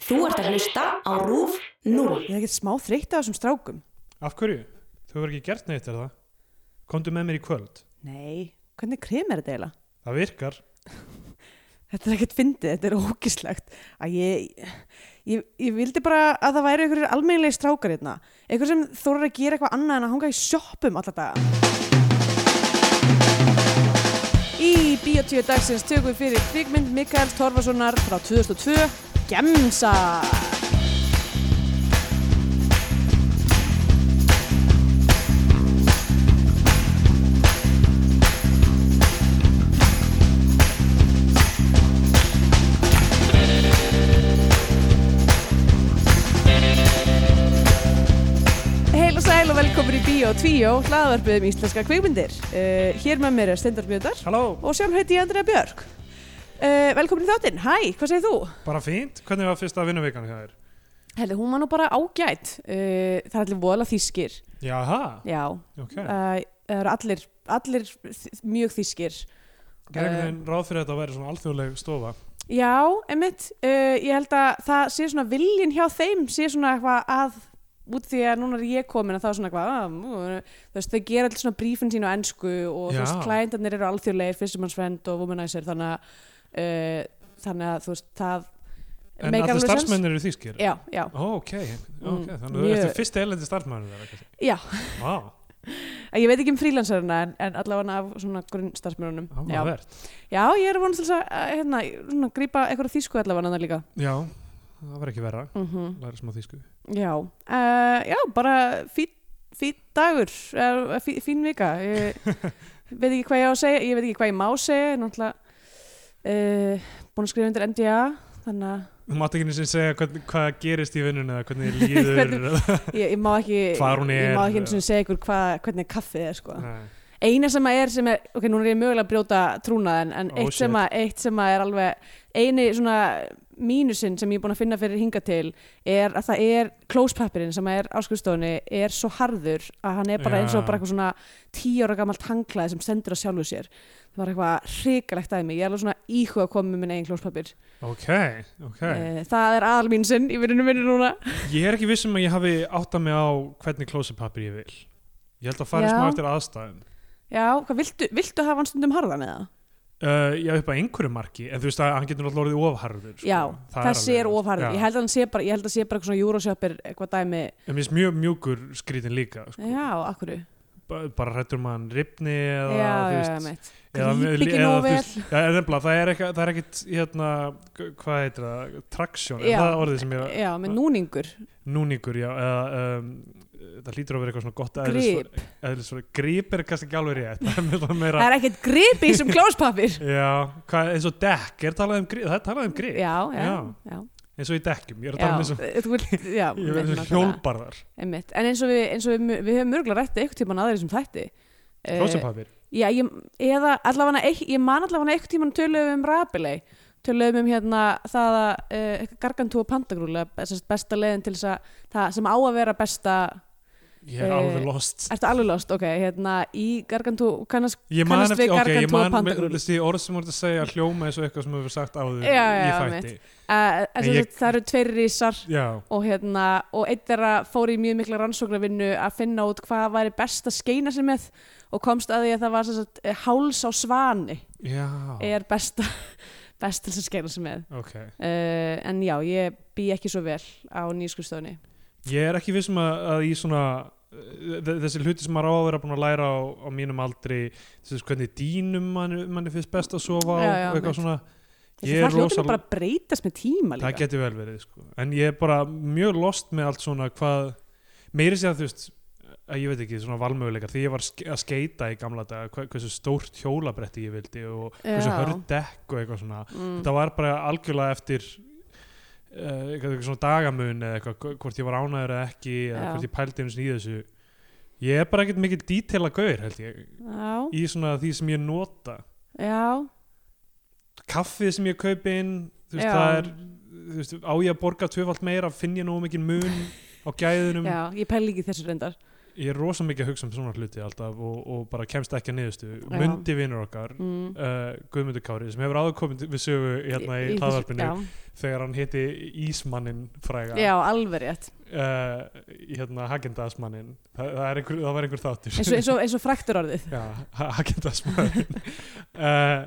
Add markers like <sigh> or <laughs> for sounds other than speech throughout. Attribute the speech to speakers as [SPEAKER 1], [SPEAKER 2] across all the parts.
[SPEAKER 1] Þú ert að hlusta á RÚF 0.
[SPEAKER 2] Ég er ekkert smá þreytt af þessum strákum.
[SPEAKER 3] Af hverju? Þú hefur ekki gert neitt er það? Komdu með mér í kvöld.
[SPEAKER 2] Nei, hvernig krim er þetta eiginlega?
[SPEAKER 3] Það virkar.
[SPEAKER 2] Þetta er ekkert fyndið, þetta er ógislegt. Að ég, ég, ég vildi bara að það væri einhverjir almennilegi strákar hérna. Einhver sem þórar að gera eitthvað annað en að hanga í sjoppum alla daga. Í Bíotíu dagsins tökum við fyrir kvikmynd Mikael Torfasonar frá 2002, Gemsa. Heil og sæl og velkomin í Bíó 2, hlaðvarpið um íslenska kvikmyndir. Uh, hér með mér er Steindar Bjöðar.
[SPEAKER 3] Halló,
[SPEAKER 2] og sjálf heiti ég Andrea Björk uh, Velkomin í þáttinn, hæ, hvað segir þú?
[SPEAKER 3] bara fínt. Hvernig var fyrsta vinnuvikan hjá þér?
[SPEAKER 2] Heldur, hún var nú bara ágætt uh, Það er allir voðalega þýskir
[SPEAKER 3] Jaha,
[SPEAKER 2] Já,
[SPEAKER 3] ok.
[SPEAKER 2] uh, það eru allir, allir þ- mjög þýskir eh,
[SPEAKER 3] Gerðum þeim ráð fyrir að þetta væri svona alþjóðleg stofa.
[SPEAKER 2] Já, einmitt, uh, ég held að það sé svona viljin hjá þeim sé svona eitthvað að út því að núna er ég komin að þá er svona eitthvað að, mú, þú veist, þau gera allir svona brífin sín á ensku og þú
[SPEAKER 3] Já.
[SPEAKER 2] veist, klændarnir eru alþjóðlegir fyrstumannsfrend og womanizer þannig að, uh, þannig að þú veist, það
[SPEAKER 3] En
[SPEAKER 2] make alveg
[SPEAKER 3] allir
[SPEAKER 2] sense.
[SPEAKER 3] starfsmennir eru þýskir?
[SPEAKER 2] Já, já,
[SPEAKER 3] Ó, ok, ok.
[SPEAKER 2] Mm,
[SPEAKER 3] Þannig að þú
[SPEAKER 2] mjög.
[SPEAKER 3] ertu fyrsti erlendi starfsmennir þeirra. kannski.
[SPEAKER 2] já
[SPEAKER 3] Vá,
[SPEAKER 2] Ég veit ekki um frílansarina en, en allavega af svona grunnstarfsmjörunum. Já.
[SPEAKER 3] áhugavert.
[SPEAKER 2] Já, ég er vonast til þess að, að hérna, svona, grípa eitthvað þýsku allavega það líka.
[SPEAKER 3] Já, það var ekki verra.
[SPEAKER 2] Mm
[SPEAKER 3] Læra smá þýsku.
[SPEAKER 2] Já, uh, já, bara fýtt fít dagur, uh, fí, fín vika. Ég
[SPEAKER 3] <laughs>
[SPEAKER 2] veit ekki hvað ég á að segja, ég veit ekki hvað ég má segja, en náttúrulega uh, búin að skrifa undir NDA, þannig að
[SPEAKER 3] Þú mátt ekki einu sinni segja hvern, hvað gerist í vinnunni
[SPEAKER 2] <laughs>
[SPEAKER 3] eða hvernig þér líður.
[SPEAKER 2] ég, ég má ekki,
[SPEAKER 3] Hvar hún
[SPEAKER 2] ég
[SPEAKER 3] er,
[SPEAKER 2] má ekki einu
[SPEAKER 3] eða-
[SPEAKER 2] sinni segja ykkur hvað, hvernig kaffið er, sko.
[SPEAKER 3] Nei.
[SPEAKER 2] eina sem að er sem er, ok, núna er ég mögulega að brjóta trúnaðin, en
[SPEAKER 3] Oh,
[SPEAKER 2] eitt, sem að, eitt sem að er alveg, eini svona mínusinn sem ég er búin að finna fyrir hinga til er að það er klóspapirinn sem er á skrifstofunni er svo harður að hann er bara eins og
[SPEAKER 3] Já.
[SPEAKER 2] bara eitthvað svona tíu ára gamalt hanglaði sem sendur að sjálfu sér það var eitthvað hrikalegt aðeins mig ég er alveg svona íhuga að koma með minn eigin klóspapir
[SPEAKER 3] Ok, ok.
[SPEAKER 2] okay. það er aðal mín sinn í vinnunum minni núna
[SPEAKER 3] Ég er ekki viss um að ég hafi átta mig á hvernig klósipapir ég vil. Ég held að fara
[SPEAKER 2] Já.
[SPEAKER 3] smá eftir aðstæðum.
[SPEAKER 2] já, hvað, viltu, viltu hafa hann stundum harðan eða?
[SPEAKER 3] Uh, ég hef upp að einhverju marki, en þú veist að hann getur náttúrulega orðið ofharður. Sko.
[SPEAKER 2] já, það, sé er ofarður ég
[SPEAKER 3] held...
[SPEAKER 2] held að hann sé bara, ég held að sé bara eitthvað svona júrósjöpir eitthvað dæmi
[SPEAKER 3] En mér finnst mjög mjúkur skrítin líka, sko.
[SPEAKER 2] Já, akkurru.
[SPEAKER 3] Ba- bara um hrættur mann ripni
[SPEAKER 2] Já,
[SPEAKER 3] eða, þú
[SPEAKER 2] já,
[SPEAKER 3] veist,
[SPEAKER 2] já, mitt.
[SPEAKER 3] eða-
[SPEAKER 2] Gríp ekki
[SPEAKER 3] eða,
[SPEAKER 2] nógu
[SPEAKER 3] þú
[SPEAKER 2] vel.
[SPEAKER 3] veist, Já, en nefnilega, það er ekkert, það er ekkert, hérna, g- hvað heitir það, traksjón,
[SPEAKER 2] Já.
[SPEAKER 3] er það orðið sem ég,
[SPEAKER 2] Já, með núningur.
[SPEAKER 3] núningur, já, eða, um, það lítur að vera eitthvað svona gott
[SPEAKER 2] Grip.
[SPEAKER 3] eðlisfæri, grip er kannski ekki alveg rétt, <laughs> það er meira- meira
[SPEAKER 2] Það er ekkert grip í
[SPEAKER 3] <laughs>
[SPEAKER 2] þessum klóspapir.
[SPEAKER 3] Já, hvað, eins og dekk, er talað um grip, það er talað um grip,
[SPEAKER 2] Já, já, já.
[SPEAKER 3] Já. eins og í dekkjum, ég er að tala um eins og,
[SPEAKER 2] Já, þú
[SPEAKER 3] <laughs>
[SPEAKER 2] vilt, já.
[SPEAKER 3] ég verður um eins
[SPEAKER 2] nákvæmlega.
[SPEAKER 3] og hjólbarðar,
[SPEAKER 2] Einmitt. En eins og við, eins og við, við höfum mörgulega rættið eitthvað tíman aðeins um þætti. Eh,
[SPEAKER 3] klósapapir,
[SPEAKER 2] Já, ég, eða allavega, eitt- ég man allavega eitthvað tíman töluðum um rabilei. Töluðum um hérna það að uh, gargantú og pandagrúla, besta leiðin til þess að það sem á að vera besta,
[SPEAKER 3] ég er
[SPEAKER 2] eh,
[SPEAKER 3] alveg lost.
[SPEAKER 2] ertu alveg lost, ok, hérna í gargantú, kannast
[SPEAKER 3] Ég man
[SPEAKER 2] kannast við
[SPEAKER 3] eftir, ok, ég
[SPEAKER 2] gargantúa
[SPEAKER 3] man,
[SPEAKER 2] pandagrúll.
[SPEAKER 3] með- þessi orð sem voru að segja hljóma eins og eitthvað sem hefur sagt áður
[SPEAKER 2] Já, já,
[SPEAKER 3] í
[SPEAKER 2] já,
[SPEAKER 3] fætti.
[SPEAKER 2] uh,
[SPEAKER 3] En
[SPEAKER 2] ég...
[SPEAKER 3] ég-
[SPEAKER 2] það eru tveir rísar
[SPEAKER 3] Já,
[SPEAKER 2] og, hérna, og einn þeirra fór í mjög mikla rannsóknarvinnu að finna út hvað væri best að skeina sér með og komst að því að það var sem sagt, eh, háls á svani
[SPEAKER 3] já,
[SPEAKER 2] er best, <laughs> best til þess að skeina sér með
[SPEAKER 3] ok.
[SPEAKER 2] uh, en já, ég bý ekki svo vel á nýskurstofni
[SPEAKER 3] Ég er ekki viss um að, að í svona, eh, þ- þessi hluti sem maður á að vera búin að læra á, á mínum aldri, þessi hvernig dýnum manni, manni finnst best að sofa
[SPEAKER 2] Já,
[SPEAKER 3] og
[SPEAKER 2] já, mitt.
[SPEAKER 3] eitthvað svona. Ég er
[SPEAKER 2] það hljóttum
[SPEAKER 3] rosalega-
[SPEAKER 2] bara að breytast með tíma
[SPEAKER 3] það
[SPEAKER 2] líka
[SPEAKER 3] geti vel verið sko. en ég er bara mjög lost með allt svona hvað, meiri sér að þú veist að ég veit ekki, svona valmöguleikar því ég var ske- að skeita í gamla dag hversu stórt hjólabretti ég vildi og hversu
[SPEAKER 2] Já.
[SPEAKER 3] hörð dekk og eitthvað svona
[SPEAKER 2] mm,
[SPEAKER 3] það var bara algjörlega eftir uh, eitthvað eitthvað svona dagamun eða eitthvað, hv- hvort ég var ánæður eða ekki eða
[SPEAKER 2] Já.
[SPEAKER 3] hvort ég pældi einu sinni í þessu ég er bara ekkert mikil dítela gaur held ég,
[SPEAKER 2] já,
[SPEAKER 3] í svona því sem ég nota
[SPEAKER 2] já,
[SPEAKER 3] kaffið sem ég kaupi inn þú veist,
[SPEAKER 2] Já.
[SPEAKER 3] það er, þú veist, á ég að borga tvöfalt meira, finn ég nógu mikið mun á gæðunum
[SPEAKER 2] já ég pæli ekki þessu reyndar
[SPEAKER 3] ég er rosa mikið að hugsa um svona hluti alltaf og, og bara kemst ekki að niðurstu
[SPEAKER 2] Já.
[SPEAKER 3] myndi vinnur okkar
[SPEAKER 2] mm.
[SPEAKER 3] uh, Guðmundur Kári sem hefur áður komið við sögu hérna í,
[SPEAKER 2] Í- í
[SPEAKER 3] í
[SPEAKER 2] þessu-
[SPEAKER 3] hlaðvarpinu þegar hann hitti Ísmannin
[SPEAKER 2] já,
[SPEAKER 3] fræga
[SPEAKER 2] já, alveg rétt
[SPEAKER 3] uh, hérna Hagendasmannin Þa, það, er einhver, það var einhver þáttur
[SPEAKER 2] eins og, eins og, eins og fræktur orðið
[SPEAKER 3] <laughs> Já, Hagendasmannin uh,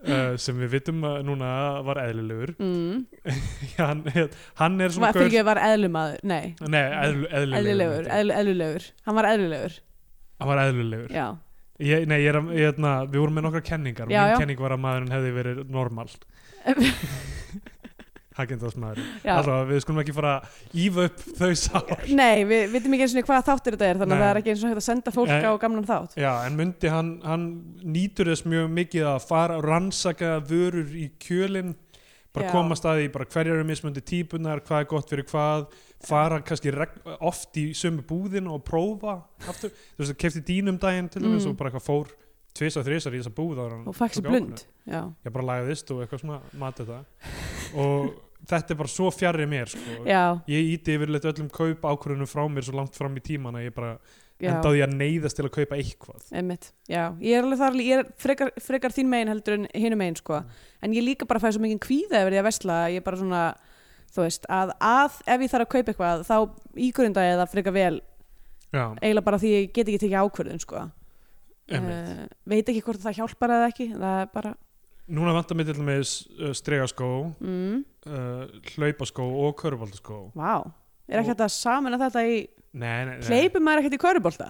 [SPEAKER 3] <laughs> uh, sem við vitum að núna var eðlilegur
[SPEAKER 2] mm.
[SPEAKER 3] hann, hann er svona
[SPEAKER 2] var fyrir ekki var eðlumadur, nei
[SPEAKER 3] gaur- Nei, eðl, eðlilegur,
[SPEAKER 2] eðlilegur,
[SPEAKER 3] myndi ég.
[SPEAKER 2] eðl, eðlilegur hann var eðlilegur,
[SPEAKER 3] Hann var eðlilegur
[SPEAKER 2] já <laughs>
[SPEAKER 3] ég, Nei, ég er, að- ég, hérna, við vorum með nokkra kenningar
[SPEAKER 2] Já,
[SPEAKER 3] Mín
[SPEAKER 2] já.
[SPEAKER 3] kenning var að maðurinn hefði verið normal Hagendasmaðurinn
[SPEAKER 2] já,
[SPEAKER 3] Allá, við skulum ekki fara að ífa upp þau
[SPEAKER 2] <laughs>
[SPEAKER 3] sár
[SPEAKER 2] nei, við vitum ekki eins og hvað þáttir þetta er þannig
[SPEAKER 3] Nei.
[SPEAKER 2] að það er ekki eins og hægt að senda fólk
[SPEAKER 3] Nei.
[SPEAKER 2] á gamlan þátt
[SPEAKER 3] Já, en myndi hann, hann nýtur þess mjög mikið að fara að rannsaka vörur í kjölinn bara
[SPEAKER 2] Já.
[SPEAKER 3] komast að því bara hverjar eru mismöndi típunar, hvað er gott fyrir hvað fara kannski regn, oft í sömu búðin og prófa aftur, þú veist, kefti dýnum um daginn til þess
[SPEAKER 2] Mm.
[SPEAKER 3] og bara eitthvað fór tvisa þrisar í þessa búð ára
[SPEAKER 2] og fækst blund já,
[SPEAKER 3] Ég bara lagðist og eitthvað svona matið það og þetta er bara svo fjarrir mér sko.
[SPEAKER 2] já,
[SPEAKER 3] ég íti yfirleitt öllum kaup ákvörðunum frá mér svo langt fram í tíman að ég bara
[SPEAKER 2] já.
[SPEAKER 3] endaði að neyðast til að kaupa eitthvað
[SPEAKER 2] Einmitt, já, ég er alveg þar alveg- ég er frekar, frekar þín megin heldur en hinum megin sko. en ég líka bara fæði svo mikið kvíða ef ég að vesla, að ég bara svona þú veist, að, að ef ég þarf að kaupa eitthvað þá ígrunda ég það frekar vel
[SPEAKER 3] Já,
[SPEAKER 2] eiginlega bara því ég get ekki tekið ákvörðun sko.
[SPEAKER 3] emmi
[SPEAKER 2] uh, veit ekki hvort það hjálpar eða ekki það er bara
[SPEAKER 3] Eh, Núna vantar mér til dæmis uh, stregaskó,
[SPEAKER 2] mm,
[SPEAKER 3] uh, hlaupaskó og körfaldaskó
[SPEAKER 2] vá, er ekki
[SPEAKER 3] Og- Eh.
[SPEAKER 2] hægt að samina þetta í
[SPEAKER 3] Nei, nei, nei
[SPEAKER 2] hleypum maður ekkert í körubólta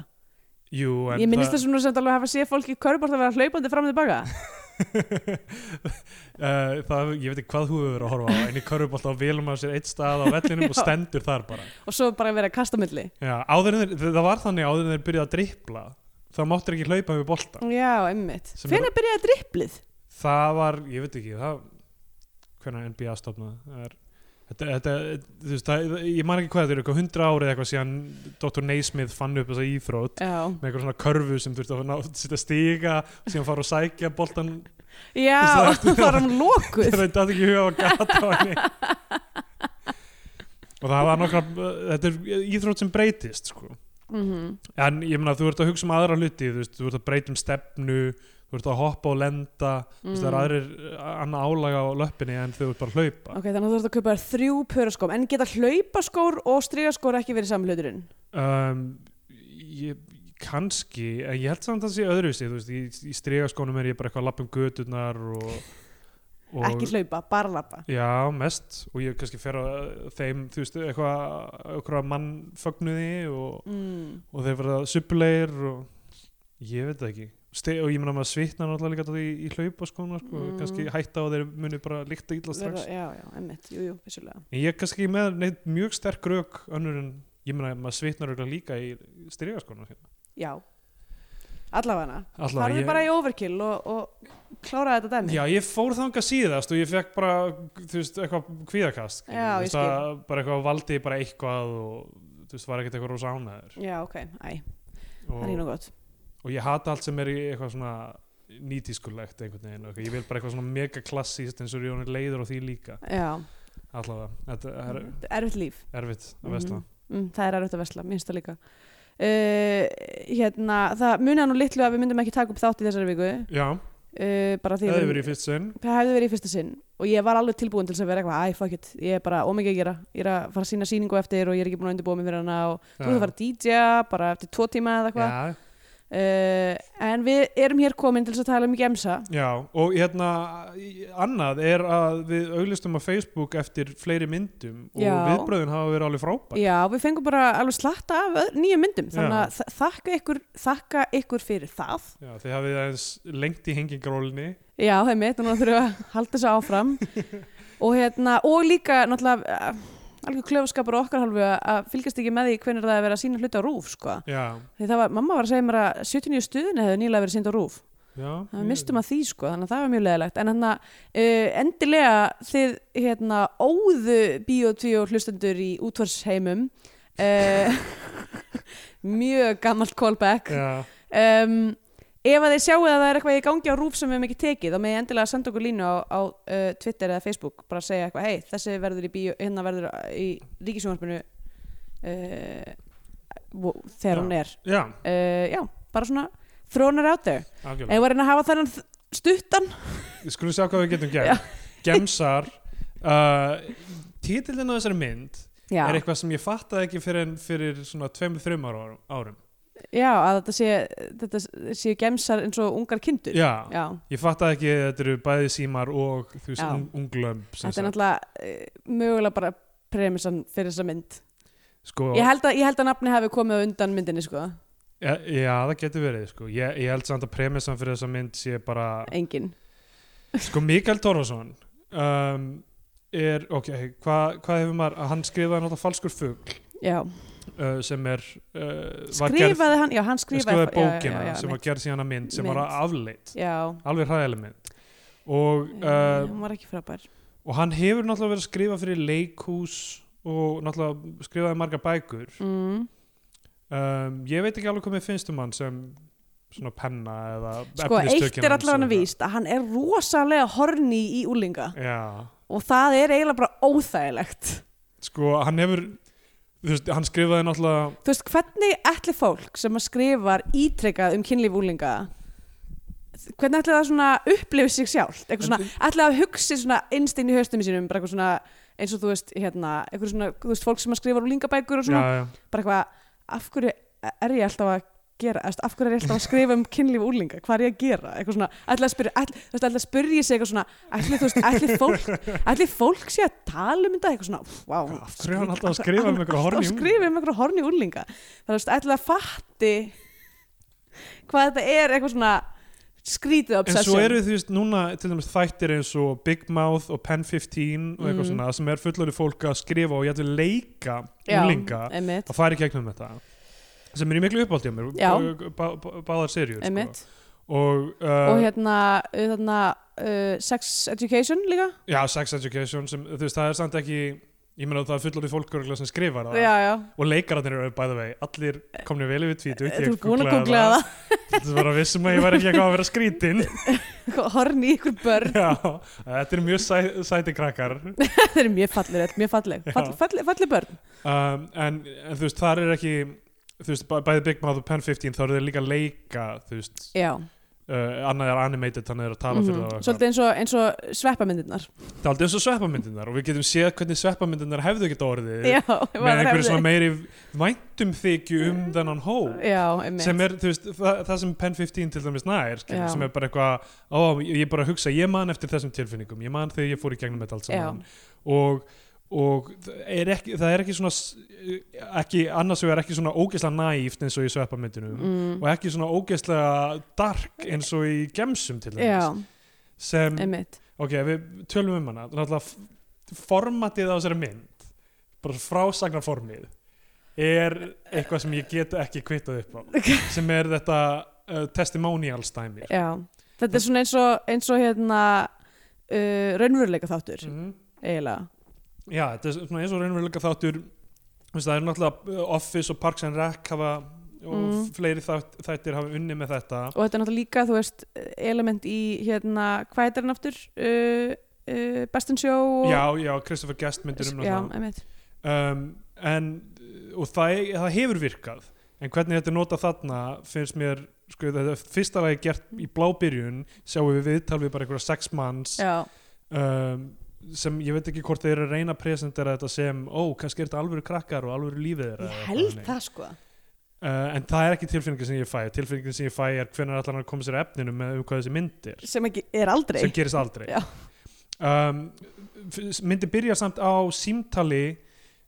[SPEAKER 3] Jú, en
[SPEAKER 2] ég minnist
[SPEAKER 3] <laughs>
[SPEAKER 2] þess að sem alveg hafa séð fólk í körubólta vera hlaupandi fram og <laughs> tilbaka
[SPEAKER 3] uh, það, Ég veit ekki hvað þú hefur verið að horfa á en í körfalda og velum að sér eitt stað á vellinum og
[SPEAKER 2] <laughs> Já.
[SPEAKER 3] stendur þar bara
[SPEAKER 2] og svo bara vera að kasta á milli
[SPEAKER 3] Já, áður en þeir, það var þannig áður en þeir byrjuð að drippla þá máttir ekki hlaupa með bolta
[SPEAKER 2] já, einmitt,
[SPEAKER 3] Sem
[SPEAKER 2] hvenær byrjaði dripplið?
[SPEAKER 3] það var, ég veit ekki það, hvernig NBA stofnaði það er Þetta, þetta, þú veist, það, ég man ekki hvað þetta er eitthvað hundra árið eitthvað síðan Dr. Naismith fann upp þessa íþrótt
[SPEAKER 2] já,
[SPEAKER 3] með eitthvað svona körfu sem þurfti að ná, setja stiga síðan fara og sækja boltan
[SPEAKER 2] Já,
[SPEAKER 3] Þú veist,
[SPEAKER 2] <laughs>
[SPEAKER 3] það-
[SPEAKER 2] það var hún lokuð
[SPEAKER 3] þegar <laughs> þetta ekki í huga og gata á henni og það var nokkra þetta er íþrótt sem breytist sko.
[SPEAKER 2] Mhm.
[SPEAKER 3] en ég meina þú ert að hugsa um aðra hluti þú, veist, þú ert að breyta um stefnu þú ert að hoppa og lenda þú veist, það er
[SPEAKER 2] Mm.
[SPEAKER 3] aðrir annað álaga á löppinni en þau ert bara að hlaupa
[SPEAKER 2] Ok, þannig að þú ert að kaupa þér þrjú pöraskóm En geta hlaupaskór og strígaskór ekki verið saman hluturinn
[SPEAKER 3] um, ég, kannski en ég held samt að það sé öðruvísi þú veist, í, í stregaskónum er ég bara eitthvað að lappa um göturnar og, og
[SPEAKER 2] Ekki hlaupa, bara lappa
[SPEAKER 3] Já, mest og ég kannski fer að þeim, þú veist, eitthvað eitthvað mannfögnuði og,
[SPEAKER 2] mm.
[SPEAKER 3] og þeir verða suppulegir og ég veit það ekki Ste og ég meina maður svitna náttúrulega líka því í hlaupa sko, sko
[SPEAKER 2] Mm.
[SPEAKER 3] kannski hætta og þeir muni bara líkta illa strax
[SPEAKER 2] Já, já, emmitt, jú, jú, vissulega
[SPEAKER 3] en ég er kannski ekki með neitt mjög sterk rauk önnur en ég meina maður svitnar örugglega líka í styrja sko
[SPEAKER 2] Já, allavega
[SPEAKER 3] Alla,
[SPEAKER 2] Farðu bara í overkill og, og kláraði þetta dæmi
[SPEAKER 3] Já, ég fór þangað síðast og ég fekk bara, þú veist, eitthvað kvíðakast. skilur,
[SPEAKER 2] Já,
[SPEAKER 3] þú
[SPEAKER 2] ég
[SPEAKER 3] veist, að Bara eitthvað valdi bara eitthvað og, þú veist, var ekkert eitthvað rosa ánæður.
[SPEAKER 2] Já, ok, æ, það er
[SPEAKER 3] Og,
[SPEAKER 2] nú gott
[SPEAKER 3] og ég hata allt sem er í eitthvað svona nýtískulegt einhvern veginn. og eitthvað. Ég vil bara eitthvað svona mega klassíst eins og Jóni leiður á því líka.
[SPEAKER 2] Já,
[SPEAKER 3] Allavega, þetta er
[SPEAKER 2] erfitt líf
[SPEAKER 3] erfitt að vestla.
[SPEAKER 2] Mhm. mm, Það er erfitt að vesla, minnst það líka uh, Hérna, það munið nú litlu að við myndum ekki taka upp þátt í þessari viku
[SPEAKER 3] Já,
[SPEAKER 2] uh, Bara því
[SPEAKER 3] það
[SPEAKER 2] að
[SPEAKER 3] hefur
[SPEAKER 2] við-
[SPEAKER 3] verið í fyrst sinn.
[SPEAKER 2] það hefði verið í fyrsta sinn og ég var alveg tilbúin til þess að vera eitthvað, æ, fuck it ég er bara ómikið að gera, ég er að fara að sína síningu eftir og ég er ekki búin að undirbúa mig fyrir hana og þú ert að fara að DJ-a bara eftir tvo tíma eða eitthvað
[SPEAKER 3] Já,
[SPEAKER 2] uh, en við erum hér komin til þess að tala um gemsa
[SPEAKER 3] Já, og hérna í- annað er að við auglistum á Facebook eftir fleiri myndum og
[SPEAKER 2] Já.
[SPEAKER 3] viðbröðin hafa verið alveg frábært.
[SPEAKER 2] já, við fengum bara alveg slatta af öð- nýjum myndum þannig að þa- þakka ykkur, þakka ykkur fyrir það
[SPEAKER 3] Já, þið hafið aðeins lengt í hengingarólinni.
[SPEAKER 2] já, það er mitt, núna þurfum við að halda þessu áfram <laughs> og hérna, og líka náttúrulega eh, algjör klöfaskapur á okkar halvu að fylgjast ekki með því hvernig það er að vera að sína hluti á rúf sko.
[SPEAKER 3] Já,
[SPEAKER 2] Því það var, mamma var að segja mér að 79 stuðinni hefði nýlega verið synd á rúf.
[SPEAKER 3] já.
[SPEAKER 2] Þannig við mistum að því sko, þannig að það var mjög leðilegt. En hann að uh, endilega þið hérna óðu bíotvíó hlustendur í útvarsheimum. Uh, <laughs> mjög gammalt callback.
[SPEAKER 3] Já,
[SPEAKER 2] Um, ef að þið sjáu að það er eitthvað í gangi á rúf sem við hefum ekki tekið, þá meði endilega senda okkur línu á, á uh, Twitter eða Facebook, bara að segja eitthvað, hei, þessi verður í bíó, hérna verður í ríkisjónvarpinu uh, wo- þegar
[SPEAKER 3] Já.
[SPEAKER 2] hún er
[SPEAKER 3] já,
[SPEAKER 2] uh, já, bara svona thrown her out there ef
[SPEAKER 3] algjörlega
[SPEAKER 2] við erum að hafa þennan þ- stuttan
[SPEAKER 3] Við skulum sjá hvað við getum gert Gemsar uh, Títillin á þessari mynd
[SPEAKER 2] já,
[SPEAKER 3] er eitthvað sem ég fattaði ekki fyrir, fyrir svona tveimur, þreimur árum, árum.
[SPEAKER 2] já, að þetta sé þetta sé gemsar eins og ungar kindur
[SPEAKER 3] Já,
[SPEAKER 2] já.
[SPEAKER 3] ég fattaði ekki að þetta eru bæði símar og þú veist,
[SPEAKER 2] Já.
[SPEAKER 3] ung- unglömb
[SPEAKER 2] þetta er
[SPEAKER 3] sem sagt.
[SPEAKER 2] náttúrulega eh, mögulega bara premissan fyrir þessa mynd
[SPEAKER 3] sko,
[SPEAKER 2] ég held, að, ég held að nafni hafi komið á undan myndinni sko,
[SPEAKER 3] ja, já, það getur verið sko. ég, ég held samt að premissan fyrir þessa mynd sé bara,
[SPEAKER 2] engin
[SPEAKER 3] sko Mikael Torfason um, er, ok, hvað hva hefur maður hann skrifaði náttúrulega falskur fugg
[SPEAKER 2] já.
[SPEAKER 3] uh, sem er uh, var gerð-
[SPEAKER 2] skrifaði hann, já hann skrifaði,
[SPEAKER 3] skrifaði
[SPEAKER 2] já, já,
[SPEAKER 3] bókina
[SPEAKER 2] já, já,
[SPEAKER 3] sem var
[SPEAKER 2] einmitt.
[SPEAKER 3] gerð síðan að mynd sem var
[SPEAKER 2] Mynd.
[SPEAKER 3] afleitt,
[SPEAKER 2] já,
[SPEAKER 3] alveg hræðileg mynd og,
[SPEAKER 2] Eh,
[SPEAKER 3] uh,
[SPEAKER 2] hún var ekki frábær
[SPEAKER 3] og hann hefur náttúrulega verið að skrifa fyrir leikhús og náttúrulega skrifaði marga bækur
[SPEAKER 2] mm.
[SPEAKER 3] um, ég veit ekki alveg hvað mér finnst um hann sem svona penna eða
[SPEAKER 2] sko, eitt
[SPEAKER 3] efnistökin
[SPEAKER 2] er
[SPEAKER 3] hans
[SPEAKER 2] allavega
[SPEAKER 3] eða-
[SPEAKER 2] víst að hann er rosalega horni í úlinga
[SPEAKER 3] já,
[SPEAKER 2] og það er eiginlega bara óþægilegt
[SPEAKER 3] sko hann hefur þú veist, hann skrifaði náttúrulega
[SPEAKER 2] þú veist, hvernig ætli fólk sem að skrifar ítrekkað um kynlíf úlinga hvernig ætli það svona upplifi sig sjálft, eitthvað svona ætli það hugsi svona innst inn í höstum sínum bara eitthvað svona, eins og þú veist hérna, eitthvað svona, þú veist, fólk sem að skrifar úlingabækur og
[SPEAKER 3] já,
[SPEAKER 2] svona,
[SPEAKER 3] já,
[SPEAKER 2] bara eitthvað af hverju er ég alltaf að gera, Þú veist, af hverju er ég alltaf að skrifa um kynlíf úlinga hvað er ég að gera, eitthvað svona ætli að spyrja, ætli, þú veist, ætli að spyrja sig eitthvað svona ætli, þú veist, ætli fólk, ætli fólk sé að tala um þetta, eitthvað svona pff, vá,
[SPEAKER 3] af hverju er hann alltaf að skrifa um einhverja horni
[SPEAKER 2] að um skrifa um einhverja horni úlinga það er ætla að fatti hvað þetta er eitthvað svona skrítið
[SPEAKER 3] en svo
[SPEAKER 2] obsession
[SPEAKER 3] eru þú veist núna til dæmis þættir eins og Big Mouth og Pen 15 og eitthvað
[SPEAKER 2] Mm.
[SPEAKER 3] svona sem er fullari fólk að skrifa og ég ætla leika
[SPEAKER 2] Já,
[SPEAKER 3] úlinga
[SPEAKER 2] einmitt,
[SPEAKER 3] að fara í gegnum þetta sem er í miklu uppáldi á mér
[SPEAKER 2] Já.
[SPEAKER 3] bá- bá- bá- báðar serjur sko.
[SPEAKER 2] einmitt.
[SPEAKER 3] og, uh,
[SPEAKER 2] og hérna, uh, þarna uh, sex education líka
[SPEAKER 3] Já, sex education sem, þú veist, það er samt ekki ég meina það er fullorðið fólk örugglega sem skrifar það
[SPEAKER 2] já, já,
[SPEAKER 3] og leikararnir eru bæða vegi, allir komni vel yfir tvítu
[SPEAKER 2] Eh, þú er búin að googla
[SPEAKER 3] Þetta var að vissum að ég var ekki eitthvað að vera skrítin
[SPEAKER 2] það horni í ykkur <laughs> börn,
[SPEAKER 3] <laughs> Já, þetta er mjög sæ, sæti krakkar um,
[SPEAKER 2] það er mjög fallir öll, mjög falleg, fall,
[SPEAKER 3] Já.
[SPEAKER 2] falleg, falleg börn
[SPEAKER 3] Um, en, en þú veist, þar er ekki þú veist, bæ- bæði Big Mouth og Pen 15 þá eru þeir líka að leika, þú veist
[SPEAKER 2] já,
[SPEAKER 3] uh, annað er animated, þannig er að tala fyrir
[SPEAKER 2] mhm.
[SPEAKER 3] það og eitthvað.
[SPEAKER 2] svolítið eins og, eins og sveppamyndirnar
[SPEAKER 3] Það er aldrei eins og sveppamyndirnar og við getum séð hvernig sveppamyndirnar hefðu ekki orðið
[SPEAKER 2] já,
[SPEAKER 3] með einhverju svona meiri væntum þykju um þennan hóp
[SPEAKER 2] já, einmitt
[SPEAKER 3] sem er, þú veist, það, það sem Pen 15 til dæmis nær, skilur,
[SPEAKER 2] Já.
[SPEAKER 3] sem er bara eitthvað ó, ég ég bara hugsa, ég man eftir þessum tilfinningum ég man þegar ég fór í gegnum þetta allt saman og, og það er ekki, það er ekki svona s- ekki, annars vegar ekki svona ógeðslega næft eins og í sveppamyndinu
[SPEAKER 2] mm,
[SPEAKER 3] og ekki svona ógeðslega dark eins og í gemsum til
[SPEAKER 2] já,
[SPEAKER 3] dæmis sem,
[SPEAKER 2] einmitt
[SPEAKER 3] ok, ef við tölum um hana náttúrulega f- formatið á þessari mynd bara frásagnarformið er eitthvað sem ég get ekki kvittað upp á sem er þetta uh, testimonials dæmi
[SPEAKER 2] Já, þetta er svona eins og, eins og hérna uh, raunveruleika þáttur
[SPEAKER 3] Mhm.
[SPEAKER 2] eiginlega.
[SPEAKER 3] já, þetta er svona eins og raunveruleika þáttur þú veist, það er náttúrulega uh, Office og Parks and Rec hafa og
[SPEAKER 2] Mm.
[SPEAKER 3] fleiri þátt, þættir hafa unni með þetta
[SPEAKER 2] Og þetta er náttúrulega líka, þú veist, element í hérna, hvað heitir hann aftur? Uh, uh, Best in Show og...
[SPEAKER 3] já, já, Christopher Guest myndir um
[SPEAKER 2] Já,
[SPEAKER 3] náttúrulega.
[SPEAKER 2] einmitt.
[SPEAKER 3] um, en, og það, það hefur virkað en hvernig þetta er notað þarna finnst mér, sko, þetta er fyrsta lagi gert í blábyrjun, sjáum við viðtal við bara einhverja sex manns
[SPEAKER 2] Já,
[SPEAKER 3] um, sem ég veit ekki hvort þeir eru að reyna að presentera þetta sem, ó, kannski er þetta alvöru krakkar og alvöru lífið þeirra
[SPEAKER 2] ég
[SPEAKER 3] eða eitthvað
[SPEAKER 2] held
[SPEAKER 3] þannig.
[SPEAKER 2] það sko.
[SPEAKER 3] uh, en það er ekki tilfinningin sem ég fæ tilfinningin sem ég fæ er hvernig allan að koma sér að efninu með um hvað þessi myndir
[SPEAKER 2] Sem ekki er aldrei.
[SPEAKER 3] sem gerist aldrei
[SPEAKER 2] Já.
[SPEAKER 3] um, f- myndi byrja samt á símtali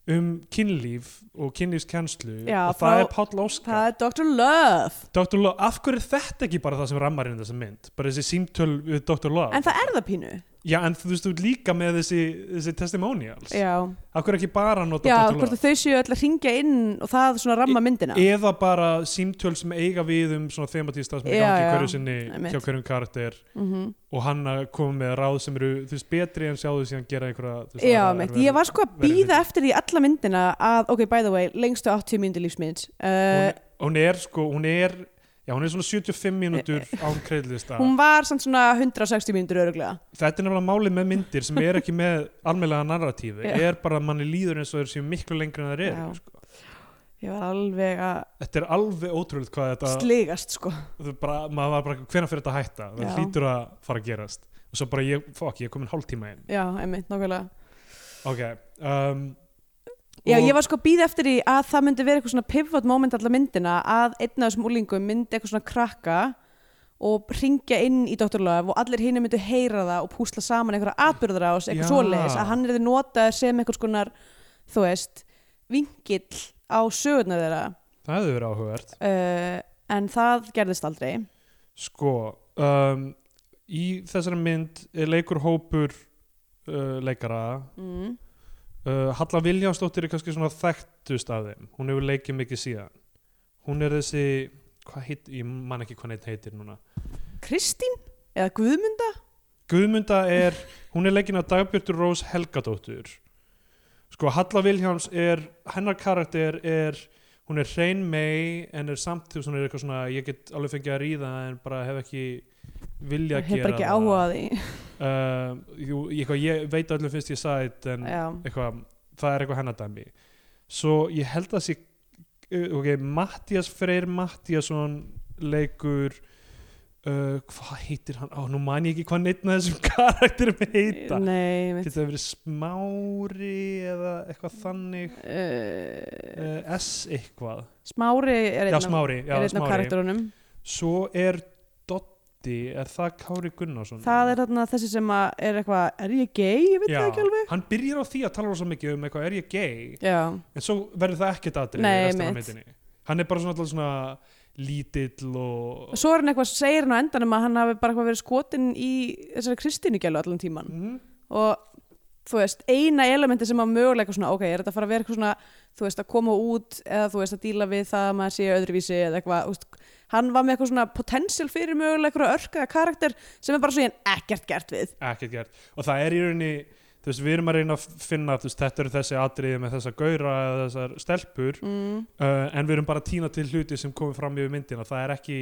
[SPEAKER 3] um kynlíf og kynlífskennslu
[SPEAKER 2] Já,
[SPEAKER 3] og það
[SPEAKER 2] frá-
[SPEAKER 3] er Páll Óskar
[SPEAKER 2] Það er Dr. Love.
[SPEAKER 3] Dr. Love, af hverju er þetta ekki bara það sem rammar inn í þessa mynd bara þessi símtöl við Dr. Love
[SPEAKER 2] En það er það pínu.
[SPEAKER 3] já, en þú veist, þú ert líka með þessi, þessi testimonials
[SPEAKER 2] Já,
[SPEAKER 3] af hverju ekki bara nota
[SPEAKER 2] Já
[SPEAKER 3] Dr.
[SPEAKER 2] hvort
[SPEAKER 3] Love
[SPEAKER 2] að þau séu öll að ringja inn og það svona ramma myndina.
[SPEAKER 3] eða bara símtöl sem eiga við um svona thematísta sem er í
[SPEAKER 2] Já,
[SPEAKER 3] gangi
[SPEAKER 2] já.
[SPEAKER 3] hverju sinni
[SPEAKER 2] Einmitt.
[SPEAKER 3] hjá hverjum karakter
[SPEAKER 2] Mhm.
[SPEAKER 3] og hann að koma með ráð sem eru þú veist, betri en sjáðu síðan gera einhverja þú veist,
[SPEAKER 2] Já,
[SPEAKER 3] aðra
[SPEAKER 2] mitt,
[SPEAKER 3] erfiða-
[SPEAKER 2] ég var sko að
[SPEAKER 3] verið
[SPEAKER 2] býða
[SPEAKER 3] hluti.
[SPEAKER 2] eftir því alla myndina að, ok, by the way, lengstu 80 myndir lífsminns uh,
[SPEAKER 3] hún, hún er sko, hún er já, hún er svona 75 mínútur án kreidlista
[SPEAKER 2] Eh, hún var samt svona 160 myndir öruglega
[SPEAKER 3] þetta er nefnilega málið með myndir sem er ekki með almennlega narratífi,
[SPEAKER 2] Já.
[SPEAKER 3] er bara að manni líður eins og þeir séu miklu lengri en þeir
[SPEAKER 2] Já.
[SPEAKER 3] eru sko.
[SPEAKER 2] ég var alveg að
[SPEAKER 3] þetta er alveg ótrúlega hvað þetta
[SPEAKER 2] sligast sko
[SPEAKER 3] þú bara, maður var bara, hvenær fyrir þetta að hætta
[SPEAKER 2] Já.
[SPEAKER 3] það hlýtur að fara að gerast og svo bara, ég, fuck, ég er komin hálftíma inn
[SPEAKER 2] já, einmitt, nákvæmlega
[SPEAKER 3] ok um,
[SPEAKER 2] Já,
[SPEAKER 3] og-
[SPEAKER 2] ég var sko að býða eftir því að það myndi vera eitthvað svona pivot moment allar myndina að einn af þessum úlingum myndi eitthvað svona krakka og ringja inn í Dr. Love og allir hinni myndu heyra það og púsla saman einhverja atbyrðarás,
[SPEAKER 3] Já.
[SPEAKER 2] eitthvað svoleiðis að hann er þið notaður sem eitthvað skonar þú veist, vingill á sögurnar þeirra
[SPEAKER 3] það hefði verið áhugavert
[SPEAKER 2] uh, en það gerðist aldrei
[SPEAKER 3] sko, um, í þessari mynd er leikur hópur uh, leikara
[SPEAKER 2] mm.
[SPEAKER 3] uh, Halla Viljánsdóttir er kannski svona þekktust af þeim, hún hefur leikið mikið síðan hún er þessi hvað heit, ég man ekki hvað neitt heitir núna
[SPEAKER 2] Kristín? Eða Guðmund?
[SPEAKER 3] Guðmunda er, hún er leikin af Dagbjörtur Rós Helgadóttur sko Halla Vilhjáms er hennar karakter er hún er hrein mei en er samt þú veist, hún er eitthvað svona, ég get alveg fengið að ríða en bara hef ekki vilja að
[SPEAKER 2] Hefur
[SPEAKER 3] gera
[SPEAKER 2] bara ekki áhuga á því
[SPEAKER 3] það uh, jú, eitthvað, ég veit öllum finnst ég sætt en
[SPEAKER 2] Já,
[SPEAKER 3] eitthvað, það er eitthvað hennar dæmi svo ég held að sé uh, ok, Mattias Freyr Mattiasson leikur uh, hvað heitir hann á, nú man ég ekki hvað neitt með þessum <laughs> karakterum heita
[SPEAKER 2] nei mitt,
[SPEAKER 3] getur það verið smári eða eitthvað þannig
[SPEAKER 2] uh,
[SPEAKER 3] uh, S eitthvað,
[SPEAKER 2] Smári er
[SPEAKER 3] já
[SPEAKER 2] einn af-
[SPEAKER 3] smári, já,
[SPEAKER 2] er einn af
[SPEAKER 3] smári.
[SPEAKER 2] karakterunum
[SPEAKER 3] svo er Dotti, er það Kári Gunnarsson
[SPEAKER 2] Það er þarna þessi sem að er eitthvað, er ég gay? Ég veit
[SPEAKER 3] Já,
[SPEAKER 2] það ekki alveg.
[SPEAKER 3] hann byrjar á því að tala rosa mikið um eitthvað, er ég gay?
[SPEAKER 2] Já,
[SPEAKER 3] en svo verður það ekkert aðrið
[SPEAKER 2] Nei,
[SPEAKER 3] restan af
[SPEAKER 2] einmitt.
[SPEAKER 3] myndinni hann er bara svona, alltaf svona lítill og
[SPEAKER 2] svo er hann eitthvað, segir hann á endanum að hann hafi bara eitthvað verið skotin í þessari kristinugjölu allan tíman.
[SPEAKER 3] Mhm.
[SPEAKER 2] Og þú veist, eina elementi sem að möguleika svona, ok, er þetta að fara að vera eitthvað svona, þú veist, að koma út eða þú veist, að díla við það að maður sé öðruvísi eða eitthvað, þú veist, hann var með eitthvað svona potensial fyrir möguleikur að örka karakter sem er bara svona ekkert gert við.
[SPEAKER 3] ekkert gert og það er í rauninni þú veist, við erum að reyna að finna þú veist, þetta eru þessi atriði með þessa gaura eða þessar stelpur
[SPEAKER 2] Mm.
[SPEAKER 3] uh, en við erum bara að tína til hluti sem komið fram yfir myndina það er ekki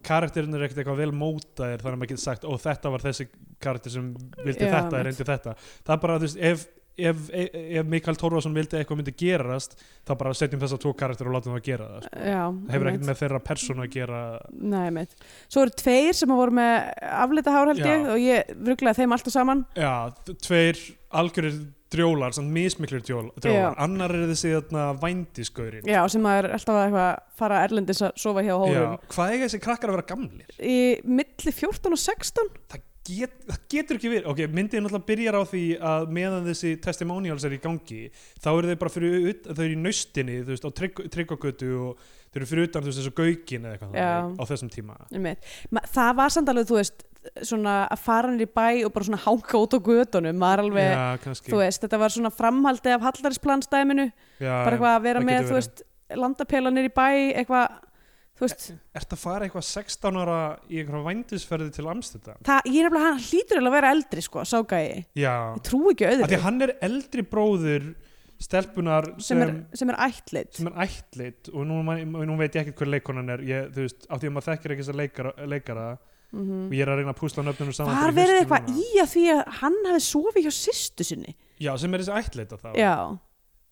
[SPEAKER 3] karakterin er ekkert eitthvað vel mótaðir þannig að maður getur sagt, ó þetta var þessi karakter sem vildi
[SPEAKER 2] Já,
[SPEAKER 3] þetta,
[SPEAKER 2] mitt.
[SPEAKER 3] reyndi þetta það er bara, þú veist, ef, ef, ef, ef Mikael Torfason vildi að eitthvað myndi gerast þá bara setjum þessa tvo karakter og látum það gera það sko.
[SPEAKER 2] Já,
[SPEAKER 3] það
[SPEAKER 2] einmitt.
[SPEAKER 3] hefur ekkert með þeirra persónu að gera
[SPEAKER 2] Nei, mitt. Svo eru tveir sem voru með aflita hár held
[SPEAKER 3] Já.
[SPEAKER 2] ég og ég rugglaði þeim alltaf saman.
[SPEAKER 3] já, t- tveir algjörir drjólar, samt mismiklir drjól- drjólar annar er þessi þarna vændiskaurin
[SPEAKER 2] Já, sem maður er alltaf að eitthvað fara erlendis að sofa hjá hórum.
[SPEAKER 3] hvað eiga þessi krakkar að vera gamlir?
[SPEAKER 2] Í milli 14 og 16?
[SPEAKER 3] Það, get, það getur ekki verið ok, myndin náttúrulega byrjar á því að meðan þessi testimonials er í gangi þá eru þau bara fyrir, ut- þau eru í naustinni þú veist, á trygg, tryggogötu og þau eru fyrir utan þú veist, þessu gaukin eða eitthvað
[SPEAKER 2] Já.
[SPEAKER 3] þannig á þessum tíma
[SPEAKER 2] Einmitt. Ma- Það var samt alveg, þú veist, svona að fara nýr í bæ og bara svona hanga út á götunum. Maður alveg,
[SPEAKER 3] já, kannski
[SPEAKER 2] þú veist, þetta var svona framhaldi af hallarsplanstæminu.
[SPEAKER 3] já,
[SPEAKER 2] Bara eitthvað að vera
[SPEAKER 3] það
[SPEAKER 2] með,
[SPEAKER 3] getur
[SPEAKER 2] þú
[SPEAKER 3] verið.
[SPEAKER 2] veist, landapelanir í bæ, eitthvað, þú veist,
[SPEAKER 3] ert að fara eitthvað 16 ára í einhverjum vændisferði til Amsterdam
[SPEAKER 2] það, ég er nefnilega, hann hlýtur alveg að vera eldri, sko, ságæi.
[SPEAKER 3] já,
[SPEAKER 2] Ég trú ekki
[SPEAKER 3] af því
[SPEAKER 2] auðvitað.
[SPEAKER 3] að hann er eldri bróður stelpunar
[SPEAKER 2] Sem er, sem er ættleitt.
[SPEAKER 3] sem er ættlit og nú, man- nú veit ég ekkert hver leikonan er ég, þú veist, af því að maður þekkir ekki þessa leikara, leikara
[SPEAKER 2] Mm
[SPEAKER 3] og ég er að reyna að púsla nöfnunum saman
[SPEAKER 2] Var
[SPEAKER 3] fyrir
[SPEAKER 2] verið
[SPEAKER 3] fyrstu
[SPEAKER 2] eitthvað
[SPEAKER 3] núna.
[SPEAKER 2] í að því að hann hafi sofið hjá sýstu sinni?
[SPEAKER 3] já, sem er þessi ættlit að þá
[SPEAKER 2] Já,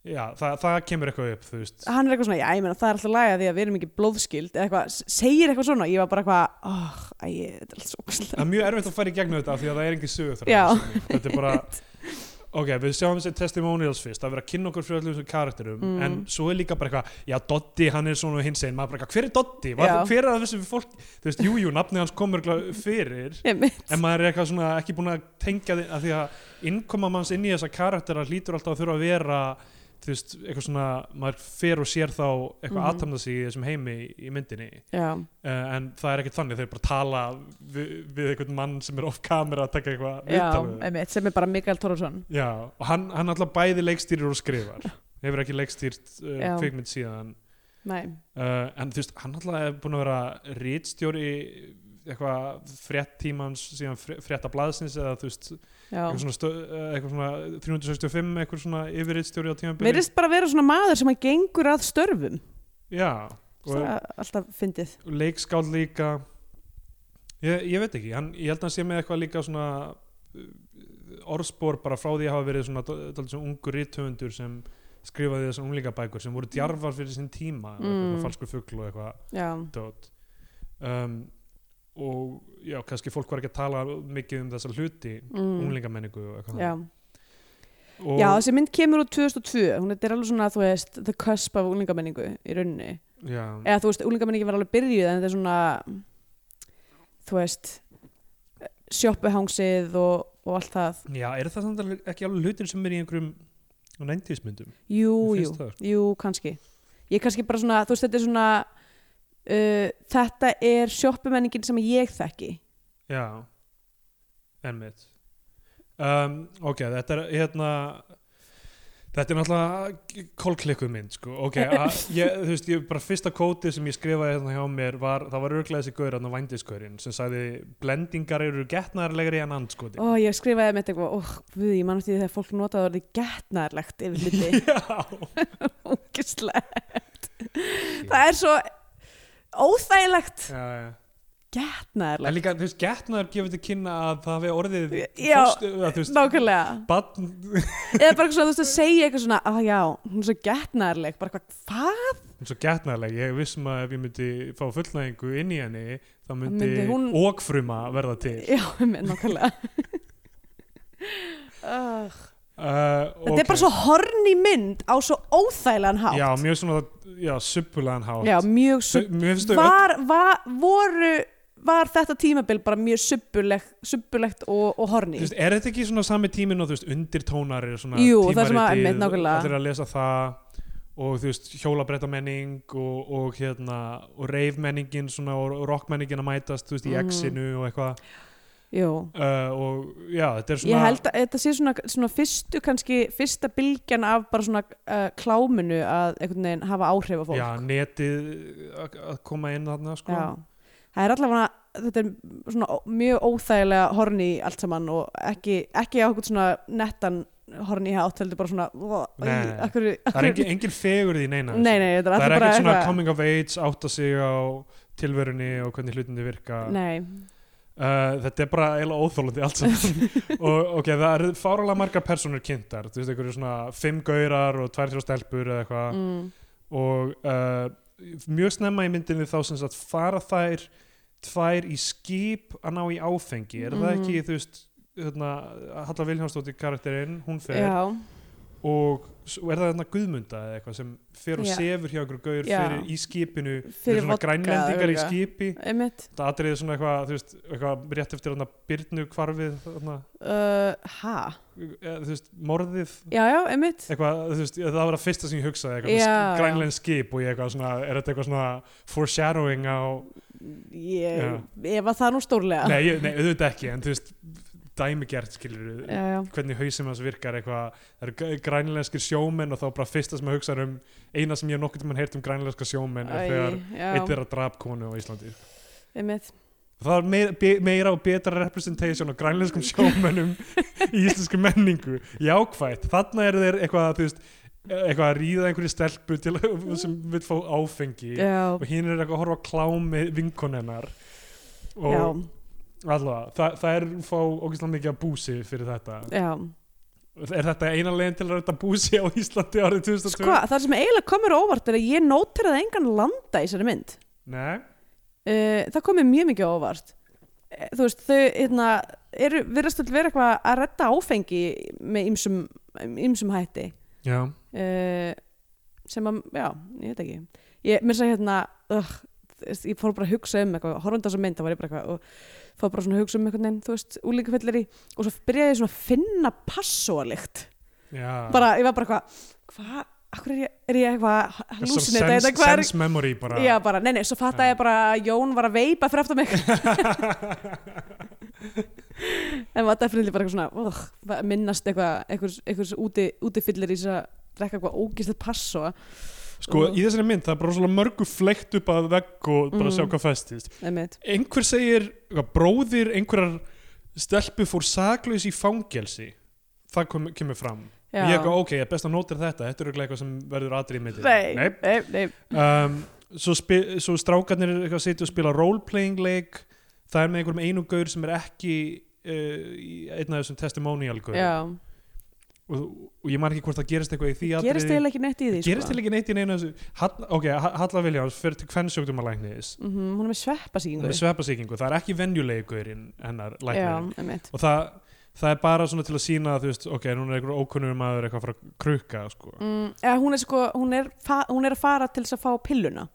[SPEAKER 3] Já, það, það kemur eitthvað upp, þú veist
[SPEAKER 2] hann er eitthvað svona, já, ég meina, það er alltaf laga því að við erum ekki blóðskild eða eitthvað, s- segir eitthvað svona, ég var bara eitthvað, oh, æ, þetta er alltaf svo <laughs>
[SPEAKER 3] það
[SPEAKER 2] kvæslega.
[SPEAKER 3] er mjög erfitt að fara í gegnum þetta af því að það er engin sögur
[SPEAKER 2] Já.
[SPEAKER 3] þetta er bara
[SPEAKER 2] <laughs>
[SPEAKER 3] ok, við sjáum þessi testimonials fyrst það er verið að kynna okkur fyrir öllum þessum karakterum
[SPEAKER 2] Mm.
[SPEAKER 3] en svo er líka bara eitthvað, já Doddi hann er svona hins einn, maður bara eitthvað, hver er Doddi? Var,
[SPEAKER 2] Já.
[SPEAKER 3] hver er það þessum fólk, þú veist, jújú, jú, nafnið hans komur fyrir en maður er eitthvað svona ekki búin að tengja þið að því að innkoma manns inn í þessa karaktera hlýtur alltaf að þurfa að vera þú veist, eitthvað svona, maður fer og sér þá eitthvað
[SPEAKER 2] Mhm.
[SPEAKER 3] aðtamna sig í þessum heimi í myndinni,
[SPEAKER 2] Já,
[SPEAKER 3] uh, en það er ekkert þannig þeir bara tala við, við einhvern mann sem er off camera að taka eitthvað
[SPEAKER 2] já,
[SPEAKER 3] viðtal við.
[SPEAKER 2] einmitt, sem er bara Mikael Tóruðsson.
[SPEAKER 3] já, og hann, hann alltaf bæði leikstýrir og skrifar
[SPEAKER 2] <laughs>
[SPEAKER 3] hefur ekki leikstýrt
[SPEAKER 2] Já.
[SPEAKER 3] uh, kvikmynd síðan
[SPEAKER 2] Nei,
[SPEAKER 3] uh, en þú veist, hann alltaf er búin að vera rítstjóri eitthvað fréttímans síðan fré- frétta blaðsins eða þú veist
[SPEAKER 2] já.
[SPEAKER 3] eitthvað svona, stö, eh, eitthvað svona 365 eitthvað svona yfirriðstjóri á tímabili
[SPEAKER 2] Verðist bara vera svona maður sem að gengur að störfum.
[SPEAKER 3] já,
[SPEAKER 2] Það
[SPEAKER 3] og
[SPEAKER 2] er alltaf fyndið.
[SPEAKER 3] leikskáld líka ég, ég veit ekki hann, ég held að hann sé með eitthvað líka svona uh, eh, orðspor bara frá því að hafa verið svona dálítið svona ungur rithöfundur sem skrifaði þessar unglingabækur sem voru djarfar fyrir sinn tíma mm.
[SPEAKER 2] Mm.
[SPEAKER 3] eitthvað falskur fugl og eitthvað
[SPEAKER 2] já,
[SPEAKER 3] dót um, og já, kannski fólk var ekki að tala mikið um þessar hluti
[SPEAKER 2] mm,
[SPEAKER 3] unglingamenningu og eitthvað
[SPEAKER 2] já.
[SPEAKER 3] þannig. og,
[SPEAKER 2] já, þessi mynd kemur úr 2002 hún er alveg svona, þú veist, the cusp af unglingamenningu í rauninni
[SPEAKER 3] já,
[SPEAKER 2] eða þú veist, unglingamenningi var alveg byrjuð en þetta er svona þú veist sjoppuhangsið og, og allt það
[SPEAKER 3] já, er það samt alveg ekki alveg hlutir sem er í einhverjum næntísmyndum
[SPEAKER 2] jú,
[SPEAKER 3] Mér
[SPEAKER 2] jú,
[SPEAKER 3] finnst það, sko.
[SPEAKER 2] jú, kannski ég er kannski bara svona, þú veist, þetta er svona uh, þetta er sjoppumenningin sem ég þekki
[SPEAKER 3] Já, einmitt um, Ok, þetta er hérna Þetta er náttúrulega kólklikkuð mynd sko. ok, að, ég, þú veist, ég bara fyrsta kótið sem ég skrifaði hérna hjá mér var, það var örglega þessi gaur, hann á vændiskaurinn sem sagði, blendingar eru getnaðarlegri en andskoti
[SPEAKER 2] og ég skrifaði með eitthvað, óh, við, ég mann eftir því þegar fólk notaði orðið getnaðarlegt yfir
[SPEAKER 3] <laughs>
[SPEAKER 2] hluti
[SPEAKER 3] Já,
[SPEAKER 2] ógislegt það er svo óþægilegt
[SPEAKER 3] já, já En
[SPEAKER 2] getnaðarlegt,
[SPEAKER 3] líka, þú veist, getnaðar gefur til kynna að það hafi orðið
[SPEAKER 2] Já,
[SPEAKER 3] fóstu, að, þú veist,
[SPEAKER 2] nákvæmlega
[SPEAKER 3] badn,
[SPEAKER 2] eða bara svona, þú veist, að segja eitthvað svona að já, hún er svo getnærleg, bara eitthvað hvað,
[SPEAKER 3] svo getnarleg, ég er viss um að ef ég myndi fá fullnæðingu inn í henni þá myndi,
[SPEAKER 2] myndi hún-
[SPEAKER 3] ókfruma verða til
[SPEAKER 2] já, með nákvæmlega uh,
[SPEAKER 3] uh,
[SPEAKER 2] þetta er bara svo horni mynd á svo óþægilegan hátt
[SPEAKER 3] já, mjög svona, já, suppulegan hátt
[SPEAKER 2] Já, mjög
[SPEAKER 3] Þau-
[SPEAKER 2] sub,
[SPEAKER 3] mér finnst þau öll-
[SPEAKER 2] var, var, voru var þetta tímabil bara mjög subbuleg, subbulegt og, og
[SPEAKER 3] Þú
[SPEAKER 2] horni
[SPEAKER 3] veist, er þetta ekki svona sami tíminn og þú veist, undirtónar er svona
[SPEAKER 2] Jú, það sem að-
[SPEAKER 3] tímaritið,
[SPEAKER 2] einmitt, nákvæmlega.
[SPEAKER 3] allir að lesa það og þú veist, hjólabreytamenning og, og hérna, og reifmenningin svona, og rockmenningin að mætast, þú veist, í
[SPEAKER 2] Mhm.
[SPEAKER 3] exinu og eitthvað
[SPEAKER 2] Jú,
[SPEAKER 3] uh, og já, þetta er svona
[SPEAKER 2] ég held að þetta sé svona, svona fyrstu kannski, fyrsta bylgjan af bara svona uh, kláminu að einhvern veginn hafa áhrif á fólk
[SPEAKER 3] já, netið að að koma inn þarna, sko
[SPEAKER 2] Já, það er allavega þetta er svona ó- mjög óþægilega horni allt saman og ekki, ekki á eitthvað svona nettan horni hátt heldur bara svona
[SPEAKER 3] Nei.
[SPEAKER 2] æ, akkur,
[SPEAKER 3] það er engin, engin fegurð í neina
[SPEAKER 2] <laughs> Nei, nei, þetta er
[SPEAKER 3] það er
[SPEAKER 2] alltaf bara
[SPEAKER 3] ekkert svona coming of age átta sig á tilverunni og hvernig hlutinni virka
[SPEAKER 2] Nei,
[SPEAKER 3] Uh, þetta er bara eiginlega óþólandi allt saman
[SPEAKER 2] <laughs>
[SPEAKER 3] og ok, það eru fáralega margar personur kynntar, þú veist, einhverju svona fimm gaurar og tvær þrjá stelpur eða eitthvað
[SPEAKER 2] mm,
[SPEAKER 3] og uh, mjög snemma í myndinni þá sem sagt fara þær tvær í skip að ná í áfengi, er það
[SPEAKER 2] Mhm.
[SPEAKER 3] ekki þú veist, hérna, Halla Vilhjámsdóttir karakterinn, hún fer
[SPEAKER 2] já,
[SPEAKER 3] og s- og er það þarna Guðmunda eða eitthvað sem fer og
[SPEAKER 2] Já.
[SPEAKER 3] sefur hjá einhverju gaur
[SPEAKER 2] Já.
[SPEAKER 3] fyrir í skipinu, þeir
[SPEAKER 2] Fyrir
[SPEAKER 3] eru svona
[SPEAKER 2] vodka,
[SPEAKER 3] grænlendingar í
[SPEAKER 2] örugglega.
[SPEAKER 3] skipi
[SPEAKER 2] einmitt
[SPEAKER 3] Þetta atriðið er svona eitthvað, þú veist, eitthvað rétt eftir hann að byrnu hvarfið, þarna,
[SPEAKER 2] uh, Ha?
[SPEAKER 3] eða, þú veist, morðið,
[SPEAKER 2] Já, já, einmitt
[SPEAKER 3] eitthvað, þú veist, e, það var að fyrsta sem ég hugsaði, eitthvað,
[SPEAKER 2] Já,
[SPEAKER 3] yeah,
[SPEAKER 2] já.
[SPEAKER 3] grænlein skip og ég eitthvað svona, er þetta eitthvað svona foreshadowing á,
[SPEAKER 2] Ég,
[SPEAKER 3] Já.
[SPEAKER 2] ég var það nú stórlega
[SPEAKER 3] nei, ég- nei, auðvitað ekki, en þú veist, dæmigert skilur við,
[SPEAKER 2] Já, já,
[SPEAKER 3] hvernig hausinn hans virkar eitthvað, það eru grænleinskir sjómenn og þá bara fyrsta sem ég hugsaði um, eina sem ég hef nokkuð mann heyrt um grænleinska sjómenn er þegar eitt
[SPEAKER 2] já,
[SPEAKER 3] er að drap konu á Íslandi.
[SPEAKER 2] einmitt
[SPEAKER 3] Það er meira, be- meira og betra representation á
[SPEAKER 2] <laughs>
[SPEAKER 3] grænlenskum sjómönnum í íslensku menningu. Jákvætt, þarna eru þeir eitthvað, þú veist, eitthvað að ríða einhverju stelpu til, sem vil fá áfengi
[SPEAKER 2] Já,
[SPEAKER 3] og hinn er eitthvað að horfa á klámi vinkonennar og
[SPEAKER 2] já,
[SPEAKER 3] allavega, það, það er fá ógeðslega mikið að búsi fyrir þetta.
[SPEAKER 2] já
[SPEAKER 3] Er þetta eina leiðin til að þetta búsi á Íslandi árið 2002?
[SPEAKER 2] Sko, það sem eiginlega komur á óvart er að ég nóteraði engan landa í sér mynd
[SPEAKER 3] Nei,
[SPEAKER 2] uh, það komið mjög mikið á óvart Eh, þú veist, þau hérna, eru, virðast að vera eitthvað að redda áfengi með ymsum, ymsum hætti
[SPEAKER 3] já,
[SPEAKER 2] uh, sem að, já, ég veit ekki ég mér sagði hérna uh, ég fór bara að hugsa um eitthvað horfandi á þessa mynd, þá var ég bara eitthvað og fór bara svona að hugsa um eitthvað neinn, þú veist, úlíkafellir í og svo byrjaði ég svona að finna passóalikt
[SPEAKER 3] já.
[SPEAKER 2] bara, ég var bara eitthvað, hvað, akkur er ég, er ég eitthvað hallucinate,
[SPEAKER 3] sense,
[SPEAKER 2] eða hvað er
[SPEAKER 3] sense memory bara. <laughs>
[SPEAKER 2] Já, bara, nei, nei, svo fattaði ég bara að Jón var að veipa fyrir aftur mig En var definitely bara eitthvað svona oh, minnast eitthvað, einhvers, einhvers úti, útifyllir í þess að drekka eitthvað ógistið pass og
[SPEAKER 3] Sko,
[SPEAKER 2] Og-
[SPEAKER 3] í þessari mynd, það er bara svona mörgu fleikt upp að vegg og
[SPEAKER 2] Mm.
[SPEAKER 3] bara sjá hvað festist.
[SPEAKER 2] einmitt.
[SPEAKER 3] Einhver segir, eitthvað, bróðir einhverjar stelpu fór saklaus í fangelsi. Það kom, kemur fram.
[SPEAKER 2] Já.
[SPEAKER 3] Og ég eitthvað, ok, ég er best að nótir þetta, þetta er örugglega eitthvað sem verður atrið með
[SPEAKER 2] Nei, nei, nei,
[SPEAKER 3] Um, svo, spi, svo strákarnir eru eitthvað að sitja og spila role-playing leik, það er með einhverjum einungaur sem er ekki uh, í- einn af þessum testimonial-gaur.
[SPEAKER 2] Já,
[SPEAKER 3] og, og ég man ekki hvort það gerist eitthvað í því
[SPEAKER 2] gerist
[SPEAKER 3] atriði.
[SPEAKER 2] eiginlega ekki neitt í því sko.
[SPEAKER 3] gerist til ekki neitt í neina þessu Hall, ok, Ha- Halla Viljáns fyrir til kvennsjóktumalæknis
[SPEAKER 2] mm -hmm, hún er með sveppasíkingu
[SPEAKER 3] með sveppasíkingu, það er ekki venjulegurinn hennar læknirinn
[SPEAKER 2] já, einmitt
[SPEAKER 3] og það, það er bara svona til að sína að þú veist, ok, núna er einhver ókunnur maður eitthvað frá krukka, sko
[SPEAKER 2] Mm, eða hún er sko, hún er, fa- hún er að fara til þess að fá pilluna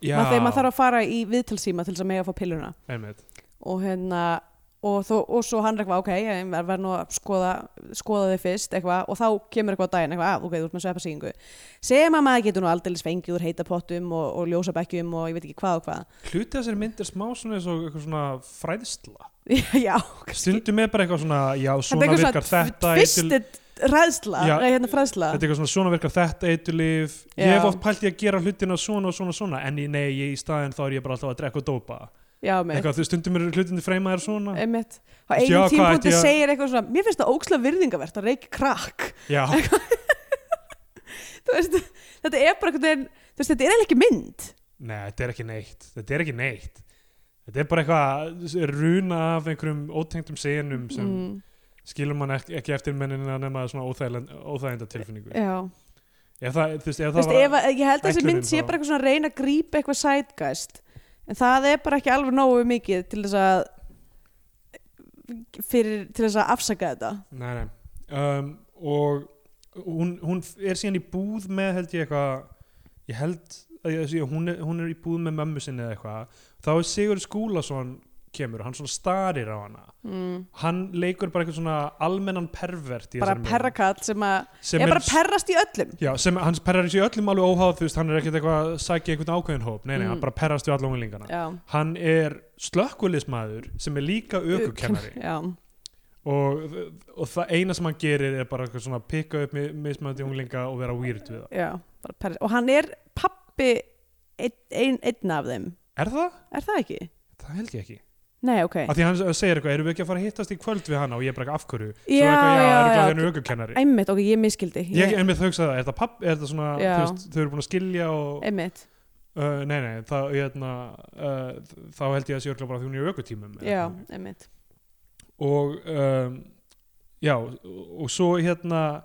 [SPEAKER 3] Já,
[SPEAKER 2] maður, þegar maður þarf að fara í viðtalsíma til þess að mega að fá pilluna
[SPEAKER 3] einmitt
[SPEAKER 2] og hérna og, þó, og svo hann er eitthvað, ok, ég verð nú að skoða, skoða þig fyrst eitthvað og þá kemur eitthvað á daginn, eitthvað, að, ok, þú ert með sveppasíkingu sem að maður getur nú aldeilis fengið úr heita pottum og, og ljósabekkjum og ég veit ekki hvað <laughs> og hvað
[SPEAKER 3] Hluti af þessari mynd er smá svona eins og eitthvað svona fræðsla
[SPEAKER 2] já,
[SPEAKER 3] Stundum er bara eitthvað svona, já,
[SPEAKER 2] þetta
[SPEAKER 3] svona
[SPEAKER 2] er
[SPEAKER 3] virkar
[SPEAKER 2] eitthvað
[SPEAKER 3] þetta
[SPEAKER 2] svona
[SPEAKER 3] eitur-
[SPEAKER 2] tvistit ræðsla,
[SPEAKER 3] Já,
[SPEAKER 2] nei, hérna fræðsla
[SPEAKER 3] Þetta er eitthvað svona, svona virkar þetta eitulif Ég
[SPEAKER 2] Já.
[SPEAKER 3] hef oft pælt í að gera hlutina svona og svona og svona En í, nei, ég, í staðinn þá er ég bara alltaf að drekka og dópa
[SPEAKER 2] já, með
[SPEAKER 3] Eitthvað, þú veist, stundum eru hlutinni freymaðir svona
[SPEAKER 2] einmitt á
[SPEAKER 3] Þú veist, já,
[SPEAKER 2] einum
[SPEAKER 3] hvað ætti
[SPEAKER 2] tímpúti
[SPEAKER 3] ég að-
[SPEAKER 2] segir eitthvað svona mér finnst það óksla virðingavert að reykja krakk <laughs>
[SPEAKER 3] Já,
[SPEAKER 2] Þú veist, þetta er bara einhvern veginn þú veist, þetta er eiginlega ekki mynd
[SPEAKER 3] nei, þetta er ekki neitt Þetta er ekki neitt Þetta er bara eitthvað runa af einhverjum ótengdum senum sem
[SPEAKER 2] mm,
[SPEAKER 3] skilur mann ekki, ekki eftir mennina nema svona óþæginda tilfinningu
[SPEAKER 2] já
[SPEAKER 3] Ef það, þú veist, ef
[SPEAKER 2] þú
[SPEAKER 3] það
[SPEAKER 2] veist, ef, að- ég held að þessi
[SPEAKER 3] ætlunin
[SPEAKER 2] mynd sé
[SPEAKER 3] þá.
[SPEAKER 2] bara eitthvað svona að reyna að grípa eitthvað sætgæst en það er bara ekki alveg nógu mikið til þess að fyrir, til þess að afsaka þetta
[SPEAKER 3] Nei, nei. Um, og hún, hún er síðan í búð með held ég eitthvað ég held að ég, sé, hún, er, hún er í búð með mömmu sinni eða eitthvað þá er Sigur Skúlason kemur og hann svona starir á hana
[SPEAKER 2] mm.
[SPEAKER 3] hann leikur bara eitthvað svona almennan pervert í
[SPEAKER 2] bara
[SPEAKER 3] þessari mynd.
[SPEAKER 2] perrakall sem að
[SPEAKER 3] sem
[SPEAKER 2] er
[SPEAKER 3] er,
[SPEAKER 2] bara að perrast í öllum
[SPEAKER 3] já, sem hans perrar sér öllum alveg óháð þú veist, hann er ekkert eitthvað að sækja eitthvað ákveðin hóp nei, nei,
[SPEAKER 2] Mm.
[SPEAKER 3] hann bara perrast við alla unglingana
[SPEAKER 2] já,
[SPEAKER 3] hann er slökkulismæður sem er líka ökukennari
[SPEAKER 2] já,
[SPEAKER 3] og, og það eina sem hann gerir er bara eitthvað svona að pikka upp mi- mismunandi unglinga og vera weird við það.
[SPEAKER 2] já, bara perrast og hann er pappi einn ein, einn af þeim
[SPEAKER 3] Er það?
[SPEAKER 2] Er það ekki?
[SPEAKER 3] Það held ég ekki.
[SPEAKER 2] Nei, ok.
[SPEAKER 3] Af því hann segir eitthvað, erum við ekki að fara að hittast í kvöld við hana og ég er bara eitthvað af hverju. Svo
[SPEAKER 2] Já,
[SPEAKER 3] er eitthvað, já,
[SPEAKER 2] já,
[SPEAKER 3] er
[SPEAKER 2] já.
[SPEAKER 3] eitthvað hennu ökukennari.
[SPEAKER 2] Einmitt, ok, ég miskildi.
[SPEAKER 3] Ég, en við þau hugsaði það, er það papp, er það svona, þú
[SPEAKER 2] Já.
[SPEAKER 3] veist, þau eru búin að skilja og,
[SPEAKER 2] Einmitt,
[SPEAKER 3] uh, nei, nei, það, hérna, uh, þá held ég að sé örgla bara því hún er í ökutímum. eða
[SPEAKER 2] já,
[SPEAKER 3] eitthvað.
[SPEAKER 2] einmitt.
[SPEAKER 3] og um, já, og svo hérna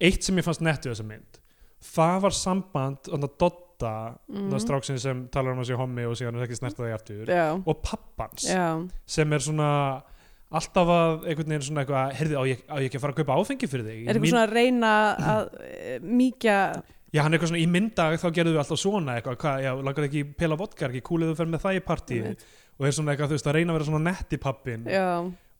[SPEAKER 3] eitt sem ég fannst nett við þessa mynd það var samband þannig að Dotta, mm.
[SPEAKER 2] Mm.
[SPEAKER 3] það stráksin sem talar um að sé hommi og síðan er ekki snerta því aftur
[SPEAKER 2] Já,
[SPEAKER 3] og pappans
[SPEAKER 2] já,
[SPEAKER 3] sem er svona alltaf að einhvern veginn svona eitthvað heyrði á ég, á ég ekki að fara að kaupa áfengi fyrir þig
[SPEAKER 2] er eitthvað
[SPEAKER 3] Mín-
[SPEAKER 2] svona að reyna að eh, mýkja,
[SPEAKER 3] já, hann er eitthvað svona í myndag þá gerðu við alltaf svona eitthvað hvað, já, langar ekki í pela vodka er ekki kúlið þú fer með það í partíð
[SPEAKER 2] Einmitt.
[SPEAKER 3] og er svona eitthvað, þú veist, að reyna að vera svona netti pappin
[SPEAKER 2] já,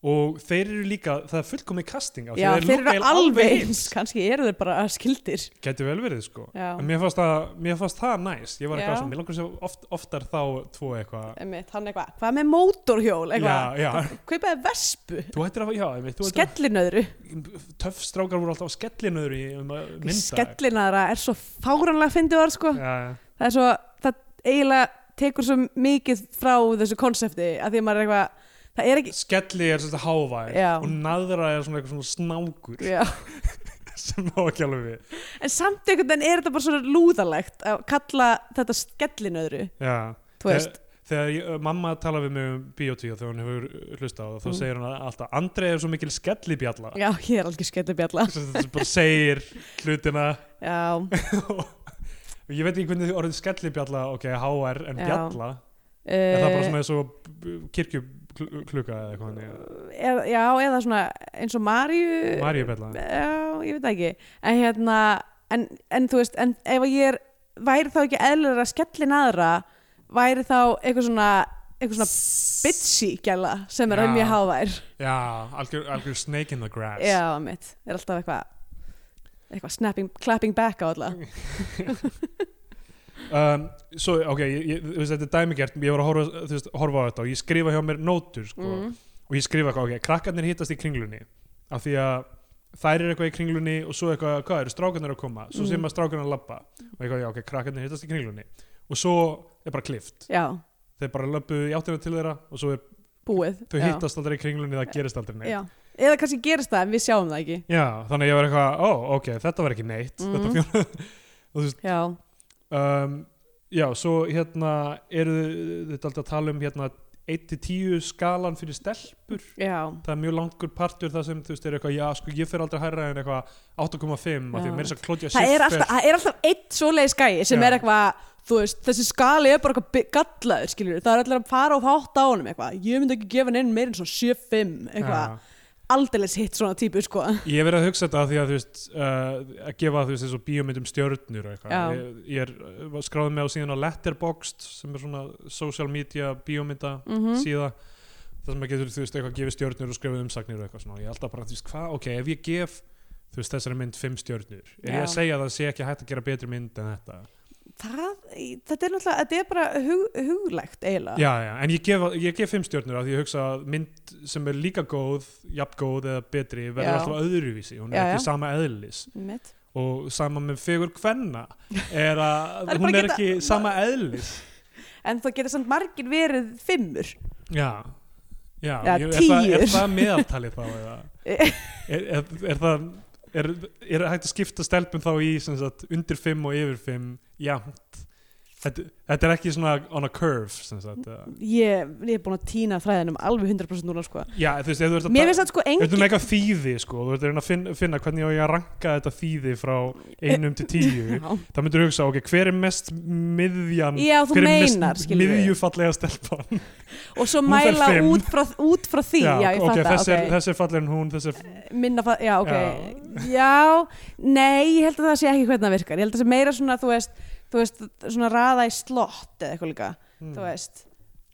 [SPEAKER 3] og þeir eru líka, það er fullkomið casting á því,
[SPEAKER 2] já, þeir
[SPEAKER 3] þeir looka
[SPEAKER 2] eru
[SPEAKER 3] eiginlega
[SPEAKER 2] alveg eins, kannski eru þeir bara skildir.
[SPEAKER 3] Gæti vel verið sko
[SPEAKER 2] Já,
[SPEAKER 3] En mér fannst, að, mér fannst það næs Ég var
[SPEAKER 2] Já.
[SPEAKER 3] eitthvað svona, mér langar að sjá oft, oftar þá tvo eitthvað
[SPEAKER 2] einmitt, hann eitthvað, hvað með mótorhjól, eitthvað,
[SPEAKER 3] Já, já,
[SPEAKER 2] kaupaði vespu,
[SPEAKER 3] þú ættir að, já, einmitt, þú ættir
[SPEAKER 2] skellinöðru,
[SPEAKER 3] að Töff strákar voru alltaf á skellinöður í um, að mynda
[SPEAKER 2] skellinöðra er svo fáranlega fyndið var, sko.
[SPEAKER 3] Já,
[SPEAKER 2] það er svo, það eiginlega tekur svo mikið frá þessu konsepti, að því að maður er eitthvað, það er ekki,
[SPEAKER 3] Skelli er svona hávær
[SPEAKER 2] Já.
[SPEAKER 3] Og naðra er svona eitthvað svona snákur
[SPEAKER 2] <laughs> já.
[SPEAKER 3] <laughs> Sem ná ekki alveg við
[SPEAKER 2] En samt einhvern veginn er þetta bara svona lúðalegt að kalla þetta skellinöðru,
[SPEAKER 3] Já
[SPEAKER 2] þú veist.
[SPEAKER 3] Þegar, þegar ég, mamma talar við mig um bíotíu Þegar hún hefur uh, hlustað á það Þá
[SPEAKER 2] Mm.
[SPEAKER 3] segir hún alltaf, Andrei er svo mikil skellibjalla
[SPEAKER 2] Já, ég er alveg skellibjalla.
[SPEAKER 3] Sem sem bara segir hlutina <laughs>
[SPEAKER 2] Já,
[SPEAKER 3] og ég veit ekki hvernig orðið skellibjalla ok, HR en
[SPEAKER 2] Já.
[SPEAKER 3] bjalla er það bara
[SPEAKER 2] uh,
[SPEAKER 3] svona eins og kirkjukluka eða eitthvað þannig
[SPEAKER 2] eða, já, eða svona eins og Maríu.
[SPEAKER 3] Maríubjalla
[SPEAKER 2] Já, ég veit það ekki. En hérna, en, en þú veist, en ef að ég er, væri þá ekki eðlur að skellin aðra, væri þá eitthvað svona, eitthvað svona bitchy gæla sem er
[SPEAKER 3] Já.
[SPEAKER 2] um ég hávær.
[SPEAKER 3] já, algjör, algjör snake in the grass
[SPEAKER 2] Já, mitt, er alltaf eitthvað, eitthvað snapping, clapping back á alla.
[SPEAKER 3] um, svo, ok, ég, ég, þú veist, þetta er dæmigert ég var að horfa, þú veist, horfa á þetta og ég skrifa hjá mér nótur sko,
[SPEAKER 2] Mm.
[SPEAKER 3] og ég skrifa eitthvað, ok, krakkarnir hittast í kringlunni af því að þær eru eitthvað í kringlunni og svo eitthvað, hvað eru strákarnir að koma svo
[SPEAKER 2] Mm.
[SPEAKER 3] mm. sem að strákarnir að labba og eitthvað, já, ok, krakkarnir hittast í kringlunni og svo er bara klift
[SPEAKER 2] Já,
[SPEAKER 3] þeir bara löpu í áttina til þeirra og svo er,
[SPEAKER 2] búið.
[SPEAKER 3] þau
[SPEAKER 2] já.
[SPEAKER 3] hittast aldrei í kringlunni það gerist aldrei neitt
[SPEAKER 2] Já. Eða kannski gerist það en við sjáum það ekki.
[SPEAKER 3] Já, þannig að ég var eitthvað, ó, ok, þetta var ekki neitt
[SPEAKER 2] Mhm.
[SPEAKER 3] þetta fjóna og þú veist,
[SPEAKER 2] Já,
[SPEAKER 3] um, já, svo hérna eru þau- þetta alltaf að tala um hérna 1-10 skalan fyrir stelpur
[SPEAKER 2] já,
[SPEAKER 3] það er mjög langur partur það sem þú veist er eitthvað já sko ég fer aldrei hærra en eitthvað 8,5 af því að
[SPEAKER 2] Já.
[SPEAKER 3] mér er svo klótja
[SPEAKER 2] það er alltaf, það er alltaf eitt svoleiðis gæi sem
[SPEAKER 3] Já.
[SPEAKER 2] er eitthvað þú veist, þessi skali er bara eitthvað bi- gallaður skilur, það er allir að fara og hátta á honum eitthvað, ég myndi ekki gefa neinn meir en svona 7-5 eitthvað, aldeilis hitt svona típu sko,
[SPEAKER 3] Ég hef verið að hugsa þetta af því að þú veist uh, að gefa þú veist þessu bíómyndum um stjörnur og eitthvað.
[SPEAKER 2] Já.
[SPEAKER 3] Ég, ég er, uh, skráði mig á síðan á Letterboxd sem er svona social media bíómynda
[SPEAKER 2] Mhm.
[SPEAKER 3] síða þar sem að getur þú veist eitthvað gefið stjörnur og skrifað umsagnir og eitthvað svona. Ég er alltaf bara þú veist hvað, ok, ef ég gef þú veist þessari mynd fimm stjörnur er ég
[SPEAKER 2] Já.
[SPEAKER 3] að segja að það sé ekki hægt að gera betri mynd en þetta.
[SPEAKER 2] það þetta er náttúrulega, þetta er bara hug, huglægt eiginlega,
[SPEAKER 3] Já, já, en ég gef, ég gef fimm stjörnur af því ég hugsa að mynd sem er líka góð, jafn góð eða betri verður
[SPEAKER 2] Já.
[SPEAKER 3] alltaf öðruvísi, hún er
[SPEAKER 2] Já,
[SPEAKER 3] ekki
[SPEAKER 2] já.
[SPEAKER 3] sama eðlis
[SPEAKER 2] mitt
[SPEAKER 3] og sama með fegur kvenna er
[SPEAKER 2] <laughs>
[SPEAKER 3] að
[SPEAKER 2] Það er
[SPEAKER 3] hún
[SPEAKER 2] bara
[SPEAKER 3] er
[SPEAKER 2] geta-
[SPEAKER 3] ekki sama eðlis
[SPEAKER 2] en það getur samt margir verið fimmur
[SPEAKER 3] já, já,
[SPEAKER 2] Já,
[SPEAKER 3] ég, er, það, er
[SPEAKER 2] tíur.
[SPEAKER 3] það meðaltalið þá
[SPEAKER 2] <laughs>
[SPEAKER 3] eða er, er, er það er, er hægt að skipta stelpum þá í sem sagt, undir 5 og yfir 5 já, þetta, þetta er ekki svona on a curve sem sagt, eða.
[SPEAKER 2] ég, ég er búin að týna þræðinum alveg 100% núna sko,
[SPEAKER 3] já, þú veist, ef þú ert
[SPEAKER 2] mér
[SPEAKER 3] að
[SPEAKER 2] finnst það sko
[SPEAKER 3] Þetta er
[SPEAKER 2] engin
[SPEAKER 3] með eitthvað þýði sko, þú ert að reyna að finna, finna hvernig á ég að ranka þetta þýði frá einum til tíu
[SPEAKER 2] <laughs> Já.
[SPEAKER 3] Það myndur hugsa, ok, hver er mest miðjan
[SPEAKER 2] Já, þú
[SPEAKER 3] hver
[SPEAKER 2] meinar,
[SPEAKER 3] er mest
[SPEAKER 2] skilur við.
[SPEAKER 3] miðjufallega stelpan
[SPEAKER 2] og svo
[SPEAKER 3] Hún fer
[SPEAKER 2] mæla
[SPEAKER 3] fimm.
[SPEAKER 2] út frá, út frá því <laughs> já, ég
[SPEAKER 3] ok,
[SPEAKER 2] fatta,
[SPEAKER 3] þessi,
[SPEAKER 2] ok.
[SPEAKER 3] er, þessi er fallegri en hún þessi er,
[SPEAKER 2] minna fað, já ok já. nei, ég held að það sé ekki hvernig það virkar ég held að það sé meira svona, þú veist, þú veist svona raða í slott eða eitthvað líka
[SPEAKER 3] hmm,
[SPEAKER 2] þú veist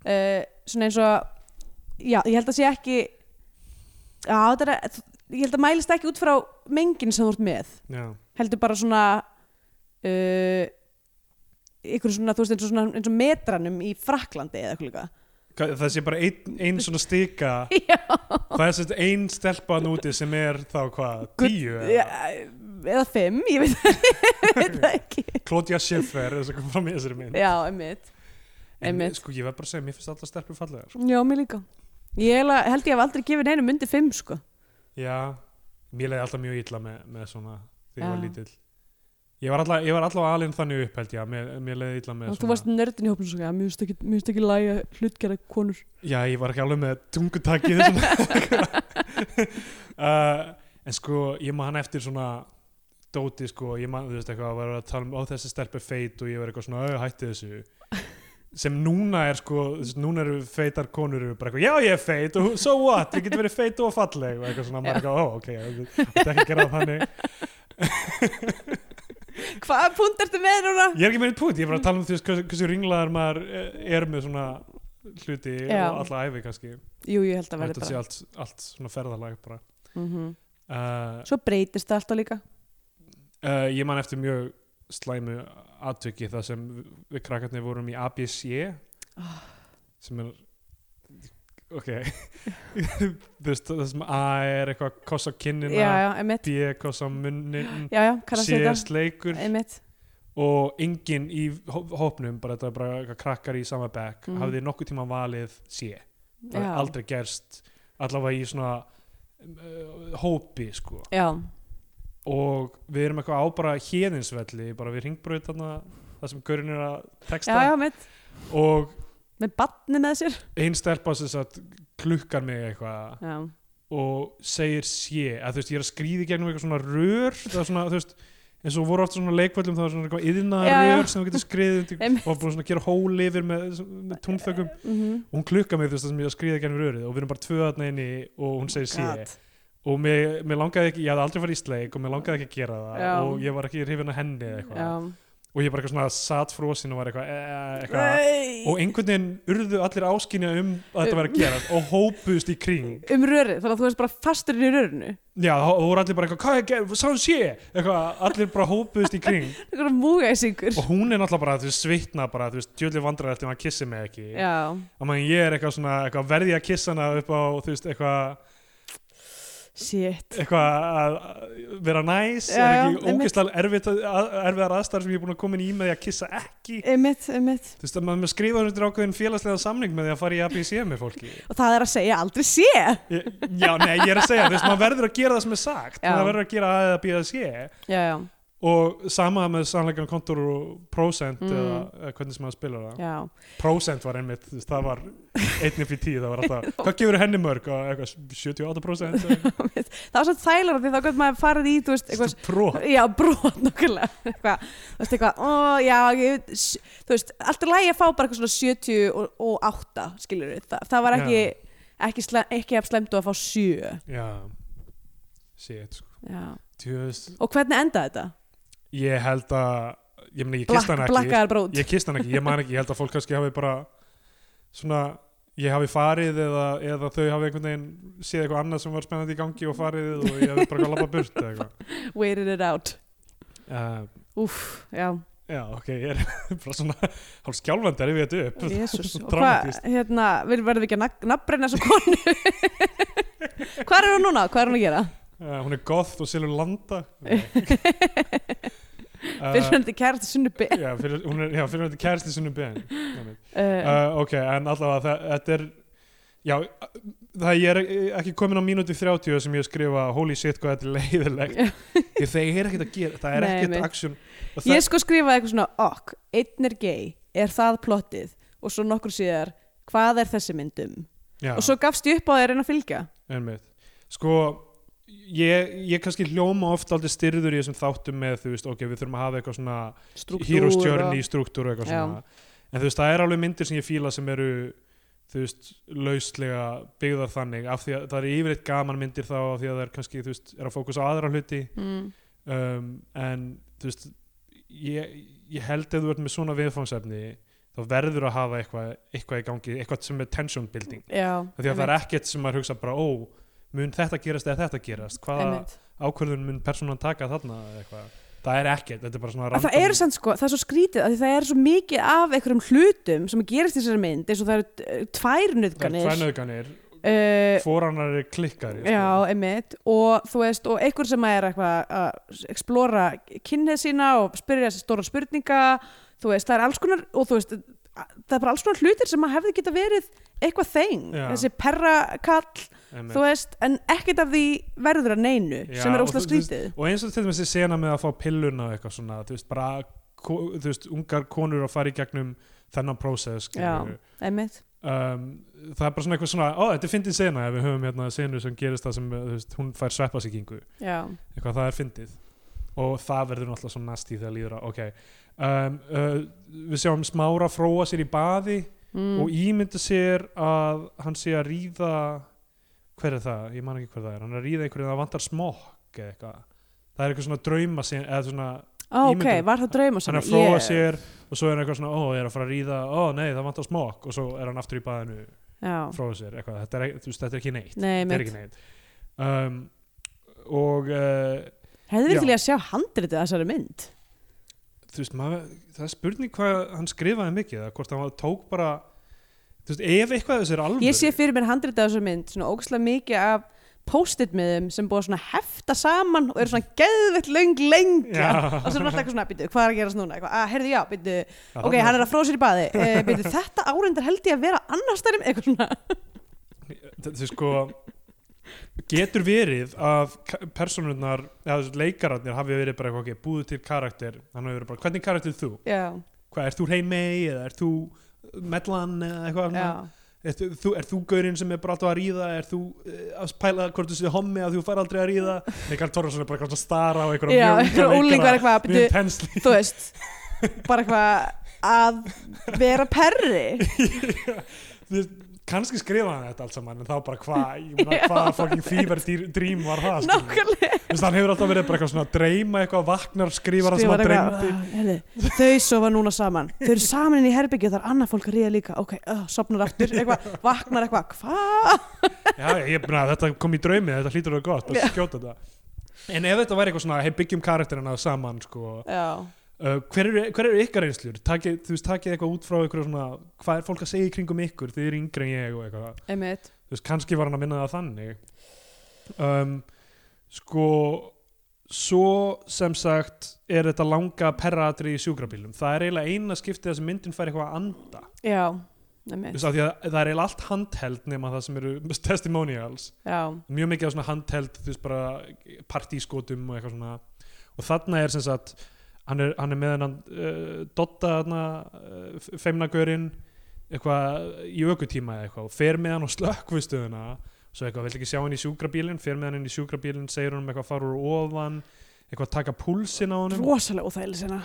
[SPEAKER 2] uh, svona eins og já, ég held að sé ekki já, þetta er að, ég held að mælist ekki út frá mengin sem þú ert með
[SPEAKER 3] já,
[SPEAKER 2] heldur bara svona uh, ykkur svona, þú veist, eins og, svona, eins og metranum í Fraklandi eða eitthvað líka
[SPEAKER 3] Hvað- það sé bara ein,
[SPEAKER 2] <laughs>
[SPEAKER 3] ein svona stika
[SPEAKER 2] já,
[SPEAKER 3] það er sérst ein stelpan úti sem er þá hvað,
[SPEAKER 2] Gull-
[SPEAKER 3] tíu
[SPEAKER 2] já, eða fimm, ég veit, <laughs> ég veit það ekki
[SPEAKER 3] Klótja Schiffer, þess að koma fram í þessari mynd
[SPEAKER 2] já, einmitt
[SPEAKER 3] en,
[SPEAKER 2] einmitt.
[SPEAKER 3] sko, ég verð bara að segja, mér finnst alltaf stelpur fallegar sko.
[SPEAKER 2] já, mér líka ég eiginlega held ég hef aldrei gefið neinum undir fimm sko
[SPEAKER 3] já, mér leiði alltaf mjög illa með, með svona, þegar ég var
[SPEAKER 2] Já.
[SPEAKER 3] lítill ég var alltaf, ég var alltaf alinn þannig upp held ég, að mér, mér leiði illa með
[SPEAKER 2] og þú varst nördin í hópinu svo mér finnst ekki, mér finnst ekki læga hlutgerða konur
[SPEAKER 3] Já, ég var ekki alveg með tungutakið
[SPEAKER 2] <laughs>
[SPEAKER 3] svona. uh, En sko, ég maður hann eftir svona dóti, sko, ég maður, þú veist eitthvað að vera að tala um, ó þessi stelp er feit og ég verið eitthvað svona, au, hætti þessu sem núna er sko, þú veist, núna eru feitar konur eru bara eitthvað, já ég er feit og so what, ég get verið feit og falleg og eitthvað svona, maður eitthvað, ó ok, þetta er ekki að gera það þannig
[SPEAKER 2] hvaða punkt ertu með núna?
[SPEAKER 3] Ég er ekki með einn punkt, ég er bara að tala um því hversu, hversu ringlaðar maður eh, er með svona hluti
[SPEAKER 2] Já.
[SPEAKER 3] og alla æfi kannski
[SPEAKER 2] jú, ég held að verði
[SPEAKER 3] Þetta sé
[SPEAKER 2] bara
[SPEAKER 3] allt, allt svona ferðalag bara
[SPEAKER 2] mm
[SPEAKER 3] uh,
[SPEAKER 2] svo breytist það alltaf líka
[SPEAKER 3] uh, ég man eftir mjög slæmu aðtöki þar sem við, við krakkarnir vorum í ABC
[SPEAKER 2] Ah.
[SPEAKER 3] sem er ok <laughs> þú veist það sem A er eitthvað kossa kinnina
[SPEAKER 2] já, já, einmitt
[SPEAKER 3] B kossa munnin
[SPEAKER 2] já, já, kannast
[SPEAKER 3] C
[SPEAKER 2] við
[SPEAKER 3] er
[SPEAKER 2] þetta
[SPEAKER 3] sleikur
[SPEAKER 2] einmitt
[SPEAKER 3] og enginn í hó- hópnum bara þetta er bara eitthvað krakkar í sama bekk
[SPEAKER 2] Mhm.
[SPEAKER 3] hafði nokkuð tíma valið C
[SPEAKER 2] Já.
[SPEAKER 3] það er aldrei gerst allavega í svona uh, hópi sko
[SPEAKER 2] já,
[SPEAKER 3] og við erum eitthvað á bara hérðinsvelli, bara við ringbraut þarna það sem Gaurin er að
[SPEAKER 2] já,
[SPEAKER 3] texta
[SPEAKER 2] já, einmitt
[SPEAKER 3] og
[SPEAKER 2] með batni með sér
[SPEAKER 3] einn stelpa sem sagt klukkar mig eitthvað
[SPEAKER 2] já,
[SPEAKER 3] og segir sé að þú veist, ég er að skrýði gegnum eitthvað svona rör það er svona, þú veist, eins og voru oft svona leikvöllum það var svona eitthvað yðnaða
[SPEAKER 2] Já, já.
[SPEAKER 3] rör sem þú getur skriðið undir,
[SPEAKER 2] Einmitt.
[SPEAKER 3] og var búin svona að gera hól yfir með, með túnþökum
[SPEAKER 2] mhm
[SPEAKER 3] og hún klukkar mig þú veist það sem ég er að skrýði gegnum rörið og við erum bara tvöðarna inni og hún segir sé
[SPEAKER 2] Gat.
[SPEAKER 3] og mér, mér langaði ekki, ég hafði aldrei farið í sleik og mér langaði ekki að gera það
[SPEAKER 2] Já.
[SPEAKER 3] og ég var ekki hrifin að henni eða eitthvað
[SPEAKER 2] já
[SPEAKER 3] og ég bara eitthvað svona satt frósin og var eitthvað, eh, eitthvað
[SPEAKER 2] Nei.
[SPEAKER 3] og einhvern veginn urðu allir áskynja um að þetta var að gerast og hópuðust í kring
[SPEAKER 2] um rörið, þannig að þú veist bara fasturinn í rörinu
[SPEAKER 3] já, þá voru allir bara eitthvað, hvað er gerð, sá hún sé eitthvað, allir bara hópuðust í kring
[SPEAKER 2] einhverja múgæsingur
[SPEAKER 3] og hún er náttúrulega bara, þú veist, svitna bara, þú veist, djöðli vandrar eftir að hann kissi mig ekki
[SPEAKER 2] já,
[SPEAKER 3] og mann ég er eitthvað svona, eitthvað verði að kissa hana upp á, þú veist, eitthvað
[SPEAKER 2] shit
[SPEAKER 3] eitthvað að að vera næs
[SPEAKER 2] Já,
[SPEAKER 3] er
[SPEAKER 2] já,
[SPEAKER 3] ekki
[SPEAKER 2] einmitt.
[SPEAKER 3] ógeðslega erfitt að- að- erfiðar aðstæður sem ég er búin að koma inn í með því að kissa ekki
[SPEAKER 2] einmitt, einmitt
[SPEAKER 3] þú veist að maður skrifaður undir ákveðin félagslega samning með því að fara í ABC með
[SPEAKER 2] <laughs>
[SPEAKER 3] fólki
[SPEAKER 2] og það er að segja aldrei sé
[SPEAKER 3] Ég- já nei ég er að segja þú veist maður verður að gera það sem er sagt
[SPEAKER 2] Já.
[SPEAKER 3] maður verður að gera A eða B eða C
[SPEAKER 2] já, já,
[SPEAKER 3] og sama með sannleikan kontur og prosent
[SPEAKER 2] Mm. <laughs>
[SPEAKER 3] eða, eða hvernig sem maður spilar það
[SPEAKER 2] já
[SPEAKER 3] prosent var einmitt þú veist, það var einn upp í tíu það var
[SPEAKER 2] <laughs>
[SPEAKER 3] alltaf hvað gefur henni mörg og eitthvað 78% eða
[SPEAKER 2] það var svo þælar því þá gott maður farið í, þú veist, eitthvað <laughs>
[SPEAKER 3] eitthvað brot
[SPEAKER 2] Já, brot nokkulega <laughs> eitthvað, þú veist, eitthvað, ó, já ég, s- þú veist, allt er lægi að fá bara eitthvað svona 70 og, og 8 skilur við, Þa, það var ekki ekki, sle, ekki af slemt og að fá 7
[SPEAKER 3] já shit sko
[SPEAKER 2] já.
[SPEAKER 3] Tjöfust.
[SPEAKER 2] og hvernig endaði þetta?
[SPEAKER 3] ég held að ég meina ég kist
[SPEAKER 2] Black,
[SPEAKER 3] hann ekki
[SPEAKER 2] blackaðar brot
[SPEAKER 3] ég kist hann ekki, ég man ekki, ég held að fólk kannski hafi bara svona, ég hafi farið eða, eða þau hafi einhvern veginn séð eitthvað annað sem var spennandi í gangi og farið og ég hafi bara lappa burt eða eitthvað
[SPEAKER 2] waited it out
[SPEAKER 3] uh,
[SPEAKER 2] Úff, já,
[SPEAKER 3] já, ok, ég er <laughs> bara svona hálf skjálfandi er ef ég þetta upp
[SPEAKER 2] jésus og hvað,
[SPEAKER 3] Dramatískt.
[SPEAKER 2] hérna, við verðum ekki að nafnbrenna svo konu <laughs> hvað er hún núna, hvað er hún að
[SPEAKER 3] <laughs>
[SPEAKER 2] gera?
[SPEAKER 3] uh, hún er goth og selur landa
[SPEAKER 2] fyrir
[SPEAKER 3] uh,
[SPEAKER 2] hann þetta kærast sunnubi
[SPEAKER 3] já, fyrir, hún er, já, fyrir þetta kærasti sunnum ben
[SPEAKER 2] uh,
[SPEAKER 3] <laughs> uh, ok, en allavega þa- þetta er já, það ég er ekki komin á mínúti 30 sem ég skrifa holy shit hvað þetta er leiðilegt því þeir eru ekkert að gera, það er
[SPEAKER 2] Nei,
[SPEAKER 3] ekkert
[SPEAKER 2] einmitt.
[SPEAKER 3] action og það,
[SPEAKER 2] Ég sko skrifaði eitthvað svona ok, einn er gay, er það plottið og svo nokkur síðar, hvað er þessi myndum
[SPEAKER 3] já,
[SPEAKER 2] og svo gafst ég upp á það að reyna að fylgja
[SPEAKER 3] einmitt. sko ég, ég kannski hljóma oft aldrei styrður í þessum þáttum með þú veist, ok, við þurfum að hafa eitthvað svona
[SPEAKER 2] Struktúr
[SPEAKER 3] heroes
[SPEAKER 2] og-
[SPEAKER 3] journey, struktúr og eitthvað
[SPEAKER 2] Já.
[SPEAKER 3] svona en þú veist, það er alveg myndir sem ég fíla sem eru þú veist, lauslega byggðar þannig af því að það er yfirleitt gaman myndir þá af því að það er kannski, þú veist, er að fókus á aðra hluti
[SPEAKER 2] mm.
[SPEAKER 3] um, en þú veist ég, ég held ef þú ert með svona viðfangsefni þá verður að hafa eitthvað, eitthvað í gangi, eitthvað sem er tension building
[SPEAKER 2] Já,
[SPEAKER 3] af því að það er ekkert sem maður hugsa bara, ó mun þetta gerast eða þetta gerast hvaða
[SPEAKER 2] einmitt.
[SPEAKER 3] ákvörðun mun persónan taka þarna eða eitthvað, það er ekkert, þetta er bara svona
[SPEAKER 2] Að Það
[SPEAKER 3] random-
[SPEAKER 2] er samt sko, það er svo skrítið að það er svo mikið af einhverjum hlutum sem gerist í þessari mynd eins og það eru eh, tvær Eh,
[SPEAKER 3] það er
[SPEAKER 2] nöðganir
[SPEAKER 3] tvænauðganir
[SPEAKER 2] tvær
[SPEAKER 3] forannar er klikkari sko.
[SPEAKER 2] Já, einmitt og þú veist, og einhver sem er eitthvað að explora kynnið sína og spyrja þessi stóra spurninga þú veist, það er alls konar og þú veist, það er bara alls konar hlutir sem að hefði geta verið eitthvað þeng
[SPEAKER 3] Já.
[SPEAKER 2] þessi perrakall,
[SPEAKER 3] Einmitt.
[SPEAKER 2] þú veist en ekkert af því verður að neinu
[SPEAKER 3] Já,
[SPEAKER 2] sem er
[SPEAKER 3] og
[SPEAKER 2] óslega
[SPEAKER 3] þú- þú veist-
[SPEAKER 2] skrítið
[SPEAKER 3] og eins og til dæmis þessi sena með að fá pilluna og eitthvað svona, þú veist, bara ko- þú veist, ungar konur að fara í gegnum þennan prósess
[SPEAKER 2] Já.
[SPEAKER 3] skilurðu.
[SPEAKER 2] einmitt,
[SPEAKER 3] um, það er bara svona eitthvað svona ó, þetta er fyndin sena ef við höfum hérna senu sem gerist það sem, þú veist, hún fær sveppasíkingu
[SPEAKER 2] já,
[SPEAKER 3] eitthvað það er fyndið og það verður náttúrulega svona nasty þegar líður að ok um, uh, við sjáum smára fróa sér í baði og
[SPEAKER 2] mm.
[SPEAKER 3] ímynda sér að hann sé að ríða hver er það, ég man ekki hver það er hann er að ríða einhverju það vantar smokk eða eitthvað það er eitthvað svona drauma sin, eða svona,
[SPEAKER 2] Ó, ok,
[SPEAKER 3] ímyndun-
[SPEAKER 2] var það drauma sem
[SPEAKER 3] hann er að fróa sér og svo er hann eitthvað svona, ó, ég er að fara að ríða ó, nei, það vantar smokk og svo er hann aftur í baðinu
[SPEAKER 2] já,
[SPEAKER 3] fróa sér, eitthvað, þetta er, ekki- þú veist, þetta er ekki neitt
[SPEAKER 2] nei,
[SPEAKER 3] þetta er
[SPEAKER 2] einmitt
[SPEAKER 3] ekki neitt um, og uh,
[SPEAKER 2] hefði
[SPEAKER 3] Já.
[SPEAKER 2] virkilega að sjá handritið að þessari mynd
[SPEAKER 3] þú veist, maður, það er spurning hvað hann skrifaði mikið, eða hvort hann tók bara þú veist, ef eitthvað af þessu er alvöru
[SPEAKER 2] Ég sé fyrir mér handrið af þessu mynd svona ógæslega mikið af post-it miðum sem búið að svona hefta saman og eru svona geðvett löng lengja
[SPEAKER 3] Já.
[SPEAKER 2] og svo er alltaf eitthvað svona, býtu, hvað er að gerast núna? Eitthvað, að, heyrðu, já, býtu,
[SPEAKER 3] Já,
[SPEAKER 2] ok,
[SPEAKER 3] þarna-
[SPEAKER 2] hann er að fróða sér í baði e, býtu, þetta árendar held ég að vera annars þar eitthvað svona,
[SPEAKER 3] Þa- þú sko getur verið að ka- persónurnar, eða þessi leikararnir hafi verið bara eitthvað, ok, búðu til karakter hann hafi verið bara, hvernig karakter ert þú?
[SPEAKER 2] já,
[SPEAKER 3] Hvað, ert þú heimei eða ert þú uh, mellan eða eitthvað
[SPEAKER 2] já,
[SPEAKER 3] svona? Ert þú, er þú gaurinn sem er bara alltaf að ríða? Er þú uh, að pæla hvort þú séð hommi að þú fær aldrei að ríða? Leikar Torrason er bara eitthvað svona að stara á einhverja
[SPEAKER 2] já, <laughs>
[SPEAKER 3] mjög unga
[SPEAKER 2] eitthvað úlingar
[SPEAKER 3] leikara
[SPEAKER 2] eitthvað,
[SPEAKER 3] með
[SPEAKER 2] býtu,
[SPEAKER 3] pensli. <laughs>
[SPEAKER 2] þú veist bara eitthvað að vera
[SPEAKER 3] <laughs>
[SPEAKER 2] perri
[SPEAKER 3] Þú veist, kannski skrifaði hann þetta allt saman en þá bara hvað, ég
[SPEAKER 2] <laughs>
[SPEAKER 3] meina hvað fucking fever dýr- dream var það skilur við?
[SPEAKER 2] nákvæmlega
[SPEAKER 3] Þú veist, hann hefur alltaf verið bara eitthvað svona að dreyma eitthvað vaknar, skrifar hann sem
[SPEAKER 2] Skrifar
[SPEAKER 3] að
[SPEAKER 2] eitthvað,
[SPEAKER 3] dreymdi
[SPEAKER 2] "Ah, heyrðu, þau sofa núna saman þau eru saman inn í herbyggju þar annað fólk að ríða líka ok, uh, sopnar aftur, eitthvað, vaknar eitthvað hvað?
[SPEAKER 3] já, ég, na, þetta kom í draumi, þetta hlýtur það gott að skjóta þetta en ef þetta væri eitthvað svona, hey, byggjum karakterina saman sko,
[SPEAKER 2] Já,
[SPEAKER 3] uh, hver, eru, hver eru ykkar einslur takið, þú veist, takið eitthvað út frá ykkur svona, hvað er fólk að segja í kringum ykkur þið eru yngri en ég og eitthvað
[SPEAKER 2] einmitt
[SPEAKER 3] þú veist, kannski var hann að minna það þannig um, sko svo sem sagt er þetta langa perraatri í sjúkrabílum það er eiginlega eina skiptið þar sem myndin fær eitthvað að anda
[SPEAKER 2] Já,
[SPEAKER 3] Þú
[SPEAKER 2] einmitt
[SPEAKER 3] veist, af því að það er eiginlega allt handheld nema það sem eru <laughs> testimonials
[SPEAKER 2] Já,
[SPEAKER 3] mjög mikið af svona handheld þú veist bara partískotum og eitthvað svona og þarna er sem sagt eh, hann er, hann er með hennan uh, Dotta þarna, uh, eh, feimnagörinn eitthvað í aukutíma eða eitthvað og fer með hann á slökkvistöðuna svo eitthvað, vill ekki sjá hann í sjúkrabílinn fer með hann inn í sjúkrabílinn, segir hann eitthvað fara úr ofan eitthvað taka púlsinn á honum
[SPEAKER 2] rosalega óþægileg sena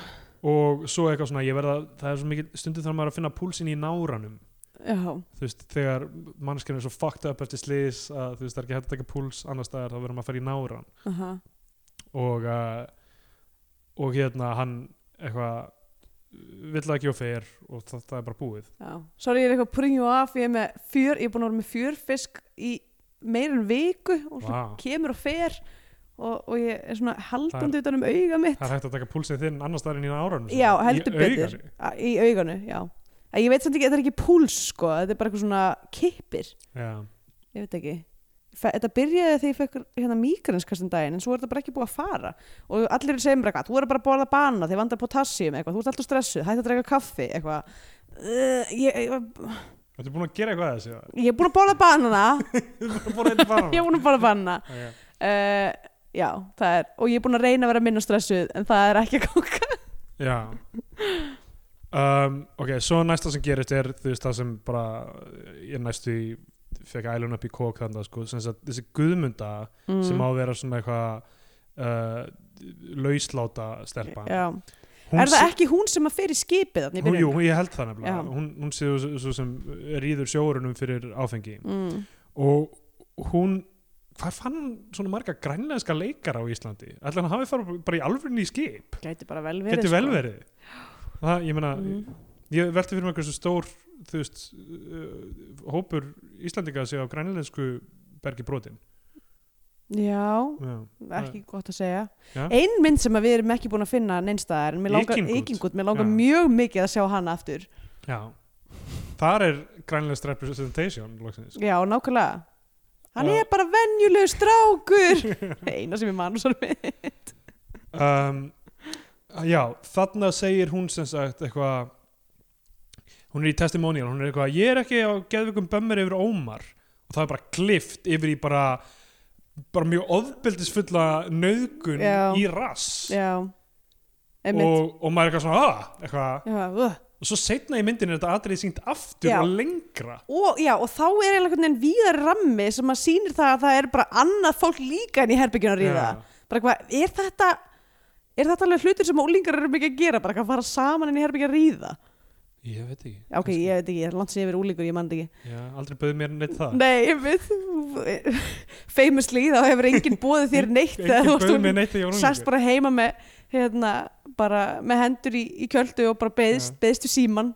[SPEAKER 3] og svo eitthvað svona, ég verða það er svo mikið, stundum þarf maður að finna púlsinn í náranum
[SPEAKER 2] já,
[SPEAKER 3] þú veist, þegar mannskjörn er svo fucked up eftir slis að þú veist, það er ekki hægt að taka púls annars staðar, þá verður maður að fara í náran
[SPEAKER 2] aha,
[SPEAKER 3] og uh, og hérna, hann eitthvað vill það ekki og fer og það, það er bara búið
[SPEAKER 2] já sorry, ég er eitthvað pringu af, ég er með fjör ég er búin að vera með fjörfisk í meira en viku og svona
[SPEAKER 3] Vá.
[SPEAKER 2] kemur og fer og, og ég er svona haldandi utan um auga mitt
[SPEAKER 3] Það er hægt að taka púlsinn þinn annars staðar en í áraunum
[SPEAKER 2] já, heldur betur A- í auganu, já En ég veit samt ekki, þetta er ekki púls sko þetta er bara eitthvað svona kippir
[SPEAKER 3] Já,
[SPEAKER 2] ég veit ekki Fe- þetta byrjaði þegar ég fekk hérna migranskastum daginn en svo er þetta bara ekki búið að fara og allir eru segjum bara eitthvað, þú er bara að borða bana þegar vandar potassium eitthvað, þú ert alltaf stressuð hætti að drega kaffi eitthvað uh, ég, ég,
[SPEAKER 3] ertu búin að gera eitthvað að þessu?
[SPEAKER 2] ég er búin að borða banana <laughs>
[SPEAKER 3] Þú búin að
[SPEAKER 2] ég er búin að borða banana
[SPEAKER 3] okay.
[SPEAKER 2] uh, já, það er, og ég er búin að reyna að vera minna stressuð en það er ekki að kóka
[SPEAKER 3] Já um, Ok, svo næsta sem gerist er þú veist það sem bara ég næstu í, fekk ælun upp í kók þannig sko, sem sagt, þessi guðmunda
[SPEAKER 2] Mm.
[SPEAKER 3] sem á að vera svona eitthvað uh, lausláta stelpa
[SPEAKER 2] já.
[SPEAKER 3] Hún
[SPEAKER 2] er það ekki hún sem að fer í skipið þarna í
[SPEAKER 3] Hún, jú,
[SPEAKER 2] byrjun?
[SPEAKER 3] ég held það nefnilega
[SPEAKER 2] Já.
[SPEAKER 3] hún, hún séu svo- svo sem rýður sjórunum fyrir áfengi
[SPEAKER 2] mm.
[SPEAKER 3] og hún hvað fann hún svona marga grænlenska leikara á Íslandi? Ætli hann hafi farið bara í alvörinni í skip?
[SPEAKER 2] gæti bara vel verið
[SPEAKER 3] Geti
[SPEAKER 2] sko.
[SPEAKER 3] vel verið það, ég meina,
[SPEAKER 2] Mm.
[SPEAKER 3] ég velti fyrir mig hversu stór þú veist, uh, hópur Íslandinga sé á grænlensku bergi brotin
[SPEAKER 2] já,
[SPEAKER 3] Já,
[SPEAKER 2] ekki gott að segja
[SPEAKER 3] Já.
[SPEAKER 2] ein mynd sem að við erum ekki búin að finna neinstaðar en mér langar,
[SPEAKER 3] Ikingut.
[SPEAKER 2] Ikingut, mér langar
[SPEAKER 3] Já.
[SPEAKER 2] mjög mikið að sjá hana aftur
[SPEAKER 3] Já. þar er grænlensk representation loksins.
[SPEAKER 2] já, nákvæmlega hann
[SPEAKER 3] Já.
[SPEAKER 2] er bara venjulegu strákur <laughs> eina sem ég man úr svona mynd
[SPEAKER 3] um, já, þarna segir hún sem sagt eitthvað hún er í testimonial, hún er eitthvað ég er ekki á geðvikum bömmir yfir Ómar og það er bara klift yfir í bara bara mjög ofbeldisfulla nöðgun
[SPEAKER 2] Já.
[SPEAKER 3] í rass
[SPEAKER 2] já, einmitt
[SPEAKER 3] og, og maður er eitthvað svona ah, eitthvað.
[SPEAKER 2] já, uh.
[SPEAKER 3] og svo setna í myndin er þetta atrið sýnt aftur
[SPEAKER 2] Já.
[SPEAKER 3] og lengra
[SPEAKER 2] Og, já, og þá er einhvern veginn víðar rammi sem að sýnir það að það er bara annað fólk líka en í herbygginu að ríða
[SPEAKER 3] Já.
[SPEAKER 2] bara hvað, er þetta er þetta alveg hlutur sem ólingar eru mikið að gera bara hvað fara saman en í herbygginu að ríða
[SPEAKER 3] ég veit ekki,
[SPEAKER 2] Já, ok, ég veit ekki, ég er langt sem ég hef verið úlingur, ég man þetta ekki
[SPEAKER 3] Já, aldrei bauði mér neitt það
[SPEAKER 2] Nei, ég veit Famously, þá hefur enginn búið þér neitt þegar þú
[SPEAKER 3] enginn
[SPEAKER 2] varst
[SPEAKER 3] bauði mér
[SPEAKER 2] unglingur.
[SPEAKER 3] neitt þegar ég var
[SPEAKER 2] Sast
[SPEAKER 3] unglingur.
[SPEAKER 2] bara heima með hérna, bara með hendur í, í kjöldu og bara beðist, beðist við síman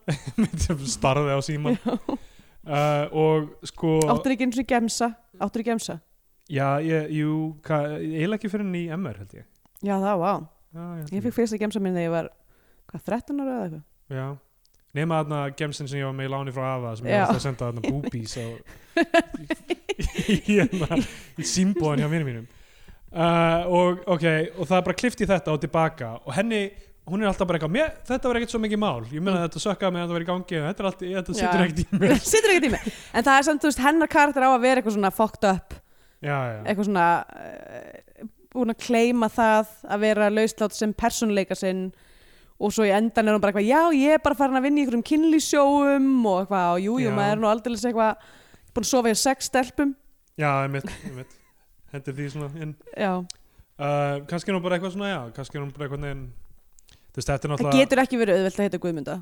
[SPEAKER 3] Sem <laughs> starði á síman uh, og sko
[SPEAKER 2] áttur ekki eins og gemsa áttur ekki gemsa,
[SPEAKER 3] Já, ég, jú, hva, eiginlega ekki fyrir henni í MR held ég.
[SPEAKER 2] já það, vá
[SPEAKER 3] Já,
[SPEAKER 2] ég fikk fyrst að gemsa minn þegar ég var hvað, 13 ára eða eitthvað
[SPEAKER 3] Já, nema þarna gemsin sem ég var með í láni frá afa sem ég
[SPEAKER 2] Já.
[SPEAKER 3] var alltaf að senda þarna boobies á, í, hérna, í símbóðan hjá vinnum mínum. Uh, og, ok, og það er bara klift í þetta og tilbaka og henni, hún er alltaf bara eitthvað, "Mér- þetta var ekkert svo mikið mál, ég meina þetta sökkaði mig að þetta var í gangi, en þetta, er allt, þetta
[SPEAKER 2] Já.
[SPEAKER 3] situr ekkert í mér.
[SPEAKER 2] sittur ekki tími, en það er samt, þú veist, hennar karakter á að vera eitthvað svona fucked up
[SPEAKER 3] Já, já,
[SPEAKER 2] eitthvað svona uh, búin að kleima það að vera lauslátt sem persónuleika sinn og svo í endan er hún bara eitthvað já, ég er bara farin að vinna í einhverjum kynlýsjóum og eitthvað, og jú, jú,
[SPEAKER 3] Já.
[SPEAKER 2] maður er nú aldrei eitthvað búin að sofa í sex stelpum
[SPEAKER 3] já, einmitt, einmitt, hendur því svona inn.
[SPEAKER 2] já,
[SPEAKER 3] Uh, kannski er hún bara eitthvað svona, já, kannski er hún bara eitthvað neginn, þú veist, þetta er
[SPEAKER 2] það
[SPEAKER 3] náttúrulega...
[SPEAKER 2] getur ekki verið auðvelt að heita Guðmunda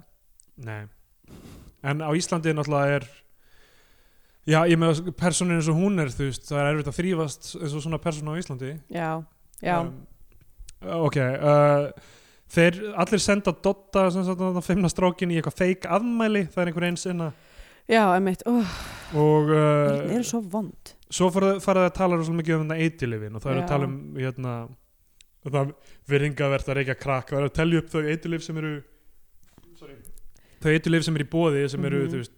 [SPEAKER 3] Nei, en á Íslandi náttúrulega er já, ég með personin eins og hún er þú veist, það er erfitt að þrýfast eins og svona person á Íslandi
[SPEAKER 2] já, já,
[SPEAKER 3] um, ok uh, þeir allir senda Dotta sem sagt að fimmna strákin í eitthvað feik afmæli, það er einhver eins inna
[SPEAKER 2] já, emmitt oh,
[SPEAKER 3] og
[SPEAKER 2] það
[SPEAKER 3] uh,
[SPEAKER 2] eru svo vond
[SPEAKER 3] svo fara, fara það að tala svo mikið um þetta eitilifin og það eru
[SPEAKER 2] Já.
[SPEAKER 3] að tala um hérna það virðingavert að reykja krakk það eru að telja upp þau eitilif sem eru sorry, þau eitilif sem eru í bóði sem eru,
[SPEAKER 2] Mhm.
[SPEAKER 3] þú veist,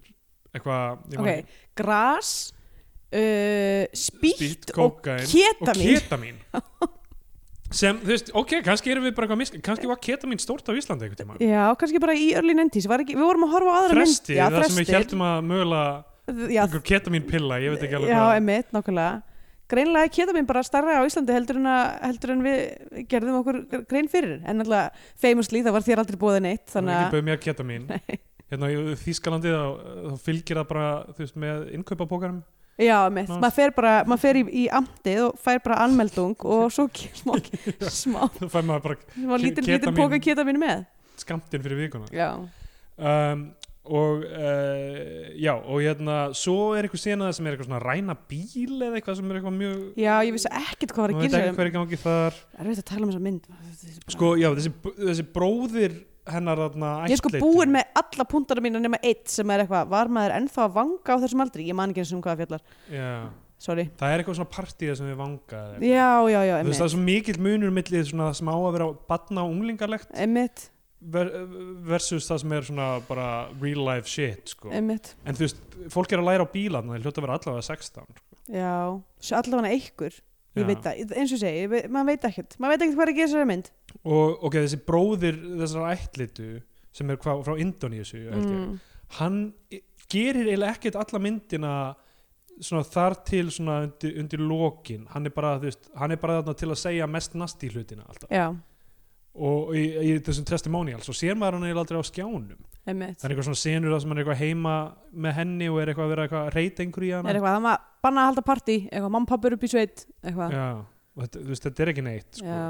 [SPEAKER 3] eitthvað ég
[SPEAKER 2] ok,
[SPEAKER 3] man ekki,
[SPEAKER 2] gras uh, spýtt
[SPEAKER 3] spýtt,
[SPEAKER 2] og
[SPEAKER 3] kókaín og
[SPEAKER 2] ketamin
[SPEAKER 3] ketamin
[SPEAKER 2] <laughs>
[SPEAKER 3] sem, þú veist, ok, kannski erum við bara eitthvað misk kannski var ketamin stórt á Íslandi einhvern tímann
[SPEAKER 2] já, kannski bara í early 90s var ekki, við vorum að horfa á aðra
[SPEAKER 3] Þresti,
[SPEAKER 2] mynd já,
[SPEAKER 3] það sem við heldum að mögulega
[SPEAKER 2] heldum já,
[SPEAKER 3] einhver ketamin pilla, ég veit ekki alveg
[SPEAKER 2] já,
[SPEAKER 3] hvað
[SPEAKER 2] emitt, nákvæmlega greinlega er ketamín bara starra á Íslandi heldur en, að, heldur en við gerðum okkur grein fyrir en alltaf famously það var þér aldrei búið neitt
[SPEAKER 3] þannig
[SPEAKER 2] þannig
[SPEAKER 3] ekki
[SPEAKER 2] að <laughs>
[SPEAKER 3] bauð mér ketamin hérna í Þýskalandi þá, þá fylgir það bara þú veist, með innkaupapókarum
[SPEAKER 2] já, mitt,
[SPEAKER 3] Nánast.
[SPEAKER 2] maður fer bara maður fer í, í amtið og fær bara anmeldung og svo
[SPEAKER 3] <laughs>
[SPEAKER 2] ke- smá, smá
[SPEAKER 3] <laughs> þá fær maður bara
[SPEAKER 2] smá
[SPEAKER 3] Ke-
[SPEAKER 2] lítið lítið
[SPEAKER 3] ketamin.
[SPEAKER 2] póka keta mín með
[SPEAKER 3] skamtinn fyrir vikuna
[SPEAKER 2] já,
[SPEAKER 3] um, og uh, já og hérna svo er eitthvað sena sem er eitthvað svona að ræna bíl eða eitthvað sem er eitthvað mjög
[SPEAKER 2] já ég vissi ekkert hvað var
[SPEAKER 3] Nú
[SPEAKER 2] að
[SPEAKER 3] veit ekki
[SPEAKER 2] gera um-
[SPEAKER 3] hver er í gangi þar
[SPEAKER 2] er veit að tala um þessa mynd Þetta er bara-
[SPEAKER 3] sko já þessi, þessi bróðir hennar þarna
[SPEAKER 2] ég er sko
[SPEAKER 3] ættleiddur.
[SPEAKER 2] búin með alla punktana mína nema eitt sem er eitthvað, var maður ennþá að vanga á þessum aldri, ég man ekki eins og um hvaða fjallar
[SPEAKER 3] já,
[SPEAKER 2] sorry,
[SPEAKER 3] það er eitthvað svona partíða sem við vanga eða eitthvað.
[SPEAKER 2] já, já, já,
[SPEAKER 3] þú veist
[SPEAKER 2] emmitt
[SPEAKER 3] það er svo mikill munur millið svona það sem á að vera batna og unglingarlegt
[SPEAKER 2] emmitt,
[SPEAKER 3] ver, versus það sem er svona bara real life shit sko.
[SPEAKER 2] emmitt,
[SPEAKER 3] en þú veist, fólk er að læra á bílarna það hljóta að vera allavega 16 sko.
[SPEAKER 2] já svo allavega einhver, ég
[SPEAKER 3] Já.
[SPEAKER 2] veit það eins og ég segi, ég veit- maður veit ekkert, maður veit ekkert hvað er að gera þessari mynd
[SPEAKER 3] og ok, þessi bróðir þessar ætlitu sem er hva, frá Indonésu mm.
[SPEAKER 2] mm.
[SPEAKER 3] hann i- gerir eiginlega ekkert alla myndina svona þar til svona undir, undir lokin hann er bara, þú veist, hann er bara þarna til að segja mest nasti hlutina alltaf
[SPEAKER 2] já,
[SPEAKER 3] og í, í þessum testimonial svo sér maður hann eiginlega aldrei á skjánum
[SPEAKER 2] emmitt
[SPEAKER 3] það er eitthvað svona senur það sem hann er eitthvað heima með henni og er eitthvað að vera eitthvað að reyta einhverju í
[SPEAKER 2] er
[SPEAKER 3] hana
[SPEAKER 2] eitthvað, það maður banna að halda partí eitthvað, mamma, pappa eru upp í sveit, eitthvað já,
[SPEAKER 3] Já, og þetta, þú veist, þetta er ekki neitt sko.
[SPEAKER 2] já.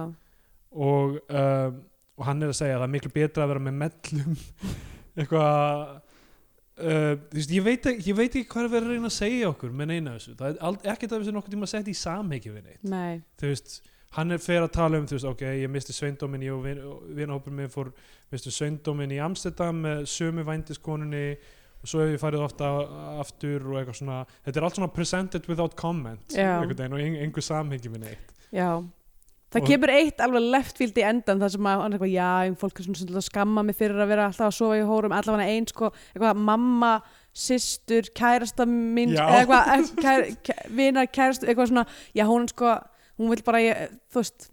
[SPEAKER 3] og, um, og hann er að segja að það er miklu betra að vera með mellum <laughs> eitthvað uh, þú veist, ég veit, ekki, ég veit ekki hvað er verið að reyna að segja okkur með neina þessu það er ald- ekkert af þessu nokkuð tíma að setja í samhengi við neitt
[SPEAKER 2] nei,
[SPEAKER 3] þú veist, hann er fer að tala um þú veist, ok, ég misti sveindómin ég og vin- og vinahópur minn fór misti sveindómin í Amsterdam með sömu vændiskonunni og svo hef ég farið ofta aftur og eitthvað svona þetta er allt svona presented without comment
[SPEAKER 2] Já.
[SPEAKER 3] einhvern veginn og ein- einhver samhengi við neitt
[SPEAKER 2] já Það
[SPEAKER 3] Og-
[SPEAKER 2] kemur eitt alveg left field í endan þar sem að hann er eitthvað, já, um fólk er svona svolítið að skamma mig fyrir að vera alltaf að sofa í hórum allavega einn, sko, eitthvað, mamma systur, kærasta mín
[SPEAKER 3] Já.
[SPEAKER 2] eða eitthvað, kær, kær, vinar, kærasta eitthvað svona, já, hún er sko hún vil bara, ég, þú veist,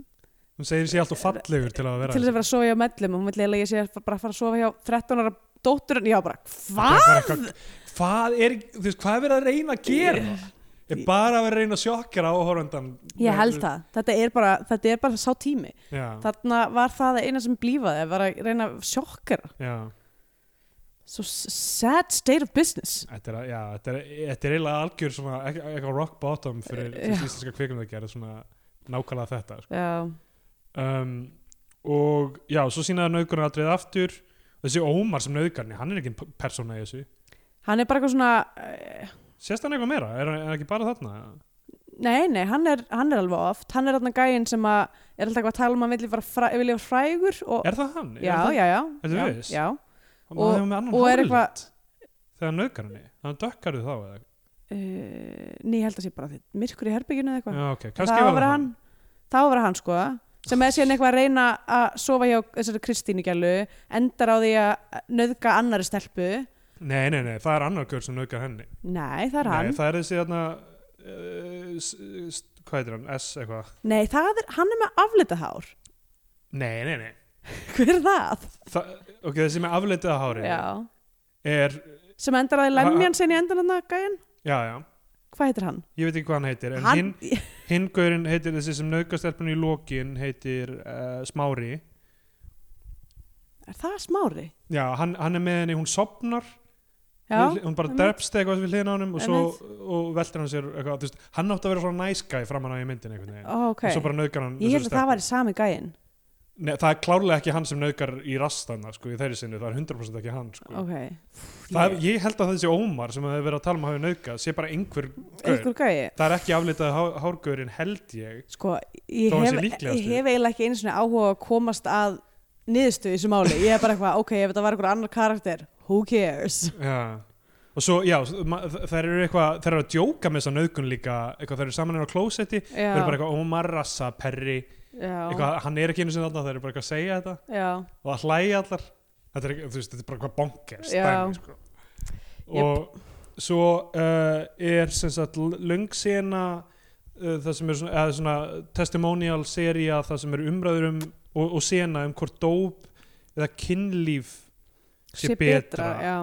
[SPEAKER 3] hún segir sér alltaf fallegur til að vera
[SPEAKER 2] til þess að vera að sofa hjá mellum hún vil eiginlega að ég sé að bara fara að sofa hjá 13 ára dótturinn, já, bara,
[SPEAKER 3] Þetta
[SPEAKER 2] hvað?
[SPEAKER 3] er bara eitthvað- Hvað er, þú veist, hvað er verið að reyna að gera? Er bara að vera að reyna að sjokkera áhorfandan?
[SPEAKER 2] Ég held það, þetta er bara, þetta er bara sá tími
[SPEAKER 3] Já,
[SPEAKER 2] þarna var það eina sem blífaði að vera að reyna að sjokkera
[SPEAKER 3] já,
[SPEAKER 2] so s- sad state of business
[SPEAKER 3] þetta er, að- já, þetta er, þetta er eiginlega algjör svona, ekk- eitthvað rock bottom fyrir
[SPEAKER 2] Já.
[SPEAKER 3] þessi íslenska kvikum það gera svona nákvæmlega þetta. sko.
[SPEAKER 2] já,
[SPEAKER 3] Um, og já, svo sínaði naukurinn aldrei aftur. Þessi Ómar sem nauðgarni, hann er ekki p- persóna í þessu.
[SPEAKER 2] hann er bara eitthvað svona eh,
[SPEAKER 3] Sérst hann eitthvað meira? Er hann er hann ekki bara þarna?
[SPEAKER 2] nei, nei, hann er, hann er alveg oft hann er þarna gæinn sem að er alltaf eitthvað að tala um að hann vilja vera fræ, vilja vera frægur og,
[SPEAKER 3] Er það hann?
[SPEAKER 2] já,
[SPEAKER 3] er það,
[SPEAKER 2] já, já,
[SPEAKER 3] Ertu
[SPEAKER 2] já,
[SPEAKER 3] viss? Hmm,
[SPEAKER 2] já.
[SPEAKER 3] Hann
[SPEAKER 2] og-
[SPEAKER 3] hafði með annan
[SPEAKER 2] og er
[SPEAKER 3] hárlit
[SPEAKER 2] eitthvað-
[SPEAKER 3] Þegar nauðgarni, hann dökkarðu þá eða?
[SPEAKER 2] Uh, ný held að sé bara því myrkur í herbygginu eða eitthvað
[SPEAKER 3] Já, ok,
[SPEAKER 2] það
[SPEAKER 3] kannski
[SPEAKER 2] á að
[SPEAKER 3] var
[SPEAKER 2] vera
[SPEAKER 3] það
[SPEAKER 2] hann það á að vera hann sko sem er síðan eitthvað að reyna að sofa hjá þessari Kristínu gælu endar á því að nöðga annari stelpu
[SPEAKER 3] Nei, nei, nei, það er annar gaur sem nauðgar henni
[SPEAKER 2] nei, það er hann
[SPEAKER 3] Nei, það er þessi þarna uh, s- s- Hvað heitir hann? S eitthvað
[SPEAKER 2] nei, það er, hann er með aflita hár <laughs>
[SPEAKER 3] Nei, nei, nei
[SPEAKER 2] hver er það?
[SPEAKER 3] Þa, Ok, þessi með afleitaða hárið
[SPEAKER 2] Já.
[SPEAKER 3] Er,
[SPEAKER 2] sem endar á því lemjan sinni endan hann gæinn
[SPEAKER 3] já, já
[SPEAKER 2] hvað heitir hann?
[SPEAKER 3] Ég veit ekki hvað hann heitir En
[SPEAKER 2] hann
[SPEAKER 3] hinn hin gaurinn heitir þessi sem nauðgastelpunni í lokin heitir uh, Smári
[SPEAKER 2] <laughs> er það smári?
[SPEAKER 3] Já, hann, hann er með henni, hún sopnar
[SPEAKER 2] já,
[SPEAKER 3] við, hún bara
[SPEAKER 2] einmitt.
[SPEAKER 3] drepst eitthvað við hliðin á honum og, svo,
[SPEAKER 2] Einmitt.
[SPEAKER 3] og veltir hann sér eitthvað, þú veist, hann átti að vera svona næskæ framan á í myndin einhvern veginn
[SPEAKER 2] Ó, ok
[SPEAKER 3] og svo bara nauðgar hann
[SPEAKER 2] ég
[SPEAKER 3] þessari
[SPEAKER 2] held að
[SPEAKER 3] stelpu.
[SPEAKER 2] það væri sami gæinn
[SPEAKER 3] Nei, það er klárlega ekki hann sem nauðgar í rastana sko, í þeirri sinni, það er 100% ekki hann sko.
[SPEAKER 2] ok
[SPEAKER 3] það, ég held að þessi Ómar sem hefur verið að tala um að hafa nauðgað sé bara einhver gaur,
[SPEAKER 2] einhver gæi
[SPEAKER 3] það er ekki aflitað há, hárgörin held ég
[SPEAKER 2] sko, ég
[SPEAKER 3] Þó hann sé
[SPEAKER 2] hef,
[SPEAKER 3] líklegastur.
[SPEAKER 2] ég hef eiginlega ekki einu svona áhuga á að komast að niðurstöðu í þessu máli, ég er bara eitthvað ok, ef þetta var einhver annar karakter, who cares
[SPEAKER 3] já. og svo, já, það eru eitthvað það eru að djóka með þessa nauðgun líka eitthvað, það eru saman inn á klósetti, það eru bara eitthvað Ómar, Rassa, Perri
[SPEAKER 2] já,
[SPEAKER 3] eitthvað, hann er ekki einu sinni þarna, það eru bara eitthvað að segja þetta
[SPEAKER 2] já,
[SPEAKER 3] og að hlæja allar þetta er, ekki- þú veist, þetta er bara hvað bonkers
[SPEAKER 2] Já.
[SPEAKER 3] dæmi, sko. og svo uh, er sem sagt löngsena uh, það sem er svona, eða svona testimonial seria það sem er umræður um og, og sena um hvort dóp eða kynlíf sé, betra,
[SPEAKER 2] já,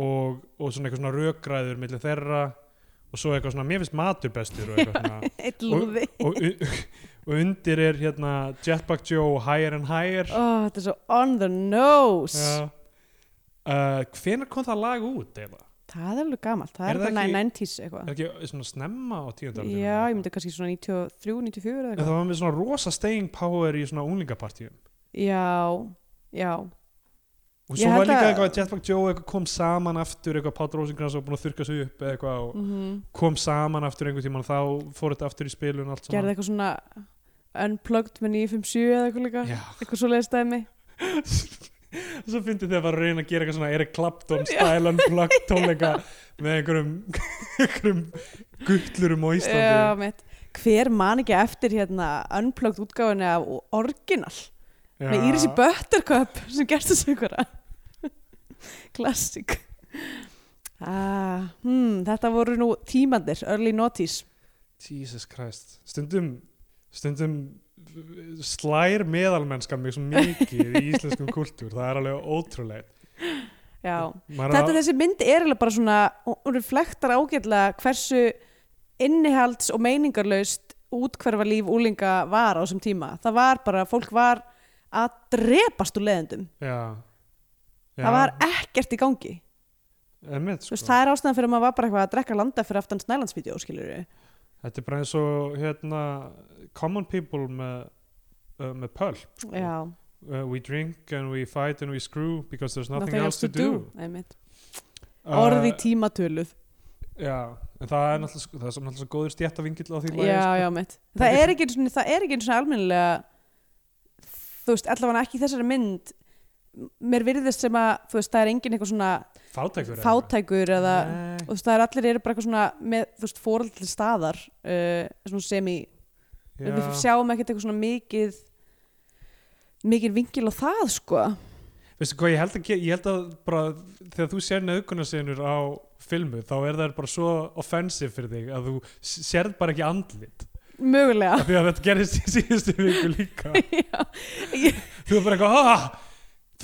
[SPEAKER 3] og, og svona eitthvað svona rökræður millir þeirra og svo eitthvað svona, mér finnst matur bestur og eitthvað svona
[SPEAKER 2] eitt lúði
[SPEAKER 3] og, og, <laughs> og undir er hérna Jetpack Joe og Higher and Higher
[SPEAKER 2] oh, þetta er svo on the nose
[SPEAKER 3] Já. uh, hvenær kom það lag út eða?
[SPEAKER 2] það er alveg gamalt, það
[SPEAKER 3] Er
[SPEAKER 2] er,
[SPEAKER 3] það
[SPEAKER 2] er bara
[SPEAKER 3] ekki-
[SPEAKER 2] 90s
[SPEAKER 3] Er
[SPEAKER 2] eitthvað
[SPEAKER 3] ekki svona snemma á tíundar
[SPEAKER 2] já, ég myndi kannski svona 93, 94 eða
[SPEAKER 3] En
[SPEAKER 2] eitthvað
[SPEAKER 3] það var með svona rosa staying power í svona unglingapartíum
[SPEAKER 2] já, já,
[SPEAKER 3] og
[SPEAKER 2] Ég
[SPEAKER 3] svo var
[SPEAKER 2] held
[SPEAKER 3] líka
[SPEAKER 2] að-
[SPEAKER 3] eitthvað að Jetpack Joe eitthvað kom saman aftur eitthvað Pátt Rósingrans var búin að þurka sig upp eða eitthvað og
[SPEAKER 2] mm
[SPEAKER 3] kom saman aftur einhvern tímann þá fór þetta aftur í spilun allt
[SPEAKER 2] gerði eitthvað svona unplugged með 957 eða eitthvað líka
[SPEAKER 3] Já. <laughs>
[SPEAKER 2] eitthvað svo leiðstæmi
[SPEAKER 3] Svo fyndi þegar var að reyna að gera eitthvað svona Eric Clapton style unplugged tónleika með einhverjum, <laughs> einhverjum guttlurum á
[SPEAKER 2] Já,
[SPEAKER 3] Íslandi
[SPEAKER 2] mitt. hver man ekki eftir hérna unplugged útgáfunni af Original með Írisi Buttercup sem gerst þessu ykkur klassik ah, hmm, þetta voru nú tímandir early noughties
[SPEAKER 3] Jesus Christ stundum, stundum slær meðalmennskan mig svo mikið í íslenskum kultúr það er alveg ótrúlega
[SPEAKER 2] Já.
[SPEAKER 3] Maður
[SPEAKER 2] þetta
[SPEAKER 3] á-
[SPEAKER 2] þessi mynd er eiginlega bara svona hún reflektar ágætlega hversu innihalds og meiningarlaust útkverfa líf úlinga var á þessum tíma það var bara, fólk var að drepast úr leðendum
[SPEAKER 3] Já. Já,
[SPEAKER 2] það var ekkert í gangi
[SPEAKER 3] einmitt,
[SPEAKER 2] Þú
[SPEAKER 3] sko.
[SPEAKER 2] veist, það er ástæðan fyrir að maður var bara eitthvað að drekka landa fyrir aftan snælandsvídeó, skilur við.
[SPEAKER 3] Mm. þetta er bara eins og hérna, common people með, uh, með pulp
[SPEAKER 2] Já,
[SPEAKER 3] uh, we drink and we fight and we screw because there's nothing, else, to do,
[SPEAKER 2] Einmitt.
[SPEAKER 3] Uh,
[SPEAKER 2] Orði tímatöluð.
[SPEAKER 3] Eh, Já, en það er náttúrulega, sko- það er svo- náttúrulega svo góður stjættavingill á því lagi,
[SPEAKER 2] Já,
[SPEAKER 3] sko.
[SPEAKER 2] já, mitt. Það er ekki einu sinni, það er ekki einu sinni almennilega, þú veist, allavega ekki í þessari mynd, mér virðist sem að, þú veist, það er engin eitthvað svona
[SPEAKER 3] Fátækur eða?
[SPEAKER 2] fátækur eða,
[SPEAKER 3] Nei.
[SPEAKER 2] og þú veist, það er allir eru bara eitthvað svona með, þú veist, fóraldileg staðar, uh, svona sem í, við
[SPEAKER 3] Já.
[SPEAKER 2] sjáum ekkert eitthvað svona mikið, mikið vingil á það, sko.
[SPEAKER 3] Veistu hvað, ég held að, ge- ég held að bara, þegar þú sér nöðgunarsinur á filmu, þá er það bara svo offensive fyrir þig að þú s- sérð bara ekki andlit
[SPEAKER 2] Mögulega.
[SPEAKER 3] af því að þetta gerist í <laughs> síðustu viku líka
[SPEAKER 2] <laughs> Já, ég,
[SPEAKER 3] þú er bara eitthvað, ah,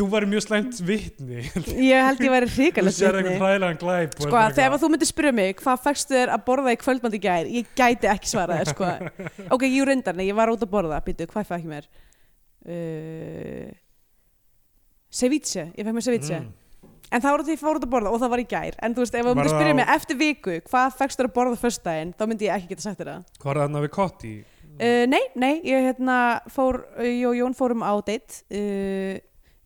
[SPEAKER 3] þú væri mjög slæmt vitni <laughs>
[SPEAKER 2] ég held ég væri
[SPEAKER 3] þú
[SPEAKER 2] hrikalegt
[SPEAKER 3] sér eitthvað hræðilegan glæp og
[SPEAKER 2] Sko,
[SPEAKER 3] er bara
[SPEAKER 2] þegar
[SPEAKER 3] eitthvað-
[SPEAKER 2] þú myndir spyrja mig hvað fækstu þér að borða í kvöldmandi gær ég gæti ekki svarað þér,
[SPEAKER 3] <laughs>
[SPEAKER 2] sko ok, ég reyndar, nei, ég var út að borða býtu, hvað fæk ég mér uh, ceviche, ég fæk mér ceviche
[SPEAKER 3] Mm.
[SPEAKER 2] en það var því ég fór út að borða og það var í gær en þú veist, ef þú
[SPEAKER 3] Var
[SPEAKER 2] myndir
[SPEAKER 3] það
[SPEAKER 2] spyrja
[SPEAKER 3] á-
[SPEAKER 2] mig eftir viku hvað fækstu þér að borða fyrst daginn, þá myndi ég ekki geta sagt þér það
[SPEAKER 3] Hvað er þarna við Kotti?
[SPEAKER 2] Uh, nei, nei, ég hérna fór, ég og Jón fórum á date uh,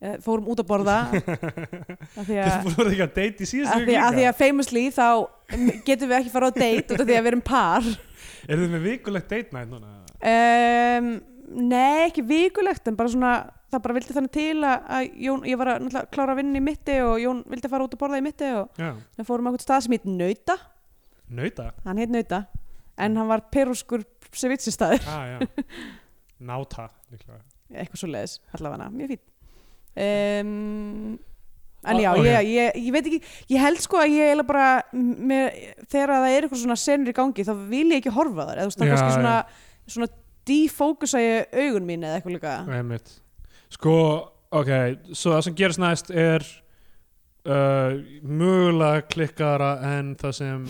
[SPEAKER 2] eh, fórum út að borða
[SPEAKER 3] <laughs>
[SPEAKER 2] af því að
[SPEAKER 3] Þið voru ekki að date í síðustu
[SPEAKER 2] að
[SPEAKER 3] viku
[SPEAKER 2] því,
[SPEAKER 3] líka
[SPEAKER 2] að því að famously þá mm, getum við ekki fara á date út af því að við erum par
[SPEAKER 3] Er þið með vikulegt date night núna?
[SPEAKER 2] um, Nei, ekki vikulegt en bara svona, það bara vildi þannig til að, að Jón, ég var að náttúrulega klára að vinna í mitti og Jón vildi fara út að borða í mitti og
[SPEAKER 3] Já,
[SPEAKER 2] við fórum á einhvern stað sem heit Nauta <laughs>
[SPEAKER 3] nauta
[SPEAKER 2] hann heit Nauta, en hann var perúskur cevichistæður,
[SPEAKER 3] ah, já. Náta líklega.
[SPEAKER 2] eitthvað svo leiðis allavega, mjög fín um, En
[SPEAKER 3] Ah,
[SPEAKER 2] já,
[SPEAKER 3] ok.
[SPEAKER 2] ég, ég, ég veit ekki, ég held sko að ég eiginlega bara, mér, þegar það er eitthvað svona senur í gangi, þá vil ég ekki horfa á þar, eða þú veist, það
[SPEAKER 3] Já,
[SPEAKER 2] kannski svona, svona defókusa ég augun mín eða eitthvað líka.
[SPEAKER 3] Einmitt. Sko, ok Svo það sem gerist næst er uh, mögulega klikkara en það sem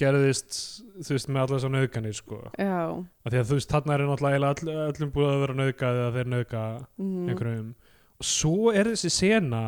[SPEAKER 3] gerðist þú veist með allar þessar nöðganir sko.
[SPEAKER 2] Já,
[SPEAKER 3] af því að þú veist þarna er náttúrulega all, öllum búið að vera nöðgað eða þeir nöðga
[SPEAKER 2] mm,
[SPEAKER 3] einhverjum og svo er þessi sena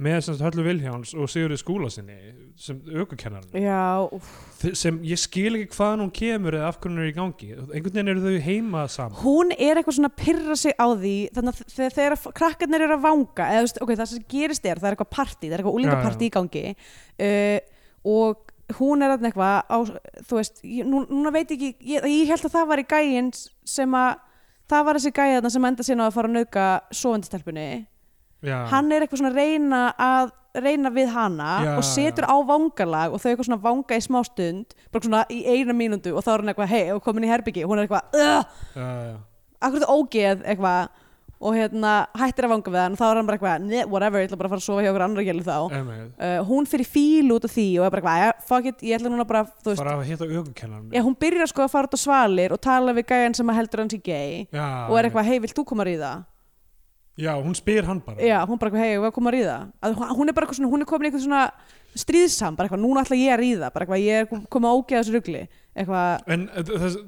[SPEAKER 3] með sem sagt Höllu Vilhjáns og Sigurði Skúla sinni sem aukukennarinn
[SPEAKER 2] já, úff.
[SPEAKER 3] Þe- sem ég skil ekki hvaðan hún kemur eða af hvernig hún er í gangi einhvern veginn eru þau heima saman
[SPEAKER 2] hún er eitthvað svona að pyrra sig á því, þannig að þegar, þegar að krakkarnir eru að vanga, eða þú veist, ok, það sem gerist er, það er eitthvað partí, það er eitthvað úlingapartí í gangi uh, og hún er þarna eitthvað á, þú veist, ég, nú, núna veit ég ekki, ég, ég held að það var í gæin sem að, það var þessi gæðna sem enda sína á að fara að nauka sofandistelpunni,
[SPEAKER 3] já,
[SPEAKER 2] hann er eitthvað svona að reyna að reyna við hana
[SPEAKER 3] Já,
[SPEAKER 2] og setur á vangalag og þau eitthvað svona vanga í smá stund bara svona í eina mínútu og þá er hann eitthvað hei, og komin í herbyggi, hún er eitthvað "Ugh,
[SPEAKER 3] já, já.
[SPEAKER 2] akkur þetta ógeð eitthvað og hérna hættir að vanga við hann og þá er hann bara eitthvað, "Neh, whatever, ég ætla bara að fara að sofa hjá okkur annar gælu þá
[SPEAKER 3] Emil,
[SPEAKER 2] uh, hún fyrir fíl út af því og er bara eitthvað, "Jæja, fuck it, ég ætla núna bara þú veist,
[SPEAKER 3] fara að hitta aukukennarinn
[SPEAKER 2] já, hún byrjar sko að fara út á svalir og tala við gæjan sem að heldur hans í gay
[SPEAKER 3] já,
[SPEAKER 2] og er eitthvað, hei, vilt þú koma að ríða
[SPEAKER 3] já, hún spyr hann bara
[SPEAKER 2] já, hún bara eitthvað, hei, við komum að ríða að hún- hún er bara eitthvað svona, hún er komin í eitthvað svona stríðsam, bara eitthvað, núna ætla ég að ríða bara eitthvað, ég er komin að ógeða þessu rugli eitthvað,
[SPEAKER 3] en eh, þess,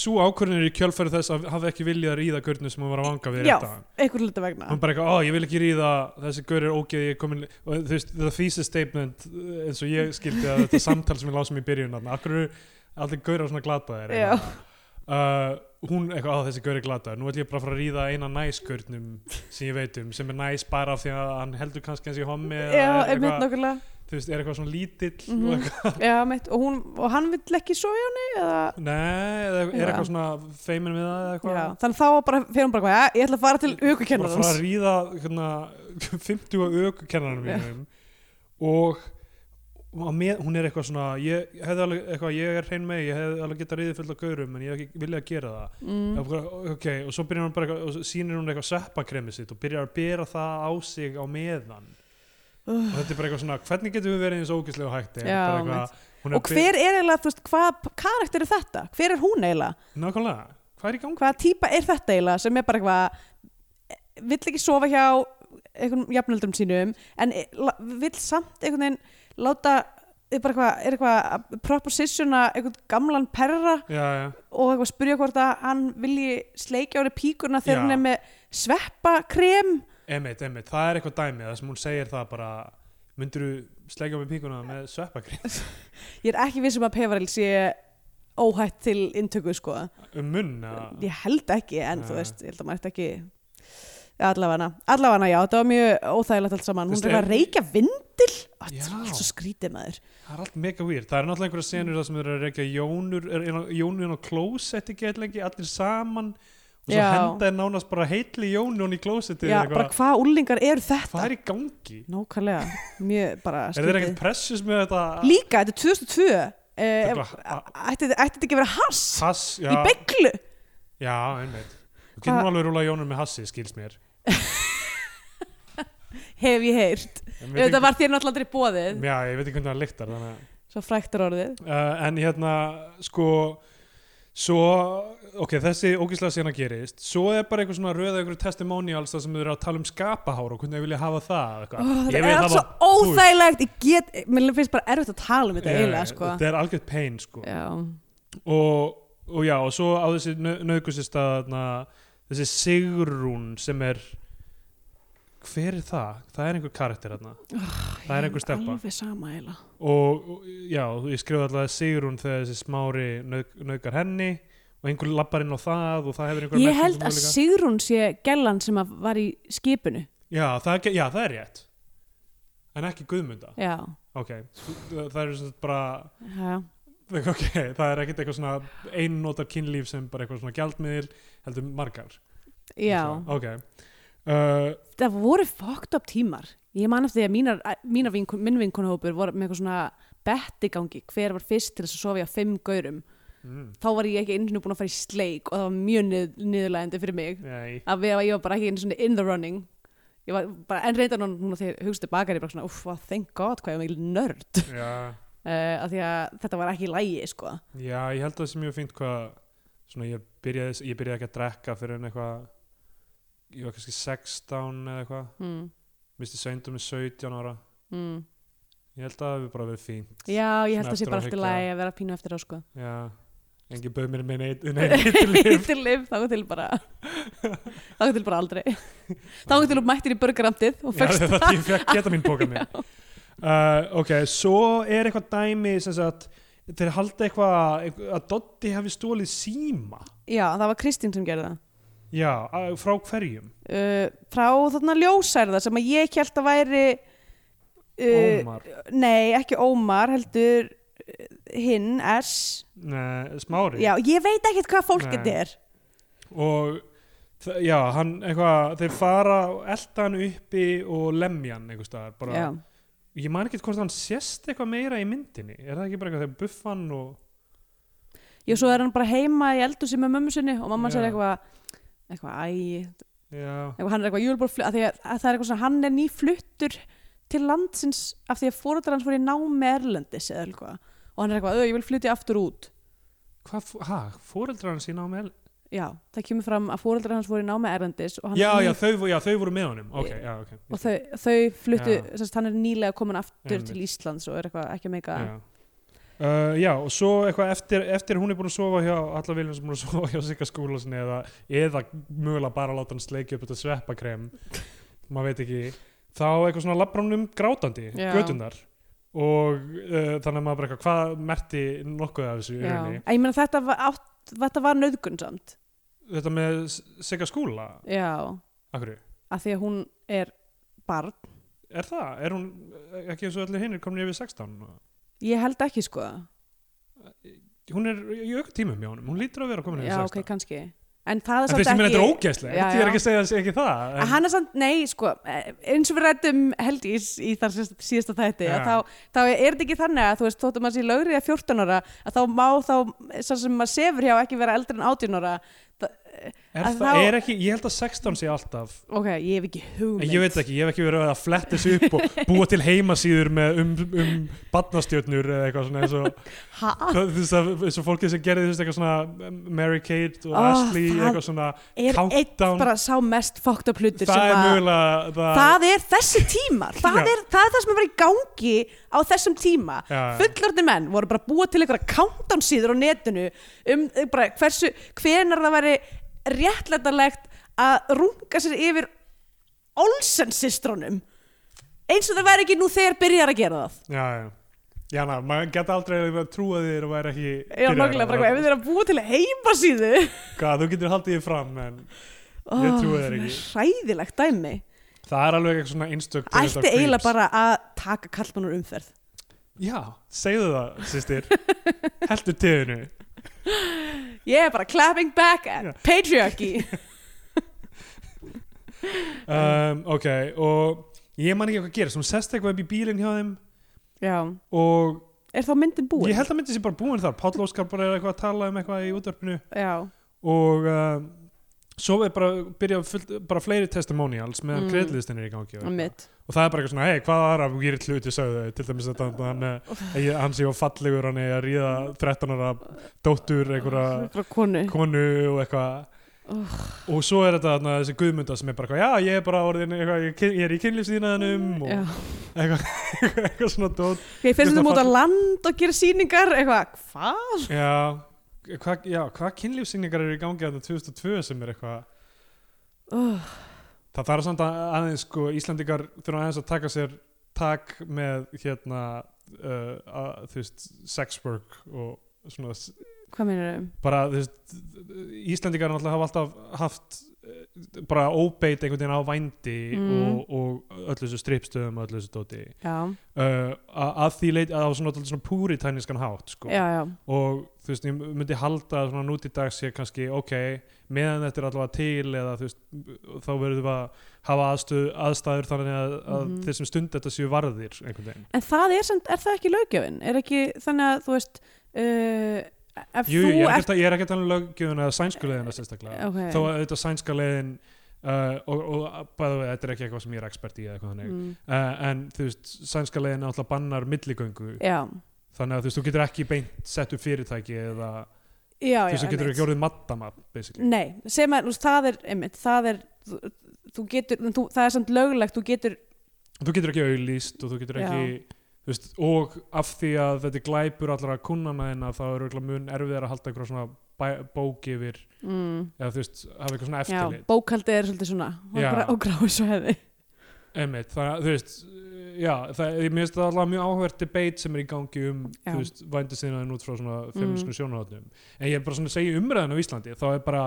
[SPEAKER 3] svo ákvörðin er í kjölfæri þess að hafði ekki viljað að ríða görnum sem hún var að vanga við
[SPEAKER 2] Já.
[SPEAKER 3] rétt að
[SPEAKER 2] eitthvað hluta vegna
[SPEAKER 3] hann bara eitthvað, ó, ég vil ekki ríða þessi gaur er ógeð, ég er komin og þú veist, the thesis statement eh, eins og ég skildi að þetta samtal sem ég lásum í byrjun þarna, akkur eru allir gaurar svona glataðir
[SPEAKER 2] Já.
[SPEAKER 3] eitthvað. uh, hún eitthvað, á þessi gaur er glataður nú ætlum ég bara að fara að ríða eina næs gaurnum sem ég veit um, sem er næs bara af því að hann heldur kannski hans í hommi eða
[SPEAKER 2] já,
[SPEAKER 3] er
[SPEAKER 2] einmitt
[SPEAKER 3] eitthvað,
[SPEAKER 2] nákvæmlega
[SPEAKER 3] þú veist, er eitthvað svona lítill
[SPEAKER 2] Mhm.
[SPEAKER 3] og eitthvað,
[SPEAKER 2] Já, mitt, og, hún, og hann vill ekki svo í henni eða,
[SPEAKER 3] nei, eða er
[SPEAKER 2] Já.
[SPEAKER 3] eitthvað svona feimin við það
[SPEAKER 2] já,
[SPEAKER 3] eða eitthvað
[SPEAKER 2] þannig þá bara fer hún bara hvað, "Ja, ég ætla að fara til
[SPEAKER 3] bara fara að
[SPEAKER 2] aukukennarans
[SPEAKER 3] ríða hérna, <laughs> 50 af aukukennarnum
[SPEAKER 2] Já.
[SPEAKER 3] mínum og og á með, hún er eitthvað svona ég, hefði alveg, eitthvað, ég er hrein með ég hefði alveg getað ríðið fullt af gaurum en ég hef ekki viljað að gera það
[SPEAKER 2] mm,
[SPEAKER 3] og, bara, ok, og svo byrjar hún bara eitthvað, og svo sýnir hún eitthvað sveppakremið sitt og byrjar að bera það á sig á meðan og þetta er bara eitthvað svona hvernig getum við verið eins ógislega hætti
[SPEAKER 2] Já,
[SPEAKER 3] hún
[SPEAKER 2] og hver er eiginlega, þú veist, hvað karakter er þetta hver er hún eiginlega,
[SPEAKER 3] nákvæmlega, hvað er í gangi?
[SPEAKER 2] hvaða típa er þetta eiginlega sem er bara eitthvað e, vill ekki sofa hjá einhvern jafnöldrum sínum en e- la- vill samt einhvern veginn láta er bara eitthvað, er eitthvað að propositiona einhvern gamlan perra
[SPEAKER 3] Já, já.
[SPEAKER 2] og eitthvað spyrja hvort að hann vilji sleikja á henni píkurna þegar
[SPEAKER 3] Já.
[SPEAKER 2] hún er með sveppakrem
[SPEAKER 3] Emmett, Emmett, það er eitthvað dæmið það sem hún segir það bara myndir þú slegja með píkuna með sveppakrem
[SPEAKER 2] Ég er ekki viss um að Pevaril sé óhætt til inntöku sko
[SPEAKER 3] <laughs> um munn að-
[SPEAKER 2] Ég held ekki en þú
[SPEAKER 3] Nei.
[SPEAKER 2] veist, ég held að maður ætti ekki Ja, allavega allavega já, þetta var mjög óþægilegt allt saman, hún
[SPEAKER 3] Þú
[SPEAKER 2] er
[SPEAKER 3] veist,
[SPEAKER 2] eitthvað
[SPEAKER 3] ef-
[SPEAKER 2] að reykja vindil Ó,
[SPEAKER 3] Já.
[SPEAKER 2] þetta er allt svo skrítið maður
[SPEAKER 3] það er allt mega weird, það er náttúrulega einhverja senur það sem þeir eru að reykja jónur er inn á- jónur inn á klósetti get lengi, allir saman og svo
[SPEAKER 2] Já.
[SPEAKER 3] henda er nánast bara heitli jónun í klósetti
[SPEAKER 2] Já,
[SPEAKER 3] eða
[SPEAKER 2] bara
[SPEAKER 3] eitthvað.
[SPEAKER 2] hvað úlingar eru þetta
[SPEAKER 3] hvað er í gangi?
[SPEAKER 2] Nákvæmlega, mjög bara
[SPEAKER 3] <laughs> Er þeir ekkert
[SPEAKER 2] skrítið
[SPEAKER 3] pressus með þetta?
[SPEAKER 2] Líka, þetta er 2002 uh,
[SPEAKER 3] er
[SPEAKER 2] ef,
[SPEAKER 3] bara- a-
[SPEAKER 2] ætti, ætti þetta ekki að vera hass
[SPEAKER 3] Hass, já,
[SPEAKER 2] í bygglu
[SPEAKER 3] já, einmitt Þú getur
[SPEAKER 2] Hvað-
[SPEAKER 3] nú alveg rúla jónur með hassi, skils mér
[SPEAKER 2] hef ég heyrt
[SPEAKER 3] En veit
[SPEAKER 2] Þetta
[SPEAKER 3] ekki-
[SPEAKER 2] var þér náttúrulega aldrei bóðið
[SPEAKER 3] Já, ég veit ekki hvernig það lyktar þannig að
[SPEAKER 2] Svo fræktur orðið
[SPEAKER 3] uh, en hérna sko svo, ok, þessi ógislega sena gerist svo er bara einhver svona röða einhver testimonials þar sem þau eru að tala um skapahár og hvernig þau vilja hafa það
[SPEAKER 2] Ó,
[SPEAKER 3] eitthvað. Ég
[SPEAKER 2] Það
[SPEAKER 3] vil
[SPEAKER 2] er allt
[SPEAKER 3] hafa
[SPEAKER 2] svo
[SPEAKER 3] púð.
[SPEAKER 2] óþægilegt Ég get, mér finnst bara erfitt að tala um þetta
[SPEAKER 3] Eh,
[SPEAKER 2] eiginlega sko
[SPEAKER 3] þetta er algjört pain sko.
[SPEAKER 2] Já,
[SPEAKER 3] og, og já, og svo á þessi nöðgusist að þessi Sigrún sem er hver er það? Það er einhver karakter þarna Það er einhver stelpa.
[SPEAKER 2] Alveg sama eiginlega
[SPEAKER 3] og og, já, ég skrifa alltaf Sigrún þegar þessi smári nöðg, nöðgar henni og einhver labbar inn á það og það hefur einhver um
[SPEAKER 2] Ég held að Sigrún sé gellan sem að var í skipinu
[SPEAKER 3] Já, það, er ge- já, það er rétt En ekki Guðmunda
[SPEAKER 2] Já,
[SPEAKER 3] Ok, það er svona bara <laughs>
[SPEAKER 2] já,
[SPEAKER 3] Ok, það er ekkert eitthvað svona einnótar kynlíf sem bara eitthvað svona gjaldmiðil heldur margar
[SPEAKER 2] já.
[SPEAKER 3] Ok uh,
[SPEAKER 2] Það voru fucked up tímar Ég man eftir því að mínar, mínar vinkun, minn vinkunahópur voru með eitthvað svona bettigangi hver var fyrst til þess að sofa á fimm gaurum
[SPEAKER 3] mm,
[SPEAKER 2] þá var ég ekki einu sinni búin að fara í sleik og það var mjög nið, niðurlægandi fyrir mig
[SPEAKER 3] Nei
[SPEAKER 2] að við, ég var bara ekki einu svona in the running ég var bara enn reyndan og núna þegar hugstu bakar ég bara svona, uff, thank god hvað ég var mikil nörd uh,
[SPEAKER 3] Já,
[SPEAKER 2] af því að þetta var ekki í lægi, sko
[SPEAKER 3] já ég held að það sé mjög fínt hvað Svona ég byrjaði, ég byrjaði ekki að drekka fyrir en eitthvað Ég var kannski 16 eða eitthvað
[SPEAKER 2] mm,
[SPEAKER 3] Misti sveindum með 17 ára
[SPEAKER 2] mm.
[SPEAKER 3] Ég held að það hefur bara verið fínt
[SPEAKER 2] já, ég held að það sé
[SPEAKER 3] Svona
[SPEAKER 2] bara allt í
[SPEAKER 3] eftir á hyggja.
[SPEAKER 2] lægi að vera pínu eftir á, sko
[SPEAKER 3] Já, engin bauð mér með neitt,
[SPEAKER 2] <laughs>
[SPEAKER 3] neitt líf
[SPEAKER 2] til liv, þá til bara þá til bara aldrei þá til þú mættir í burgerandið og
[SPEAKER 3] Já,
[SPEAKER 2] fyrst
[SPEAKER 3] þetta ég fekk geta mín bóka mig uh, ok, svo er eitthvað dæmi sem sagt, þeir halda eitthvað eitthvað- að Doddi hafi stólið síma
[SPEAKER 2] já, það var Kristín sem gerði það
[SPEAKER 3] já, að- frá hverjum
[SPEAKER 2] uh, frá þarna ljósærða sem að ég held að væri uh,
[SPEAKER 3] Ómar,
[SPEAKER 2] nei, ekki Ómar heldur uh, hinn, S
[SPEAKER 3] Nei, smári
[SPEAKER 2] Já, ég veit ekkert hvað fólk
[SPEAKER 3] Nei.
[SPEAKER 2] þetta er
[SPEAKER 3] og þ- já, hann eitthvað þeir fara og elta hann uppi og lemja hann einhvers staðar bara,
[SPEAKER 2] Já,
[SPEAKER 3] ég man ekki hvort hann sést eitthvað meira í myndinni er það ekki bara eitthvað þegar buff hann og
[SPEAKER 2] Jú, svo er hann bara heima í eldu sem er mömmu sinni og mamma
[SPEAKER 3] Já.
[SPEAKER 2] sér eitthvað eitthvað, æ,
[SPEAKER 3] já,
[SPEAKER 2] eitthvað, hann er eitthvað júlbólflutt, að því að, að það er eitthvað svona, hann er nýfluttur til landsins af því að fóruðar hans voru í námi erlendis eða eitthvað, og hann er eitthvað, "Ö, ég vil flytja aftur út
[SPEAKER 3] hvað, hæ, fóreldrar hann sína á með
[SPEAKER 2] já, það kemur fram að fóreldrar hans voru í námi erlendis og, hann
[SPEAKER 3] já,
[SPEAKER 2] er
[SPEAKER 3] já,
[SPEAKER 2] ný-
[SPEAKER 3] þau, vo- já, þau voru með honum ok, já, ok
[SPEAKER 2] og þau, þau fluttu,
[SPEAKER 3] Já.
[SPEAKER 2] sérst, hann er nýlega komin aftur
[SPEAKER 3] Einmitt.
[SPEAKER 2] til Íslands og er eitthvað ekki að meika
[SPEAKER 3] já. Uh, já, og svo eitthvað eftir, eftir hún er búin að sofa hjá alla viljum sem búin að <laughs> sofa hjá Sigga skólasinni eða, eða mögulega bara láta hann sleikja upp þetta
[SPEAKER 2] <laughs>
[SPEAKER 3] sveppakrem maður veit ekki þá eitthvað svona labbránum grátandi
[SPEAKER 2] Já.
[SPEAKER 3] götunar og uh, þannig að maður bara eitthvað hvað merti nokkuð af þessu í
[SPEAKER 2] Já.
[SPEAKER 3] rauninni
[SPEAKER 2] En ég meina þetta var, átt- þetta var nöðgun samt
[SPEAKER 3] þetta með S- Sigga skóla
[SPEAKER 2] já,
[SPEAKER 3] akkur,
[SPEAKER 2] að því að hún er barn,
[SPEAKER 3] er það? er hún eh, ekki eins og allir hinnir komin yfir 16?
[SPEAKER 2] ég held ekki sko
[SPEAKER 3] hún er í auka tímum hjá honum, hún lítur að vera komin
[SPEAKER 2] já,
[SPEAKER 3] yfir 16
[SPEAKER 2] ok, kannski en það er
[SPEAKER 3] En þess
[SPEAKER 2] samt
[SPEAKER 3] að mér þetta er
[SPEAKER 2] ekki
[SPEAKER 3] ógæslegt,
[SPEAKER 2] Já,
[SPEAKER 3] ég er
[SPEAKER 2] já.
[SPEAKER 3] ekki að segja ekki það
[SPEAKER 2] En...
[SPEAKER 3] en,
[SPEAKER 2] Hann er samt, nei, sko, eh, eins og við rættum heldís í þar síðasta- síðasta þætti,
[SPEAKER 3] Já.
[SPEAKER 2] að þá, þá er þetta ekki þannig að, þú veist, þóttum maður sé lögrið að 14 ára, að þá má þá, sá sem maður sefur hjá ekki vera eldri en 18 ára,
[SPEAKER 3] er
[SPEAKER 2] að
[SPEAKER 3] það,
[SPEAKER 2] þá-
[SPEAKER 3] er ekki, ég held að 16 sé alltaf
[SPEAKER 2] ok, ég hef ekki hugmynd.
[SPEAKER 3] en ég veit ekki, ég hef ekki verið að fletta þessu upp
[SPEAKER 2] <laughs>
[SPEAKER 3] og búa til heimasíður með um, um badnastjörnur eða eitthvað svona eins og
[SPEAKER 2] <laughs> Ha?
[SPEAKER 3] það- þú veist að- eins og fólkið sem gerði þú veist, eitthvað svona um, Mary Kate og
[SPEAKER 2] Ó,
[SPEAKER 3] Ashley
[SPEAKER 2] Ah, það
[SPEAKER 3] eitthvað svona
[SPEAKER 2] Er eitt
[SPEAKER 3] countdown
[SPEAKER 2] bara sá mest fókt upp hlutur
[SPEAKER 3] það
[SPEAKER 2] sem
[SPEAKER 3] er
[SPEAKER 2] að,
[SPEAKER 3] mögulega það,
[SPEAKER 2] það er þessi
[SPEAKER 3] <laughs>
[SPEAKER 2] tímar, það,
[SPEAKER 3] Já.
[SPEAKER 2] er, það er það sem er verið í gangi á þessum tíma.
[SPEAKER 3] Já.
[SPEAKER 2] Fullorðni menn voru bara að búa til einhverja countdown síður á netinu um eh, bara hversu, hvenar það væri réttlætanlegt að runga sér yfir Olsen systrónum eins og það væri ekki nú þegar byrjar að gera það
[SPEAKER 3] já, já Já, ná, maður geta aldrei trúið þér og væri ekki
[SPEAKER 2] Já, nokkulega, bara hvað, ef þið er að búa til heimasíðu
[SPEAKER 3] Hvað, þú getur haldið þér fram en Ég trúi þér ekki.
[SPEAKER 2] Ræðilegt dæmi
[SPEAKER 3] það er alveg eitthvað svona einstök tegund af
[SPEAKER 2] Ætti eiginlega
[SPEAKER 3] creeps.
[SPEAKER 2] bara að taka kallmannur umferð
[SPEAKER 3] Já, segðu það,
[SPEAKER 2] <laughs>
[SPEAKER 3] sýstir Heldur teginu
[SPEAKER 2] Ég er bara clapping back at
[SPEAKER 3] Já.
[SPEAKER 2] patriarchy <laughs>
[SPEAKER 3] um, Ok, og ég man ekki hvað gerist Hún sest eitthvað upp í bílinn hjá þeim
[SPEAKER 2] Já,
[SPEAKER 3] Og
[SPEAKER 2] er þá myndin búin?
[SPEAKER 3] ég held að myndi sér bara búin þar Páll Óskar bara er eitthvað að tala um eitthvað í útvarpinu
[SPEAKER 2] Já,
[SPEAKER 3] Og um, svo er bara byrja fullt, bara fleiri testimonials
[SPEAKER 2] Mm.
[SPEAKER 3] meðan mm. kreðlistin er í gangi og eitthvað.
[SPEAKER 2] mitt
[SPEAKER 3] og það er bara eitthvað svona, hei, hvað aðra výrit hluti sögðu þau? til dæmis þetta að hann, eh, eigi- hann sé á fallegur, hann er að ríða 13 ára dóttur einhverja
[SPEAKER 2] Frá konu
[SPEAKER 3] konu og eitthvað og svo er þetta þarna, þessi guðmynda sem er bara eitthvað, já ég er bara orðin eitthvað, ég, kyn- ég er í kynlífsdýnaðinum og
[SPEAKER 2] Já.
[SPEAKER 3] eitthvað, <laughs> eitthvað svona dót
[SPEAKER 2] Ég finnst
[SPEAKER 3] Hérna
[SPEAKER 2] þetta móta
[SPEAKER 3] fall-
[SPEAKER 2] land og gera sýningar eitthvað, hvað?
[SPEAKER 3] já, hvað hva kynlífsdýningar eru í gangi þarna 2002 sem er eitthvað
[SPEAKER 2] Oh,
[SPEAKER 3] það þarf samt að aðeins sko Íslandingar þurfa aðeins að taka sér tak með hérna uh, að, þú veist, sex work og svona s-
[SPEAKER 2] hvað meinar þau?
[SPEAKER 3] bara þú veist, Íslandingar náttúrulega hafa alltaf haft eh, bara óbeit einhvern veginn á vændi
[SPEAKER 2] Mm.
[SPEAKER 3] og, og öllu þessu strippstöðum og öllu þessu dóti uh,
[SPEAKER 2] Já,
[SPEAKER 3] að að því leit að það var svona, dálítið svona púritanniskan hátt sko.
[SPEAKER 2] já, já,
[SPEAKER 3] og þú veist, ég myndi halda að svona nút í dag sé kannski ok, meðan þetta er allavega til eða þú veist, þá verðum við að hafa aðstöð, aðstæður þannig að, að
[SPEAKER 2] Mhm.
[SPEAKER 3] þeir sem stund þetta séu varðir einhvern veginn.
[SPEAKER 2] En það er samt, er það ekki löggjöfin? Er ekki þannig að, þú veist uh, Ef
[SPEAKER 3] Jú, jú,
[SPEAKER 2] þú
[SPEAKER 3] ég er
[SPEAKER 2] ert
[SPEAKER 3] ekkert að- ég er ekkert að lögjöfuna eða sænskuleðina sérstaklega
[SPEAKER 2] Ok.
[SPEAKER 3] þó að auðvitað sænska leiðin uh, og, og bæðu við, þetta er ekki eitthvað sem ég er expert í eða eitthvað þannig,
[SPEAKER 2] mm,
[SPEAKER 3] uh, en þú veist sænska leiðin náttúrulega bannar milligöngu
[SPEAKER 2] Já,
[SPEAKER 3] þannig að þú veist, þú getur ekki beint sett upp fyrirtæki eða
[SPEAKER 2] já,
[SPEAKER 3] þú
[SPEAKER 2] já
[SPEAKER 3] veist, þú getur
[SPEAKER 2] einmitt.
[SPEAKER 3] ekki orðið maddamab, basically
[SPEAKER 2] Nei, sem er, þú veist, það er, einmitt, það er þú, þú getur, þú, það er samt löglegt þú getur,
[SPEAKER 3] þú getur ekki auðlýst og þú getur ekki þú veist, og af því að þetta er glæpur allra kunnana þina þá er örugglega mun erfiðar að halda eitthvað svona bæ- bók yfir
[SPEAKER 2] mm,
[SPEAKER 3] eða þú veist, hafa eitthvað svona
[SPEAKER 2] já,
[SPEAKER 3] eftirlit
[SPEAKER 2] bókaldið er svolítið svona og,
[SPEAKER 3] Já.
[SPEAKER 2] grá, og gráði svo hefði
[SPEAKER 3] Einmitt, þannig að þú veist já, það, ég minnst það allavega mjög áhverð debate sem er í gangi um,
[SPEAKER 2] Já.
[SPEAKER 3] þú veist, vændi sinnaðin út frá svona feministkum mm. en ég er bara svona að segja umræðan á Íslandi þá er bara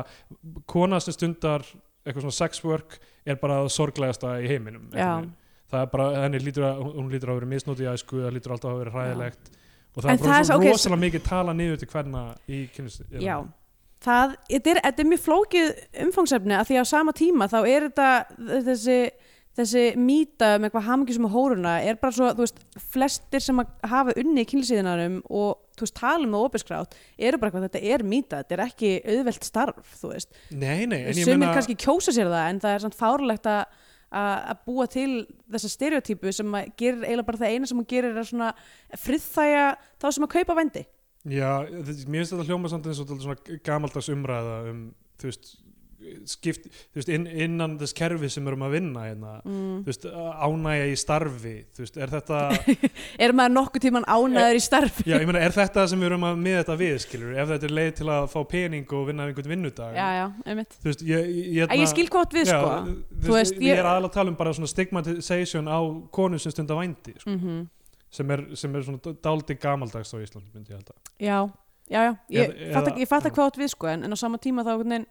[SPEAKER 3] kona sem stundar eitthvað svona sex work er bara það sorglegasta í heiminum
[SPEAKER 2] Já.
[SPEAKER 3] einhvern veginn. það er bara, henni lítur að hún lítur að vera misnóti í æsku, það lítur alltaf að vera hræðilegt og það
[SPEAKER 2] En
[SPEAKER 3] er bara
[SPEAKER 2] það er
[SPEAKER 3] svo
[SPEAKER 2] svo- ok,
[SPEAKER 3] rosalega mikið tala niður til hverna í kynnist
[SPEAKER 2] Já, það, þetta er, þetta er mjög flókið umfangsefni að því á sama tíma þá er þetta þessi, þessi mýta um eitthvað hamingjusum og hóruna er bara svo, þú veist, flestir sem að hafa unni í kynlísíðinarum og þú veist, tala um það opiskrátt, eru bara eitthvað, þetta er mýta, þetta er ekki auðvelt starf, þú veist.
[SPEAKER 3] nei, nei, en ég
[SPEAKER 2] Sumir
[SPEAKER 3] meina
[SPEAKER 2] kannski kjósa sér það en það er samt fárlegt að að að búa til þessa stereotypu sem að gerir eiginlega bara það eina sem hún gerir er svona friðþæja þá sem að kaupa vendi.
[SPEAKER 3] Já, þetta- mér finnst þetta hljóma samt eins og dálítið svona gamaldags umræða um þú veist, skipt, þú veist inn, innan þess kerfi sem við erum að vinna hérna,
[SPEAKER 2] mm.
[SPEAKER 3] þú veist, ánægja í starfi þú veist, er þetta
[SPEAKER 2] er maður nokkuð tíman ánæður í starfi
[SPEAKER 3] já, ég meina, er þetta sem við erum að með þetta við skilur, ef þetta er leið til að fá pening og vinna einhvern vinnudag
[SPEAKER 2] já, já, einmitt
[SPEAKER 3] þú veist, ég, ég,
[SPEAKER 2] að ég skil gott við sko
[SPEAKER 3] Hérna- já, þú
[SPEAKER 2] Þú
[SPEAKER 3] veist,
[SPEAKER 2] veist,
[SPEAKER 3] ég
[SPEAKER 2] ég-
[SPEAKER 3] er aðalega að tala um bara svona stigmatization á konum sem stunda vændi sko,
[SPEAKER 2] mm
[SPEAKER 3] sem, er, sem er svona dáldi gamaldags á Íslandi, myndi ég held að
[SPEAKER 2] já, já, já ég
[SPEAKER 3] Eða-
[SPEAKER 2] fatta,
[SPEAKER 3] eða-
[SPEAKER 2] ég fatta
[SPEAKER 3] já.
[SPEAKER 2] hvað átt við sko en, en á sama tíma þá einhvern veginn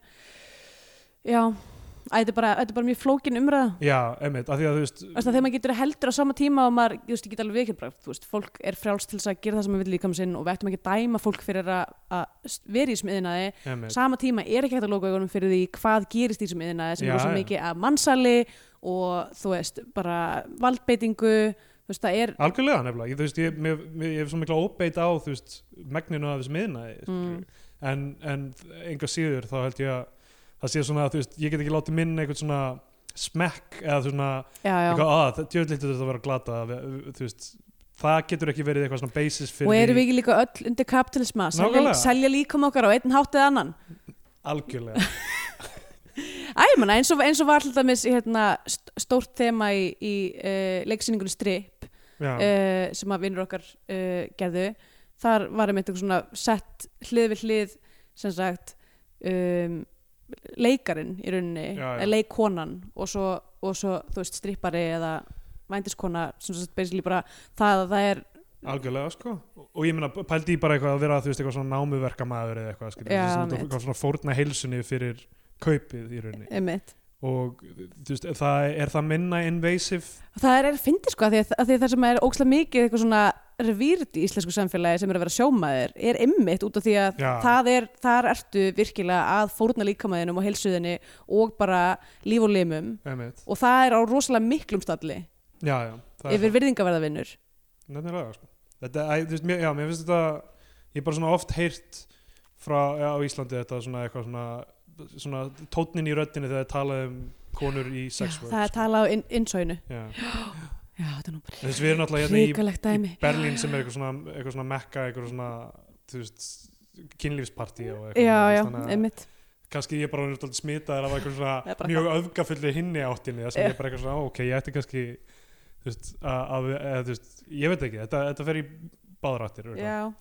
[SPEAKER 2] já, æ, þetta er bara, þetta er bara mjög flókin umræða
[SPEAKER 3] já, emmitt, af því að þú veist
[SPEAKER 2] Þú veist að þegar maður getur heldur á sama tíma og maður, ég veist, ég get alveg vekið bara, þú veist, fólk er frjálst til þess að gera það sem maður vil líka um sinn og við ættum ekki að dæma fólk fyrir að, að vera í smiðinaði.
[SPEAKER 3] einmitt,
[SPEAKER 2] Sama tíma er ekki hægt að loka augunum fyrir því hvað gerist í smiðinaði sem
[SPEAKER 3] Já,
[SPEAKER 2] er rosa
[SPEAKER 3] já.
[SPEAKER 2] mikið af mannsali og, þú veist, bara valdbeitingu, þú veist, það er,
[SPEAKER 3] algjörlega nefnilega ég, þú veist, ég, mér, mér, ég hef svona mikla óbeit á þú veist, megninu af þessu miðnaði
[SPEAKER 2] Mm.
[SPEAKER 3] en, en enga síður þá held ég að það sé svona, þú veist, ég get ekki látið minn einhvern svona smekk eða svona,
[SPEAKER 2] já, já.
[SPEAKER 3] eitthvað "Ah, að, djöðlítið þetta að vera glata, við- þú veist það getur ekki verið eitthvað svona basis fyrir
[SPEAKER 2] Og erum við ekki líka öll undir kapitalisma, selja,
[SPEAKER 3] Nákvæmlega.
[SPEAKER 2] selja líkam okkar á einn hátt eða annan.
[SPEAKER 3] algjörlega
[SPEAKER 2] <laughs> Æ, ég manna, eins og, eins og var alltaf með hérna, st- stórt þema í, í uh, leiksýningunni Strip,
[SPEAKER 3] Já,
[SPEAKER 2] uh, sem að vinnur okkar uh, gerðu þar var einmitt einhver svona sett hlið við hlið sem sagt um, leikarin í rauninni,
[SPEAKER 3] Já, já.
[SPEAKER 2] eða leikkonan og svo, og svo þú veist strippari eða vændiskona sem sagt basically bara það að það er
[SPEAKER 3] algjörlega sko og ég meina pældi í bara eitthvað að vera þú veist eitthvað svona námuverkamaður eða eitthvað skilur,
[SPEAKER 2] Já,
[SPEAKER 3] sem
[SPEAKER 2] mitt.
[SPEAKER 3] þetta svona fórna heilsunni fyrir kaupið í rauninni
[SPEAKER 2] einmitt
[SPEAKER 3] og þú veist, það, er það minna invasive
[SPEAKER 2] og það er, er fyndi sko að því, að- að því að það sem er ókslega mikið eitthvað svona revýrt í íslensku samfélagi sem er að vera sjómaður er ymmit út af því að
[SPEAKER 3] Já.
[SPEAKER 2] það er, þar ertu virkilega að fórna líkamaðinum og heilsuðinni og bara líf og limum
[SPEAKER 3] emitt,
[SPEAKER 2] og það er á rosalega miklum stalli
[SPEAKER 3] já já það er
[SPEAKER 2] yfir virðingaverðavinnur
[SPEAKER 3] það. nefnilega sko þetta, æ, þú veist, mér, já, mér finnst þetta ég er bara svona oft heyrt frá já, á Íslandi þetta svona eitthvað svona svona tónnin í röddinni þegar það talaði um konur í sex work
[SPEAKER 2] það er talað á inn- innsóinu
[SPEAKER 3] já.
[SPEAKER 2] já, þetta er nú bara
[SPEAKER 3] þess við erum alltaf hérna í
[SPEAKER 2] hrikalegt
[SPEAKER 3] í
[SPEAKER 2] dæmi
[SPEAKER 3] Berlín sem er eitthvað svona, eitthvað svona mekka, eitthvað svona þú veist, kynlífspartí og eitthvað
[SPEAKER 2] já,
[SPEAKER 3] svona,
[SPEAKER 2] já,
[SPEAKER 3] þannig að
[SPEAKER 2] einmitt
[SPEAKER 3] kannski ég er bara orðinn dálítið smitaður af eitthvað
[SPEAKER 2] Það er
[SPEAKER 3] svona
[SPEAKER 2] bara
[SPEAKER 3] mjög öfgafullu hinni áttinni það sem
[SPEAKER 2] Já.
[SPEAKER 3] ég er bara eitthvað svona, "Ó, ok, ég ætti kannski þú veist, að, að, að þú veist, ég veit ekki þetta, þetta fer í báðrættir
[SPEAKER 2] já.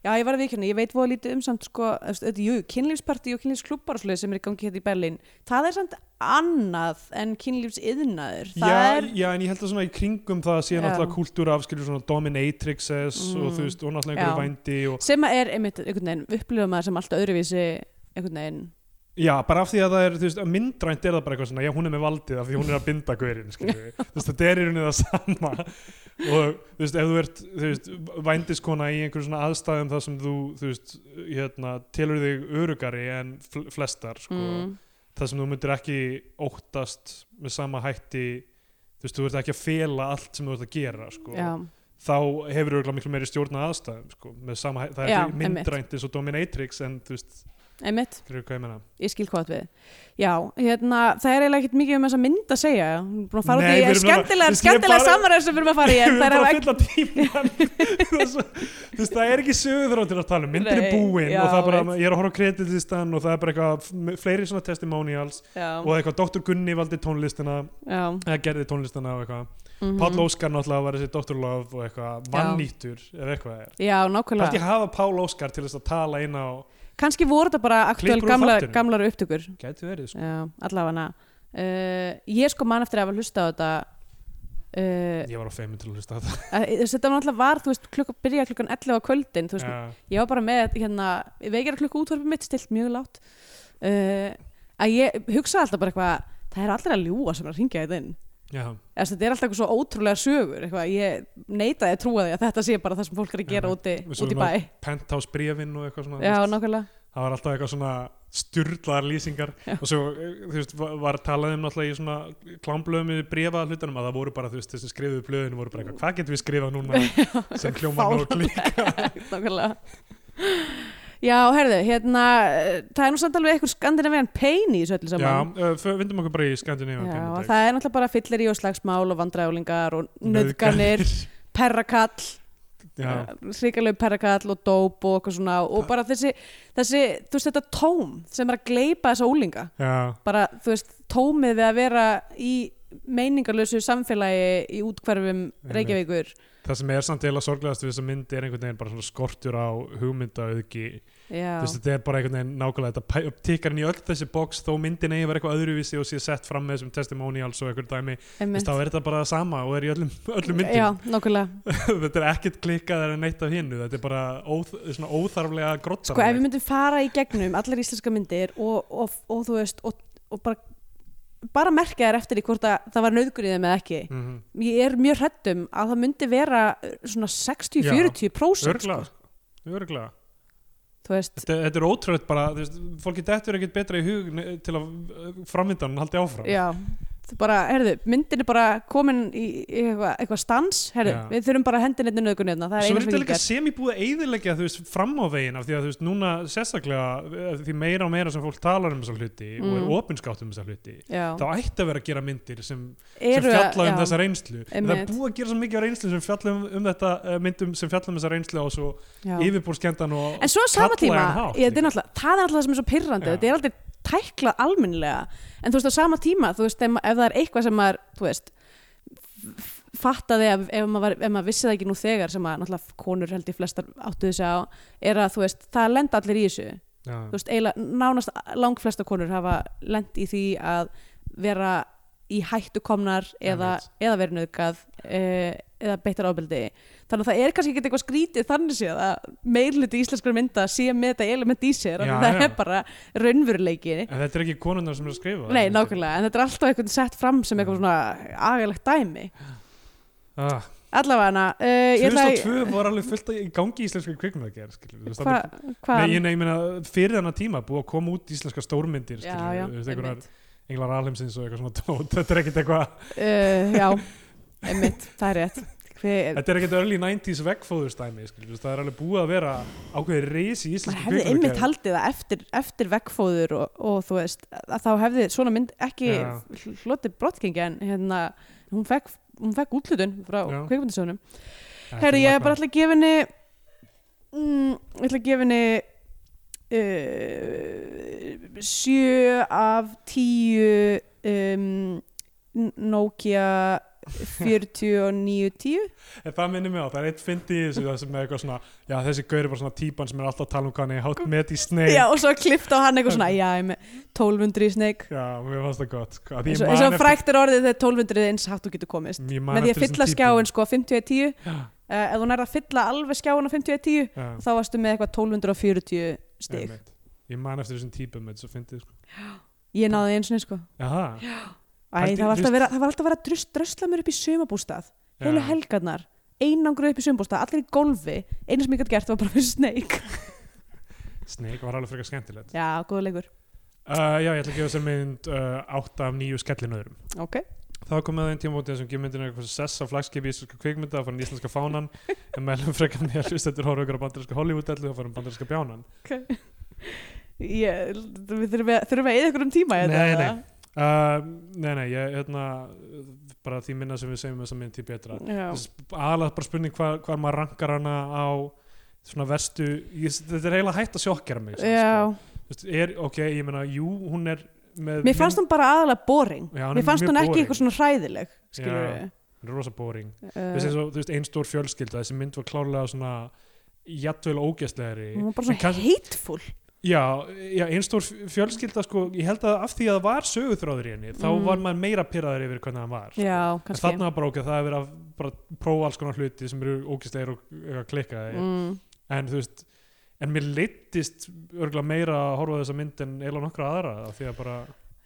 [SPEAKER 2] já, ég var að viðkjörna, ég veit voða lítið um samt sko, þú veist, þetta, jú, kynlífsparti og kynlífsklubbar og svoleiðis sem er í gangi hérna í Berlín það er samt annað en kynlífsiðnaður
[SPEAKER 3] Já,
[SPEAKER 2] það er,
[SPEAKER 3] já, en ég held að svona í kringum það sé
[SPEAKER 2] Já.
[SPEAKER 3] náttúrulega kúltúra afskilur svona dominatrixes og
[SPEAKER 2] Mm.
[SPEAKER 3] þú veist, og náttúrulega einhverju vændi og,
[SPEAKER 2] sem að er einmitt, einhvern veginn, upplifa maður sem alltaf öðruvísi einhvern veginn
[SPEAKER 3] já, bara af því að það er, þú veist, að myndrænt er það bara eitthvað svona, já, hún er með valdið af því hún er að binda gaurin, skilur
[SPEAKER 2] <laughs>
[SPEAKER 3] við, þú veist, þetta er í rauninni það sama og, þú veist, ef þú ert, þú veist, vændiskona í einhverjum svona aðstæðum þar sem þú, þú veist, hérna, telur þig örugari en fl flestar, sko,
[SPEAKER 2] mm,
[SPEAKER 3] þar sem þú myndir ekki óttast með sama hætti, þú veist, þú ert ekki að fela allt sem þú ert að gera, sko,
[SPEAKER 2] já,
[SPEAKER 3] þá hefur þú miklu meiri stjórna aðstæðum, sko, með sama, hæ- það er
[SPEAKER 2] Já,
[SPEAKER 3] ekki
[SPEAKER 2] einmitt.
[SPEAKER 3] myndrænt eins og dominatrix, en, þú veist,
[SPEAKER 2] einmitt
[SPEAKER 3] skilur hvað ég menna.
[SPEAKER 2] ég skil hvað þú átt við já, hérna, það er eiginlega ekkert mikið um þessa mynd að segja hún er búin að fara
[SPEAKER 3] Nei, við
[SPEAKER 2] út í
[SPEAKER 3] erum
[SPEAKER 2] skemmtilega,
[SPEAKER 3] bara-
[SPEAKER 2] skemmtilega
[SPEAKER 3] ég bara-
[SPEAKER 2] samaræður sem við erum að fara í en
[SPEAKER 3] <laughs> við
[SPEAKER 2] það
[SPEAKER 3] erum
[SPEAKER 2] er
[SPEAKER 3] bara
[SPEAKER 2] ekki
[SPEAKER 3] fulla tíma
[SPEAKER 2] <laughs>
[SPEAKER 3] þú veist, það er ekki sögurþráttir að tala um, myndir er
[SPEAKER 2] Nei,
[SPEAKER 3] búin
[SPEAKER 2] já,
[SPEAKER 3] og það er bara,
[SPEAKER 2] veit.
[SPEAKER 3] ég er að horfa á kreditlistan og það er bara eitthvað, fleiri svona testimonials og
[SPEAKER 2] já,
[SPEAKER 3] eitthvað, Dr. Gunni valdi tónlistina
[SPEAKER 2] já,
[SPEAKER 3] eða gerði tónlistina og eitthvað
[SPEAKER 2] mhm.
[SPEAKER 3] Páll Óskar náttúrulega var þessi Dr. Love og eitthvað, vannýttur, ef eitthvað er
[SPEAKER 2] já,
[SPEAKER 3] Kannski
[SPEAKER 2] nákvæmlega
[SPEAKER 3] hafa Páll Óskar til þess að tala inn á
[SPEAKER 2] kannski voru þetta bara aktúal
[SPEAKER 3] Klippur úr
[SPEAKER 2] gamla,
[SPEAKER 3] þáttinum.
[SPEAKER 2] gamlar upptökur
[SPEAKER 3] Gæti verið, sko.
[SPEAKER 2] já, allavega uh, ég sko man eftir að hafa hlusta á þetta uh,
[SPEAKER 3] Ég var á feimin til að hlusta á þetta
[SPEAKER 2] að- þetta var náttúrulega var, þú veist, klukka, byrja klukkan 11 á kvöldin, þú veist,
[SPEAKER 3] Já.
[SPEAKER 2] ég var bara með hérna, veikjara klukku útvarfið mitt stilt mjög látt uh, að ég hugsaði alltaf bara eitthvað það er allir að ljúa sem er að ringja þetta inn
[SPEAKER 3] Já,
[SPEAKER 2] Eða, þú veist, þetta er alltaf eitthvað svo ótrúlega sögur eitthvað. ég neitaði að trúa því að þetta sé bara það sem fólk er að gera
[SPEAKER 3] Já,
[SPEAKER 2] úti,
[SPEAKER 3] við sögum
[SPEAKER 2] úti í bæ
[SPEAKER 3] penthouse bréfin og eitthvað svona
[SPEAKER 2] já,
[SPEAKER 3] þú veist.
[SPEAKER 2] nákvæmlega
[SPEAKER 3] það var alltaf eitthvað svona styrlaðar lýsingar
[SPEAKER 2] Já.
[SPEAKER 3] og svo eh, þú veist, var, var talað um alltaf í svona klámblöðum í brefa hlutunum að það voru bara þú veist þessi skrifuðu blöðin voru bara eitthvað hvað getum við
[SPEAKER 2] <laughs>
[SPEAKER 3] skrifað núna sem hljóma nóg klík
[SPEAKER 2] nákvæmlega já, herðu, hérna eh, það er nú samt alveg eitthvað skandinavian pain í þessu öllu
[SPEAKER 3] já,
[SPEAKER 2] saman
[SPEAKER 3] uh, vindum okkur bara í Skandinavíu
[SPEAKER 2] já og það er náttúrulega bara fyllir í og slagsmál og vandræðulingar og nöðganir perrakall
[SPEAKER 3] Já.
[SPEAKER 2] hrikalegu perrakall og dóp og eitthvað svona og bara þessi, þessi þú veist þetta tóm sem er að gleipa þessa ólinga
[SPEAKER 3] Já,
[SPEAKER 2] bara þú veist tómið við að vera í meiningarlösu samfélagi í útkverfum
[SPEAKER 3] Einmitt.
[SPEAKER 2] Reykjavíkur
[SPEAKER 3] það sem er samt eða sorglegast við þess að myndi er einhvern veginn bara svona skortur á hugmyndaauðgi
[SPEAKER 2] já,
[SPEAKER 3] þú veist, þetta er bara einhvern veginn nákvæmlega þetta pæ- tikkar inn í öll þessi box þó myndin eigi að vera eitthvað öðruvísi og sé sett fram með þessum testimonials og einhver dæmi þú
[SPEAKER 2] einmitt.
[SPEAKER 3] veist, þá er þetta bara það sama og er í öllum, öllum myndum
[SPEAKER 2] já, nokkulega
[SPEAKER 3] <laughs> þetta er ekkert klikkað en neitt af hinnu þetta er bara óþ, svona óþarflega grottar
[SPEAKER 2] sko ef við myndum fara í gegnum allar íslenska myndir og, og, og þú veist og, og bara, bara merkja þær eftir í hvort að það var nauðgur í þeim eða ekki
[SPEAKER 3] mm
[SPEAKER 2] ég er mjög hrættum að það myndi vera uh, svona 60-40%
[SPEAKER 3] örgla, örgla.
[SPEAKER 2] sko. þú veist,
[SPEAKER 3] Þetta, þetta er ótrúlega bara þú veist, fólki dettur ekkert betra í hug ne- til að framvindan haldi áfram
[SPEAKER 2] já þú bara, herðu, myndin er bara komin í, í eitthvað, eitthvað stans, herðu,
[SPEAKER 3] Já.
[SPEAKER 2] við þurfum bara að hendin einnig nöðgunni þarna, það er
[SPEAKER 3] Svo
[SPEAKER 2] eina sem
[SPEAKER 3] er þetta
[SPEAKER 2] ég
[SPEAKER 3] líka
[SPEAKER 2] ger
[SPEAKER 3] sem ég búið að eyðilegja þú veist, fram á veginn af því að þú veist, núna sérstaklega eh, því meira og meira sem fólk talar um þessa hluti og
[SPEAKER 2] Mm.
[SPEAKER 3] er opinskátt um þessa hluti þá
[SPEAKER 2] já, ættu
[SPEAKER 3] ætti að vera að gera myndir sem, sem
[SPEAKER 2] eru
[SPEAKER 3] fjalla um
[SPEAKER 2] já,
[SPEAKER 3] þessa reynslu en það er
[SPEAKER 2] Einmitt.
[SPEAKER 3] búið að gera svo mikið á reynslu sem fjalla um, um þetta eh, myndum sem fjalla um þessa reynslu á svo
[SPEAKER 2] já.
[SPEAKER 3] yfirbúrskendan og
[SPEAKER 2] en svo á sama
[SPEAKER 3] kallaðan
[SPEAKER 2] tíma,
[SPEAKER 3] hátt,
[SPEAKER 2] ég, það, er
[SPEAKER 3] líka.
[SPEAKER 2] náttúrulega- það er alltaf sem er svo pyrrandi,
[SPEAKER 3] Já.
[SPEAKER 2] þetta er aldrei tæklað almennilega, en þú veist á sama tíma þú veist, ef, ma- ef það er eitthvað sem maður, þú veist f- fattaði ef, ef, maður, var- ef maður vissi það ekki nú þegar sem að náttúrulega konur held ég flestar áttu þessi á er að þú veist, það lenda allir í þessu þú
[SPEAKER 3] Já,
[SPEAKER 2] veist, eiginlega nánast langflesta konur hafa lent í því að vera í hættu komnar eða,
[SPEAKER 3] Einmitt.
[SPEAKER 2] eða verið nöðgað eða beittar ábyldi þannig að það er kannski ekki eitthvað skrítið þannig séð að meirluti íslenskar mynda sé með þetta element í sér já,
[SPEAKER 3] Já,
[SPEAKER 2] það
[SPEAKER 3] já.
[SPEAKER 2] er bara raunveruleiki
[SPEAKER 3] en þetta er ekki konunnar sem er að
[SPEAKER 2] nei,
[SPEAKER 3] skrifa þetta er-
[SPEAKER 2] nákvæmlega, en þetta er alltaf eitthvað sett fram sem eitthvað svona agalegt dæmi
[SPEAKER 3] ah,
[SPEAKER 2] allavega hana uh, ég ætla að-
[SPEAKER 3] 2002 var alveg fullt í gangi íslenska kvikmyndagerð skilur, þú veist,
[SPEAKER 2] hva,
[SPEAKER 3] þarna-
[SPEAKER 2] hva,
[SPEAKER 3] Nei, ég, nei, ég meina, fyrir þennan tíma búið að koma út íslenska stórmyndir
[SPEAKER 2] já,
[SPEAKER 3] skilur,
[SPEAKER 2] já,
[SPEAKER 3] þú veist, einhverjar
[SPEAKER 2] einmitt.
[SPEAKER 3] englar alheimsins og eitthvað svona <laughs> tót þetta er ekkert eitthvað,
[SPEAKER 2] uh, já, einmitt, það er rétt Hver,
[SPEAKER 3] þetta er ekkert early 90s vegfóðustæmi, skilur, þú veist, það er alveg búið að vera ákveðið reis í
[SPEAKER 2] maður
[SPEAKER 3] íslenska
[SPEAKER 2] hefði einmitt
[SPEAKER 3] kvikmyndagerð
[SPEAKER 2] haldið að eftir, eftir veggfóður og, og þú veist að þá hefði svona mynd ekki
[SPEAKER 3] Já.
[SPEAKER 2] hl- hlotið brottgengi en hérna hún fekk, hún fekk útlutun frá
[SPEAKER 3] Já.
[SPEAKER 2] kveikmyndisöðunum
[SPEAKER 3] Þetta er
[SPEAKER 2] herri ég er
[SPEAKER 3] magnað.
[SPEAKER 2] bara ætla að gefa henni mm, ég ætla að gefa henni uh, sjö af tíu um, N-
[SPEAKER 3] <laughs>
[SPEAKER 2] Nokia 49 10
[SPEAKER 3] En það minnir mig á, það er eitt fyndi í þessu það sem er eitthvað svona, já þessi gaur er bara svona típan sem er alltaf að tala um hvað hann er hátt met í sneik
[SPEAKER 2] já og svo klift á hann eitthvað
[SPEAKER 3] <laughs>
[SPEAKER 2] svona já, ég er með 1200 í snake
[SPEAKER 3] já, mér fannst það gott sko, af því
[SPEAKER 2] eins
[SPEAKER 3] ég
[SPEAKER 2] og- eins og
[SPEAKER 3] man
[SPEAKER 2] frækt er orðið þegar 1200 er eins hátt og getur komist
[SPEAKER 3] eftir- ég man
[SPEAKER 2] með því
[SPEAKER 3] eftir
[SPEAKER 2] að fylla
[SPEAKER 3] þessum
[SPEAKER 2] skjáin
[SPEAKER 3] típum.
[SPEAKER 2] sko 50-10 uh, ef þú nærði að fylla alveg skjáin á 50-10
[SPEAKER 3] Já,
[SPEAKER 2] þá varstu með eitthvað 1240 stig
[SPEAKER 3] einmitt. ég man eftir þessum típum þetta er svo fyndið sko.
[SPEAKER 2] ég náði eins og neins sko
[SPEAKER 3] Jaha,
[SPEAKER 2] Æ, það,
[SPEAKER 3] Pældi-
[SPEAKER 2] var alltaf
[SPEAKER 3] þú
[SPEAKER 2] að vera, það var alltaf að vera drust, drusla mér upp í sumabústað heilu
[SPEAKER 3] Já.
[SPEAKER 2] helgarnar einangru upp í sumabústað, allir í golfi eina sem ég gætt gert var bara fyrir sneik
[SPEAKER 3] sneik var alveg frekar skemmtilegt
[SPEAKER 2] <laughs> já, góða leikur
[SPEAKER 3] uh, já, ég ætla að gefa þessar mynd uh, 8 af 9 skellinöðrum
[SPEAKER 2] ok,
[SPEAKER 3] þá komið það einn tímabótið sem gefur myndinu eitthvað sess á flagskipi íslenska kvikmynda þá farin íslenska fánan en meðlum frekar með að hlusta eftir horfa ykkur á bandarinska Hollywood-ellu þá farin bandarinska bjánan
[SPEAKER 2] ég, við þurfum að, þurfum að eða ykkur um tíma í þetta,
[SPEAKER 3] Nei,
[SPEAKER 2] eða?
[SPEAKER 3] uh, nei, nei, ég hérna bara því minna sem við segjum þessa mynd því betra
[SPEAKER 2] Já.
[SPEAKER 3] aðalega bara spurning hvað hva maður rankar hana á svona verstu ég, þetta er eiginlega hægt að sjokkera mig svona,
[SPEAKER 2] Já.
[SPEAKER 3] sko. Þú veist, er, ok, ég meina, jú, hún er með
[SPEAKER 2] mér fannst hún bara aðalega boring
[SPEAKER 3] Já, hún er
[SPEAKER 2] mér fannst
[SPEAKER 3] mjög
[SPEAKER 2] hún ekki
[SPEAKER 3] boring.
[SPEAKER 2] eitthvað svona hræðileg Eh, skilur
[SPEAKER 3] Já. hún er rosa boring Þú
[SPEAKER 2] við
[SPEAKER 3] veist, eins og, þú veist, ein stór fjölskylda, þessi mynd var klárlega svona jættvel ógæstlegri
[SPEAKER 2] hún var bara svona kannski... heitfull
[SPEAKER 3] já, já, ein stór fjölskylda sko, ég held að af því að það var söguþráður í henni, þá
[SPEAKER 2] Mm.
[SPEAKER 3] var maður meira pyrraður yfir hvernig hann var
[SPEAKER 2] já,
[SPEAKER 3] en
[SPEAKER 2] kannski
[SPEAKER 3] þarna var bara okkur, það er verið að bara prófa alls konar hluti sem eru ógæstlegir og eitthvað klikkaði,
[SPEAKER 2] mm,
[SPEAKER 3] en þú veist en mér leittist örgulega meira að horfa á þessa mynd en eiginlega nokkra aðra af því að bara,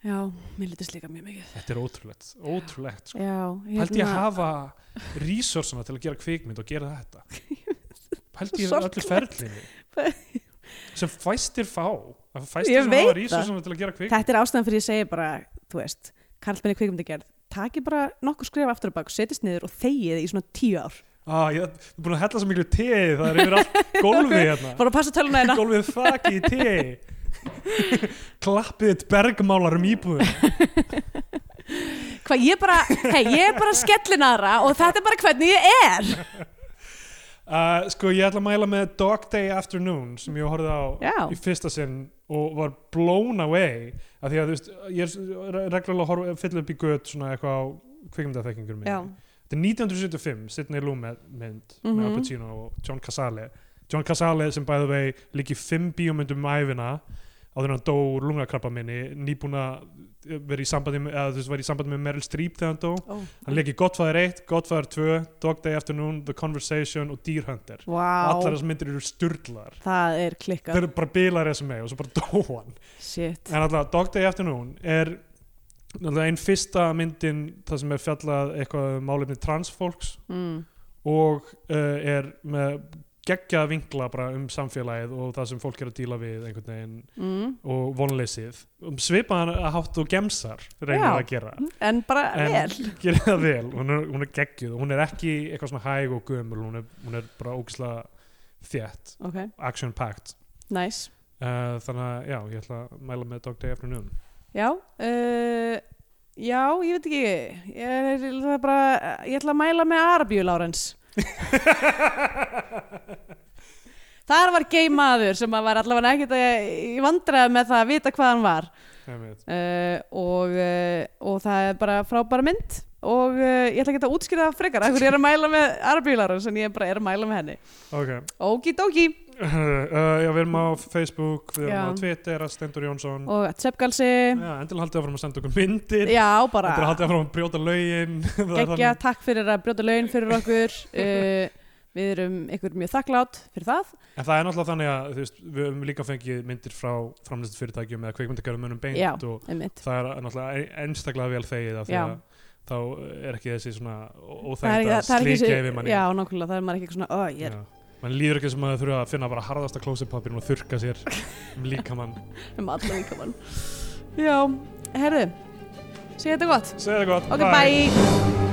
[SPEAKER 2] já, mér lítist líka mjög mikið sko.
[SPEAKER 3] þetta er ótrúlegt ótrúlegt, sko.
[SPEAKER 2] já,
[SPEAKER 3] held ég að hafa resursuna til að gera kvikmynd og gera
[SPEAKER 2] <laughs>
[SPEAKER 3] þetta held ég
[SPEAKER 2] Svo
[SPEAKER 3] öllu ferlinni
[SPEAKER 2] <laughs>
[SPEAKER 3] sem fæstir fá það fæstir
[SPEAKER 2] Ég
[SPEAKER 3] sem
[SPEAKER 2] veit
[SPEAKER 3] hafa
[SPEAKER 2] það.
[SPEAKER 3] resursuna til að gera kvikmynd
[SPEAKER 2] þetta er ástæðan fyrir ég segi bara þú veist, karlmenni kvikmyndagerð taki bara nokkur skrif aftur á bak setjast niður og þegið í svona tíu ár
[SPEAKER 3] ah, ég er búin að hella svo miklu te það er yfir
[SPEAKER 2] <laughs>
[SPEAKER 3] allt gólfið hérna
[SPEAKER 2] bara að passa töluna
[SPEAKER 3] <laughs>
[SPEAKER 2] eina
[SPEAKER 3] gólfið þakið í te klappið þitt bergmálar um íbúðum
[SPEAKER 2] hvað ég bara, hei, ég er bara skellinaðra og þetta er bara hvernig ég er
[SPEAKER 3] Uh, sko, ég ætla að mæla með Dog Day Afternoon sem ég horfði á
[SPEAKER 2] Já.
[SPEAKER 3] í fyrsta sinn og var blown away af því að, þú veist, ég er s- re- reglulega að horfa að fylla upp í gött svona eitthvað á kvikmyndaþekkingur minni.
[SPEAKER 2] já,
[SPEAKER 3] Þetta er 1975, Sidney Lumet mynd með
[SPEAKER 2] Mhm.
[SPEAKER 3] Al Pacino og John Casale. John Casale sem bæði vei líki fimm bíómyndum um æfina á því að hann dó úr lungakrabba minni, nýbúin að eh, vera í sambandi með, eða, þú veist, var í sambandi með Meryl Streep þegar hann dó.
[SPEAKER 2] ó,
[SPEAKER 3] Hann leik í Godfather 1, Godfather 2, Dog Day Afternoon, The Conversation og Deer Hunter.
[SPEAKER 2] vá,
[SPEAKER 3] Allar þessar myndir eru sturglar.
[SPEAKER 2] það er
[SPEAKER 3] Þeir
[SPEAKER 2] klikkað,
[SPEAKER 3] eru bara bilar þessum með og svo bara dó hann.
[SPEAKER 2] shit,
[SPEAKER 3] En alltaf, Dog Day Afternoon er náttúrulega einn fyrsta myndin það sem er fjallað eitthvað um málefni transfólks
[SPEAKER 2] mm,
[SPEAKER 3] og uh, er með geggjaða vingla bara um samfélagið og það sem fólk er að díla við einhvern veginn
[SPEAKER 2] mm.
[SPEAKER 3] og vonleysið um svipaðan að hátt og gemsar reynir
[SPEAKER 2] Já.
[SPEAKER 3] að gera
[SPEAKER 2] en bara
[SPEAKER 3] en
[SPEAKER 2] vel,
[SPEAKER 3] gerir það vel, hún er, hún er geggjuð og hún er ekki eitthvað svona hæg og gömul hún er, hún er bara ógislega þétt
[SPEAKER 2] ok,
[SPEAKER 3] action packed
[SPEAKER 2] nice,
[SPEAKER 3] uh, þannig að já, ég ætla að mæla með Dog
[SPEAKER 2] <laughs>
[SPEAKER 3] Day Afternoon
[SPEAKER 2] já, uh, já, ég veit ekki, ég er ég ætla bara, ég ætla að mæla með Arabíu, Lárens. Þar var gay maður sem að var allavega ekkert að ég vandraði með það að vita hvað hann var
[SPEAKER 3] Einmitt.
[SPEAKER 2] uh, og, uh, og það er bara frábæra mynd og uh, ég ætla ekki að útskýra það frekar af hverju ég er að mæla með Arbílarum sem ég bara er að mæla með henni
[SPEAKER 3] ok,
[SPEAKER 2] Okidoki
[SPEAKER 3] uh, já, við erum á Facebook við erum
[SPEAKER 2] Já.
[SPEAKER 3] á Twitter, að Stendur Jónsson
[SPEAKER 2] og Tsepgalsi
[SPEAKER 3] já, endilega haldið áfram að senda okkur myndir
[SPEAKER 2] Já,
[SPEAKER 3] Þetta er
[SPEAKER 2] bara
[SPEAKER 3] haldið áfram að brjóta lögin <laughs> Það
[SPEAKER 2] geggja,
[SPEAKER 3] er þannig.
[SPEAKER 2] takk fyrir að brjóta laun fyrir
[SPEAKER 3] <laughs>
[SPEAKER 2] okkur uh, Við erum ykkur mjög þakklátt fyrir það
[SPEAKER 3] En það er náttúrulega þannig að þú veist, við höfum líka fengið myndir frá framlýstu fyrirtækjum eða kveikmyndagjörðum beint
[SPEAKER 2] Já.
[SPEAKER 3] og
[SPEAKER 2] einmitt.
[SPEAKER 3] það er náttúrulega e- einstaklega vel þegið af því
[SPEAKER 2] Já.
[SPEAKER 3] að þá er ekki þessi svona
[SPEAKER 2] Það er
[SPEAKER 3] óþægnd
[SPEAKER 2] ekki-
[SPEAKER 3] að
[SPEAKER 2] það er ekki
[SPEAKER 3] slíkja
[SPEAKER 2] svo-
[SPEAKER 3] yfir manni
[SPEAKER 2] Já, nákvæmlega, það er maður ekki eitthvað svona "Ó, ég er
[SPEAKER 3] Já. mann líður ekki sem að þau þurfa að finna bara harðasta klósipapirinn og þurka sér um líkamann
[SPEAKER 2] um alla líkamann Já, herðu, sé þetta gott
[SPEAKER 3] segja það gott,
[SPEAKER 2] Ok, bye.